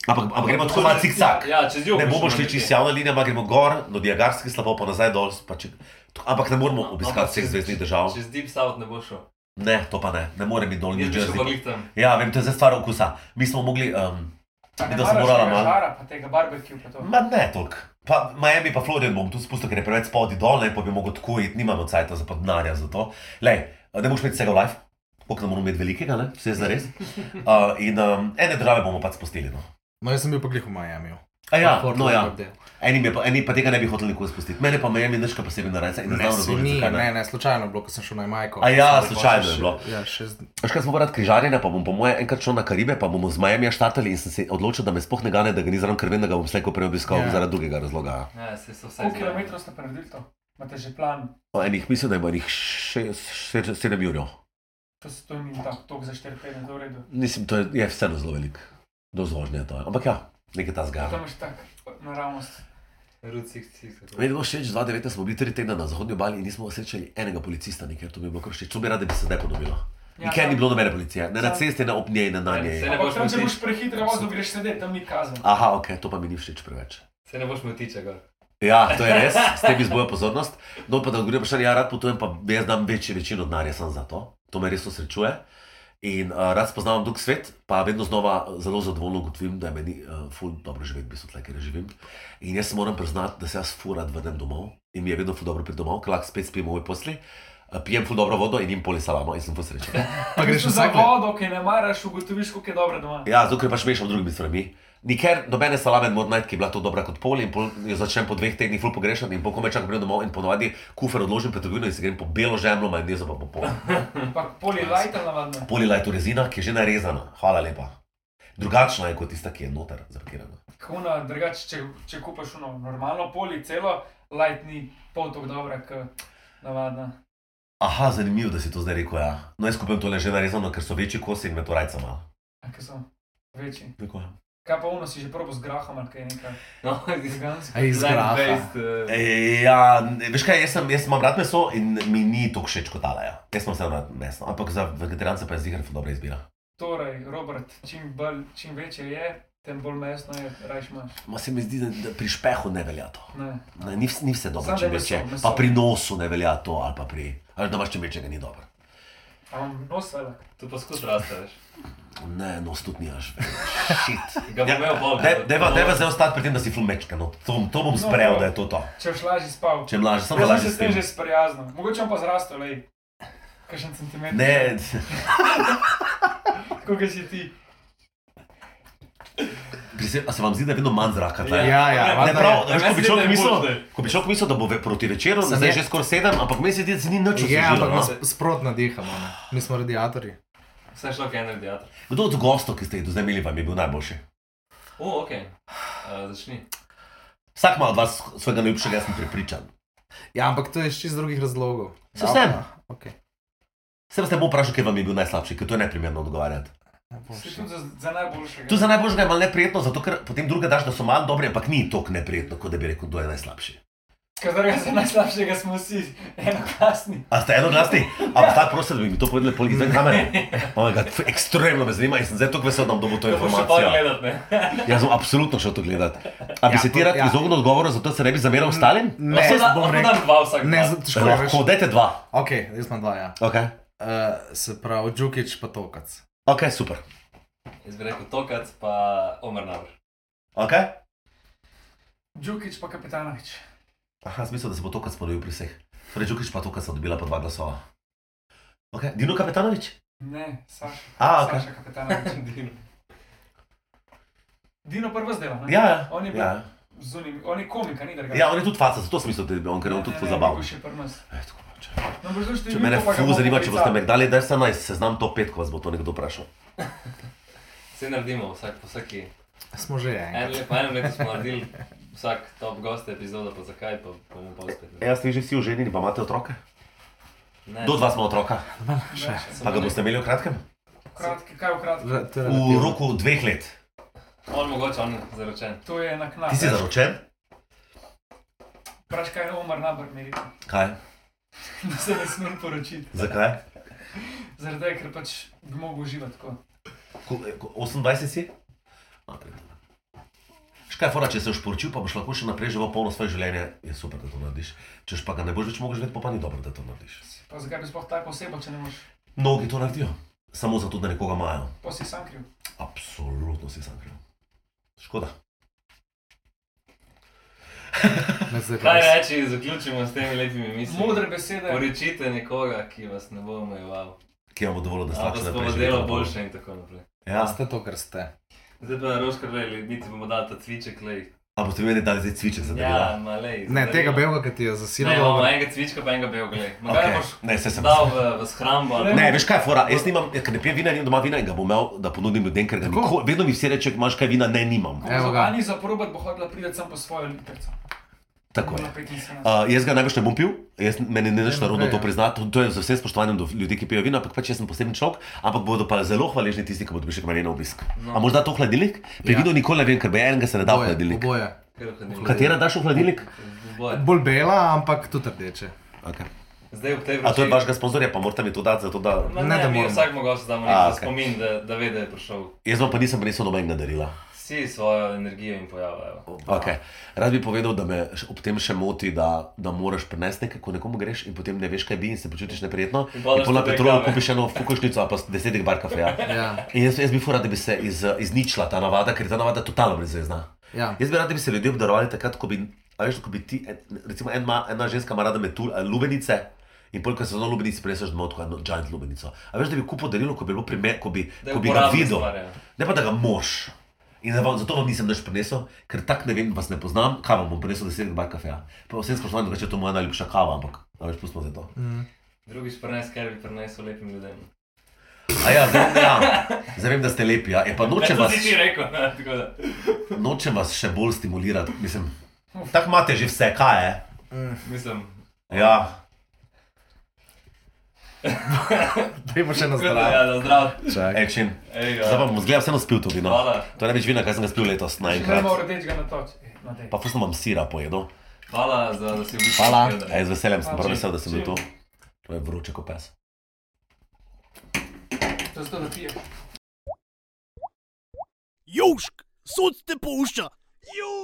[SPEAKER 3] Ampak, ampak gremo tako malo cikcak.
[SPEAKER 4] Ja, čez jug.
[SPEAKER 3] Ne bomo
[SPEAKER 4] šel
[SPEAKER 3] šli
[SPEAKER 4] nekje.
[SPEAKER 3] čez javno linijo, ampak gremo gor, do Diagarskih slapov, pa nazaj dol. Pa če, to- ampak ne moremo obiskati
[SPEAKER 4] Ampak
[SPEAKER 3] vseh
[SPEAKER 4] čez-
[SPEAKER 3] zvezdnih držav.
[SPEAKER 4] Čez Deep South ne bo šel.
[SPEAKER 3] Ne, to pa ne, ne morem iti dol,
[SPEAKER 4] Jaz
[SPEAKER 3] nič
[SPEAKER 4] bi šel pa
[SPEAKER 3] že.
[SPEAKER 4] glih tam.
[SPEAKER 3] Ja, vem, to je zdaj stvar okusa. Mi smo mogli, um,
[SPEAKER 5] A ne
[SPEAKER 3] Da sem
[SPEAKER 5] maraš
[SPEAKER 3] morala
[SPEAKER 5] tega
[SPEAKER 3] malo.
[SPEAKER 5] žara, pa tega barbecue, pa to.
[SPEAKER 3] ma ne toliko. Pa Miami pa Florido bom tu spustil, ker je preveč spodaj dol, ne pa bi mogel tako iti, nimamo cajta za podnarja za to. Lej, ne boš imeti vsega v life, koliko ne moramo imeti velikega, ne, vse je zares. Uh, in um, ene države bomo pač spustili. No.
[SPEAKER 2] No, jaz sem bil pa glih v Miamiju.
[SPEAKER 3] A ja,
[SPEAKER 2] Fort
[SPEAKER 3] no ja.
[SPEAKER 2] Lauderdale.
[SPEAKER 3] Eni, me, pa- eni pa tega ne bi hotel nikoli spustiti. Mene pa Miami nič kaj posebej naraca in ne
[SPEAKER 2] Ne,
[SPEAKER 3] znam
[SPEAKER 2] si
[SPEAKER 3] razložiti,
[SPEAKER 2] ni,
[SPEAKER 3] zakaj
[SPEAKER 2] ne,
[SPEAKER 3] ne.
[SPEAKER 2] ne, slučajno je bilo, ko sem šel na Majko.
[SPEAKER 3] A ja, slučajno je bilo.
[SPEAKER 2] Ja, še z...
[SPEAKER 3] Veš kaj, smo pa rad križarjenja, pa bom po moje enkrat šel na Karibe, pa bomo z Miami štartali in sem se odločil, da me spohne gane, da ga ni zraven, ker vem, da ga bom slejko prej obiskal
[SPEAKER 2] Ja.
[SPEAKER 3] yeah. zaradi drugega razloga.
[SPEAKER 4] Ja, se so vse
[SPEAKER 5] Koliko kilometrov ste prenaredili to? Imate že plan?
[SPEAKER 3] No, enih, mislim, da ima enih 7 jurjev.
[SPEAKER 5] To se to ni tako tok za 4 tedne, to je v redu.
[SPEAKER 3] Mislim, to je, je vseeno zelo velik. Do zložnja je to. Ampak ja, nekaj ta
[SPEAKER 5] To
[SPEAKER 3] zgaja.
[SPEAKER 5] imaš tako naravnost.
[SPEAKER 4] Route 66.
[SPEAKER 3] Meni je bilo všeč, 2019 smo bili tri tedne na zahodnji obali in nismo srečali enega policista, nikjer to bi bilo kar všeč. To bi rad, da bi se zdaj ponovilo.
[SPEAKER 5] Ja,
[SPEAKER 3] Nikjer ni
[SPEAKER 5] tam-
[SPEAKER 3] bilo nobene policije, ne na
[SPEAKER 5] Ja.
[SPEAKER 3] cesti, ne ob njej, ne na
[SPEAKER 4] Ja,
[SPEAKER 3] njej.
[SPEAKER 4] se Ne
[SPEAKER 5] Ampak
[SPEAKER 4] boš
[SPEAKER 5] tam, če
[SPEAKER 4] motil.
[SPEAKER 5] boš prehitro vozil, greš sedeti, tam ni kazen.
[SPEAKER 3] Aha, ok, to pa mi ni všeč preveč.
[SPEAKER 4] Se ne boš motiče gor.
[SPEAKER 3] Ja, to je res, s tem izbojo pozornost. No, pa da odgovorim na vprašanje, ja, rad potujem, pa jaz dam večji večino denarja samo za to. To me res osrečuje. In uh, rad spoznavam drug svet, pa vedno znova eh, zelo zadovoljno ugotovim, da je meni uh, ful dobro živeti, v bistvu tle, kjer živim. In jaz se moram priznati, da se jaz ful rad vrnem domov in mi je vedno ful dobro priti domov, ker lahko spet spim v moj posli, uh, pijem ful dobro vodo in jim poli salamo in sem ful srečen.
[SPEAKER 2] Pa greš
[SPEAKER 5] Če
[SPEAKER 2] vsak
[SPEAKER 5] za
[SPEAKER 2] let.
[SPEAKER 5] vodo, ki ne maraš, ugotoviš, koliko je dobro doma.
[SPEAKER 3] Ja, zato ker pač mešam z drugimi stvarmi. Nikjer nobene salame ne morem najti, ki je bila to dobra kot pol in pol, jo začnem po dveh tednih ful pogrešati in pol komaj čakam, da grem domov in ponovadi kufer odložim pred trgovino in se grem po belo žemljo, majonezo pa po pol.
[SPEAKER 5] Ampak polje
[SPEAKER 3] Ja.
[SPEAKER 5] lajta navadno.
[SPEAKER 3] Pol je lajto rezina, ki je že narezana, hvala lepa. Drugačna je kot tista, ki je noter zapakirana.
[SPEAKER 5] Kuna, drugače, če, če kupaš uno, normalno polje, celo lajt ni pol tako dobra, kot navadna.
[SPEAKER 3] Aha, zanimivo, da si to zdaj rekel, ja. No, jaz kupim tole že narezano, ker so večji kosi in me to rajca malo.
[SPEAKER 5] A, Ki so večji.
[SPEAKER 3] Tako je.
[SPEAKER 5] Kaj pa uno si že probo z grahom ali kaj nekaj?
[SPEAKER 4] No,
[SPEAKER 5] Vegansko.
[SPEAKER 2] Ej, iz graha.
[SPEAKER 4] Plant-based, eh,
[SPEAKER 3] E, Ja, ne, veš kaj, jaz, sem, jaz imam rad meso in mi ni to všeč kot tale. Ja. Jaz imam vse rad meso, ampak za vegetarijance pa je zihar dobra izbira.
[SPEAKER 5] Torej, Robert, čim, bolj, čim večje je, tem bolj mesno je, rajš imaš.
[SPEAKER 3] Ma se mi zdi, da, da pri špehu ne velja to.
[SPEAKER 5] Ne.
[SPEAKER 3] Ne, ni, vs- ni vse dobro,
[SPEAKER 5] Samo
[SPEAKER 3] če
[SPEAKER 5] meso,
[SPEAKER 3] veš, no,
[SPEAKER 5] meso.
[SPEAKER 3] pa pri nosu ne velja to, ali pa pri. Ali da imaš če večjega ni dobro.
[SPEAKER 5] A imam nos velik.
[SPEAKER 4] To pa skus raste, veš.
[SPEAKER 3] Ne, nos tudi nimaš. Shit.
[SPEAKER 4] Ga bo
[SPEAKER 3] Ja,
[SPEAKER 4] imel bolj.
[SPEAKER 3] Ne, deva, deva zdaj ostati pri tem, da si flumečka. No, to, to bom sprejel, da je to to.
[SPEAKER 5] Če boš lažje spal.
[SPEAKER 3] Če mlaže, samo da
[SPEAKER 5] Jaz
[SPEAKER 3] lažje
[SPEAKER 5] sem se s tem že
[SPEAKER 3] spiš.
[SPEAKER 5] sprijaznil. Mogoče bom pa zrastel, lej. Kakšen centimeter.
[SPEAKER 3] Ne,
[SPEAKER 5] Tako kot si ti.
[SPEAKER 3] pri se, a se vam zdi, da je vedno manj zraka? tle?
[SPEAKER 2] Ja, ja,
[SPEAKER 3] Ne,
[SPEAKER 2] valjda
[SPEAKER 3] prav,
[SPEAKER 2] je.
[SPEAKER 3] veš, ko
[SPEAKER 4] Meni
[SPEAKER 3] bi človek
[SPEAKER 4] se zdi, da je
[SPEAKER 3] mislil,
[SPEAKER 4] bolj zdaj.
[SPEAKER 3] ko bi človek mislil, da bo ve- proti večeru,
[SPEAKER 2] Samo
[SPEAKER 3] zdaj je
[SPEAKER 2] je-
[SPEAKER 3] že skoraj sedem, ampak meni se zdi, da se ni nič no.
[SPEAKER 2] Ja, ampak
[SPEAKER 3] osvežilo.
[SPEAKER 2] nas
[SPEAKER 3] no.
[SPEAKER 2] sprotno dihamo, ne. mi smo radiatorji.
[SPEAKER 4] Vse je šlo k enemu radiatorju.
[SPEAKER 3] Kdo od gostov, ki ste jih do zdaj imeli, vam je bil najboljši?
[SPEAKER 4] O, ok. Uh, začni.
[SPEAKER 3] Vsak ima od vas svojega najljubšega, jaz sem prepričan.
[SPEAKER 2] Ja, ampak to je iz čist drugih razlogov.
[SPEAKER 3] Se vsem.
[SPEAKER 2] Okay.
[SPEAKER 3] Se vas ne bom vprašal, kje vam je bil najslabši, ker to je neprimerno odgovarjati.
[SPEAKER 2] Ja.
[SPEAKER 6] Si tudi za, za najboljšega.
[SPEAKER 3] Tu za najboljšega je malo neprijetno, zato ker potem druga daš, da so malo dobri, ampak ni tako neprijetno, kot da bi rekel, kdo je najslabši.
[SPEAKER 6] Ker drugega za najslabšega smo vsi enoklasni.
[SPEAKER 3] A ste enoglasni? Ampak tako prosim, da bi mi to povedali pol izven kamere. Oh my God, f- ekstremno me zanima in sem zdaj tako vesel, da bom dobil to
[SPEAKER 4] To boš še pa
[SPEAKER 3] informacijo.
[SPEAKER 4] gledal, ne?
[SPEAKER 3] Jaz sem absolutno šel to gledati. A bi
[SPEAKER 2] Ja,
[SPEAKER 3] se ti
[SPEAKER 2] pa-
[SPEAKER 3] rad
[SPEAKER 2] ja.
[SPEAKER 3] izognil odgovoru, zato se ne bi zameral ostalim?
[SPEAKER 2] Ne,
[SPEAKER 4] Lahko No, da-
[SPEAKER 2] bom
[SPEAKER 4] lahko
[SPEAKER 2] rekel.
[SPEAKER 4] dam dva vsak.
[SPEAKER 2] Ne,
[SPEAKER 4] dva.
[SPEAKER 2] z- težko je.
[SPEAKER 3] Lahko, dajte dva.
[SPEAKER 2] Ok, jaz imam dva, ja.
[SPEAKER 3] Okay.
[SPEAKER 2] Uh, se pravi, Džukič pa Tokac.
[SPEAKER 3] ok, super.
[SPEAKER 4] Jaz bi rekel Tokac, pa Omer Nabr.
[SPEAKER 3] Okay?
[SPEAKER 6] Džukič pa kapitanovič.
[SPEAKER 3] Aha, smisel, da se bo to, kar spodobil pri vseh. Torej, Džukič pa to, kar so dobila po dva glasova. Ok, Dino Kapetanovič?
[SPEAKER 6] Ne, Saša.
[SPEAKER 3] A, ok.
[SPEAKER 6] Saša kapitanovič.
[SPEAKER 4] Dino.
[SPEAKER 6] Dino prvo zdela.
[SPEAKER 3] Ja, ja.
[SPEAKER 6] On je bil
[SPEAKER 3] Ja,
[SPEAKER 6] zunim, on je komika, ni drga.
[SPEAKER 3] ja on je tudi faca, zato sem mislil, da je bil on, ker je on tudi
[SPEAKER 6] Ne,
[SPEAKER 3] zabaven.
[SPEAKER 6] ne, ne, ne, ne,
[SPEAKER 3] Eh, tako pač.
[SPEAKER 6] No, brzo,
[SPEAKER 3] Če mene ful zanima, če boste megdali, da se naj seznam to pet, ko vas bo to nekdo vprašal.
[SPEAKER 4] Vse naredimo, vsak po vsaki.
[SPEAKER 2] Smo že
[SPEAKER 4] En
[SPEAKER 2] enkrat.
[SPEAKER 4] let, po enem letu smo naredili vsak top gost epizodo, pa zakaj, pa bomo pa uspeli.
[SPEAKER 3] Ja, ste vi že vsi oženjeni, pa imate otroke?
[SPEAKER 4] Ne,
[SPEAKER 3] Kdo od vas ima otroka?
[SPEAKER 6] še.
[SPEAKER 4] samo
[SPEAKER 3] Pa ga
[SPEAKER 4] ne.
[SPEAKER 3] boste imeli v kratkem?
[SPEAKER 6] Kratki, kaj v kratki?
[SPEAKER 2] Re- to je
[SPEAKER 3] V
[SPEAKER 2] relativno.
[SPEAKER 3] roku dveh let.
[SPEAKER 4] On mogoče, on zaročen.
[SPEAKER 6] To je na knap.
[SPEAKER 3] Ti si zaročen?
[SPEAKER 6] Praš kaj je Omar Nabr meril,
[SPEAKER 3] Kaj?
[SPEAKER 6] da se ne smem poročiti.
[SPEAKER 3] Zakaj?
[SPEAKER 6] Zaradi tega, ker pač bi mogel uživati tako.
[SPEAKER 3] Ko- ko- 28 si? Škaj, fora, če se boš poročil, pa boš lahko še naprej živel polno svoje življenje, je super, da to narediš. Če pa ga ne boš več mogel živeti, pa, pa ni dobro, da to narediš.
[SPEAKER 6] Pa zakaj bi sploh tako osebo, če ne moreš?
[SPEAKER 3] Mnogi to naredijo, samo zato, da nekoga imajo.
[SPEAKER 6] Pa si sam kriv.
[SPEAKER 3] Absolutno si sam kriv. Škoda.
[SPEAKER 2] Ne, zdaj pa
[SPEAKER 4] Kaj
[SPEAKER 2] res.
[SPEAKER 4] reči, zaključimo s temi lepimi mislimi.
[SPEAKER 6] Modre besede.
[SPEAKER 4] Poročite nekoga, ki vas ne bo omejeval.
[SPEAKER 3] Kje imamo dovolj, da
[SPEAKER 4] Da
[SPEAKER 3] slačno
[SPEAKER 4] vas bo delo boljše in tako naprej.
[SPEAKER 3] Ja.
[SPEAKER 2] Ste to, kar ste.
[SPEAKER 4] Zdaj pa roškar veli, mi ti bomo dali ta cviček, lej.
[SPEAKER 3] A boste meni dali zdaj cviček za
[SPEAKER 4] Ja,
[SPEAKER 3] delo?
[SPEAKER 4] malej.
[SPEAKER 2] Ne, tega belega, ki ti je zasilil.
[SPEAKER 4] Ne, imamo enega cvička, pa enega belega, lej. Magaj
[SPEAKER 3] Okay.
[SPEAKER 4] no, boš
[SPEAKER 3] Ne, se sem.
[SPEAKER 4] dal v, v shrambo. ali-
[SPEAKER 3] Ne, veš kaj, fora, jaz nimam, ker ne pijem vina, nimam doma vina in ga bom imel, da ponudim ljudem, ker ga
[SPEAKER 2] Tako.
[SPEAKER 3] nikoli, vedno mi vsi reče, imaš kaj vina, ne, nimam.
[SPEAKER 2] Evo ga.
[SPEAKER 6] Ani za probat bo hodila priti sem po svojo litrico.
[SPEAKER 3] Tako je.
[SPEAKER 6] je.
[SPEAKER 3] Uh, jaz ga največ ne bom pil, jaz, meni ne znaš
[SPEAKER 2] Ne,
[SPEAKER 3] narodno
[SPEAKER 2] ne,
[SPEAKER 3] to
[SPEAKER 2] ja.
[SPEAKER 3] priznati, to- to je z vsem spoštovanjem do ljudi, ki pijejo vino, ampak pač jaz sem poseben človek, ampak bodo pa zelo hvaležni tisti, ki bodo prišli k meni na obisk. No. A morda to v hladilnik? Pri
[SPEAKER 2] Ja.
[SPEAKER 3] ja. vinu nikoli ne vem, ker bi enega se ne da v
[SPEAKER 2] Oboje,
[SPEAKER 3] hladilnik.
[SPEAKER 2] oboje.
[SPEAKER 4] Kar v hladilnik.
[SPEAKER 3] Katera daš v hladilnik?
[SPEAKER 4] V boj.
[SPEAKER 2] Bolj bela, ampak tudi rdeče.
[SPEAKER 3] Okay.
[SPEAKER 4] Zdaj ob tej
[SPEAKER 3] A to je
[SPEAKER 4] vročini-
[SPEAKER 3] vašega sponzorja, pa morate mi to dati, zato da...
[SPEAKER 4] Ma
[SPEAKER 2] Ne, da
[SPEAKER 4] Ne, mi
[SPEAKER 2] moramo.
[SPEAKER 4] vsak mogoče damo
[SPEAKER 3] A,
[SPEAKER 4] nek
[SPEAKER 3] ok.
[SPEAKER 4] za spomin, da, da ve, da je prišel.
[SPEAKER 3] Jaz vam pa nisem prinesel nobenega darila.
[SPEAKER 4] Vsi svojo energijo in pojavo.
[SPEAKER 3] Okay. Rad bi povedal, da me š- ob tem še moti, da, da moraš prenesti nekaj, ko nekomu greš in potem ne veš, kaj bi in se počutiš neprijetno.
[SPEAKER 4] In
[SPEAKER 3] In
[SPEAKER 4] padaš
[SPEAKER 3] pol na
[SPEAKER 4] tudi
[SPEAKER 3] Petrolu
[SPEAKER 4] nekam, ne.
[SPEAKER 3] kupiš eno fukušnico, ali pa deset bar kafeja.
[SPEAKER 2] Ja,
[SPEAKER 3] In jaz, jaz bi fura, da bi se iz, izničila ta navada, ker je ta navada totalno brezvezna.
[SPEAKER 2] ja.
[SPEAKER 3] Jaz bi rad, da bi se ljudje obdarovali takrat, ko bi, a veš, ko bi ti, en- recimo en ma, ena ženska ima rada metul, eh, lubenice. In polk se zelo lubenici preneseš domov, tako eno giant lubenico. A veš, da bi kupil darilo, ko bi bilo primer, ko bi,
[SPEAKER 4] Da je
[SPEAKER 3] ko bi ga
[SPEAKER 4] uporabna
[SPEAKER 3] videl.
[SPEAKER 4] stvar, ja.
[SPEAKER 3] Ne pa da ga moš. In za vam- zato vam nisem več prinesel, ker tako ne vem, vas ne poznam, kaj vam bom prinesel 10 bar kafeja. Pa vsem spoštovanjem, da je to moja najljubša kava, ampak a veš, pustimo za to.
[SPEAKER 4] Drugič prenes, kaj bi prenesel lepim ljudem.
[SPEAKER 3] A ja, zdaj, ja, zdaj vem, da ste lepi, ja. E, pa nočem
[SPEAKER 4] to
[SPEAKER 3] vas,
[SPEAKER 4] si ti rekel, ne, tako da.
[SPEAKER 3] nočem vas še bolj stimulirati, mislim. Tako imate že vse, kaj je.
[SPEAKER 4] Mislim,
[SPEAKER 3] Ja,
[SPEAKER 2] Dajmo še na
[SPEAKER 4] tako da, ja,
[SPEAKER 2] zdrav.
[SPEAKER 4] da zdrav.
[SPEAKER 2] Čakaj.
[SPEAKER 3] Action.
[SPEAKER 4] Ej, ja.
[SPEAKER 3] Zdaj pa bom zgleda vseeno spil to vino.
[SPEAKER 4] Hvala.
[SPEAKER 3] To je največ vina, kar sem ga spil letos,
[SPEAKER 6] Če ne
[SPEAKER 3] naenkrat.
[SPEAKER 6] moreš rdečega na toč. Eh, no, daj.
[SPEAKER 3] Pa pustno vam sira pojedo.
[SPEAKER 4] Hvala, za, da si obiskal.
[SPEAKER 3] Hvala. Ej, z veseljem sem
[SPEAKER 6] Hvala.
[SPEAKER 3] prav vesel, da sem bil
[SPEAKER 6] Čim.
[SPEAKER 3] tu. To je vroče kot pes.
[SPEAKER 6] To je to, da piješ.
[SPEAKER 1] Južk, sod te pušča. Južk.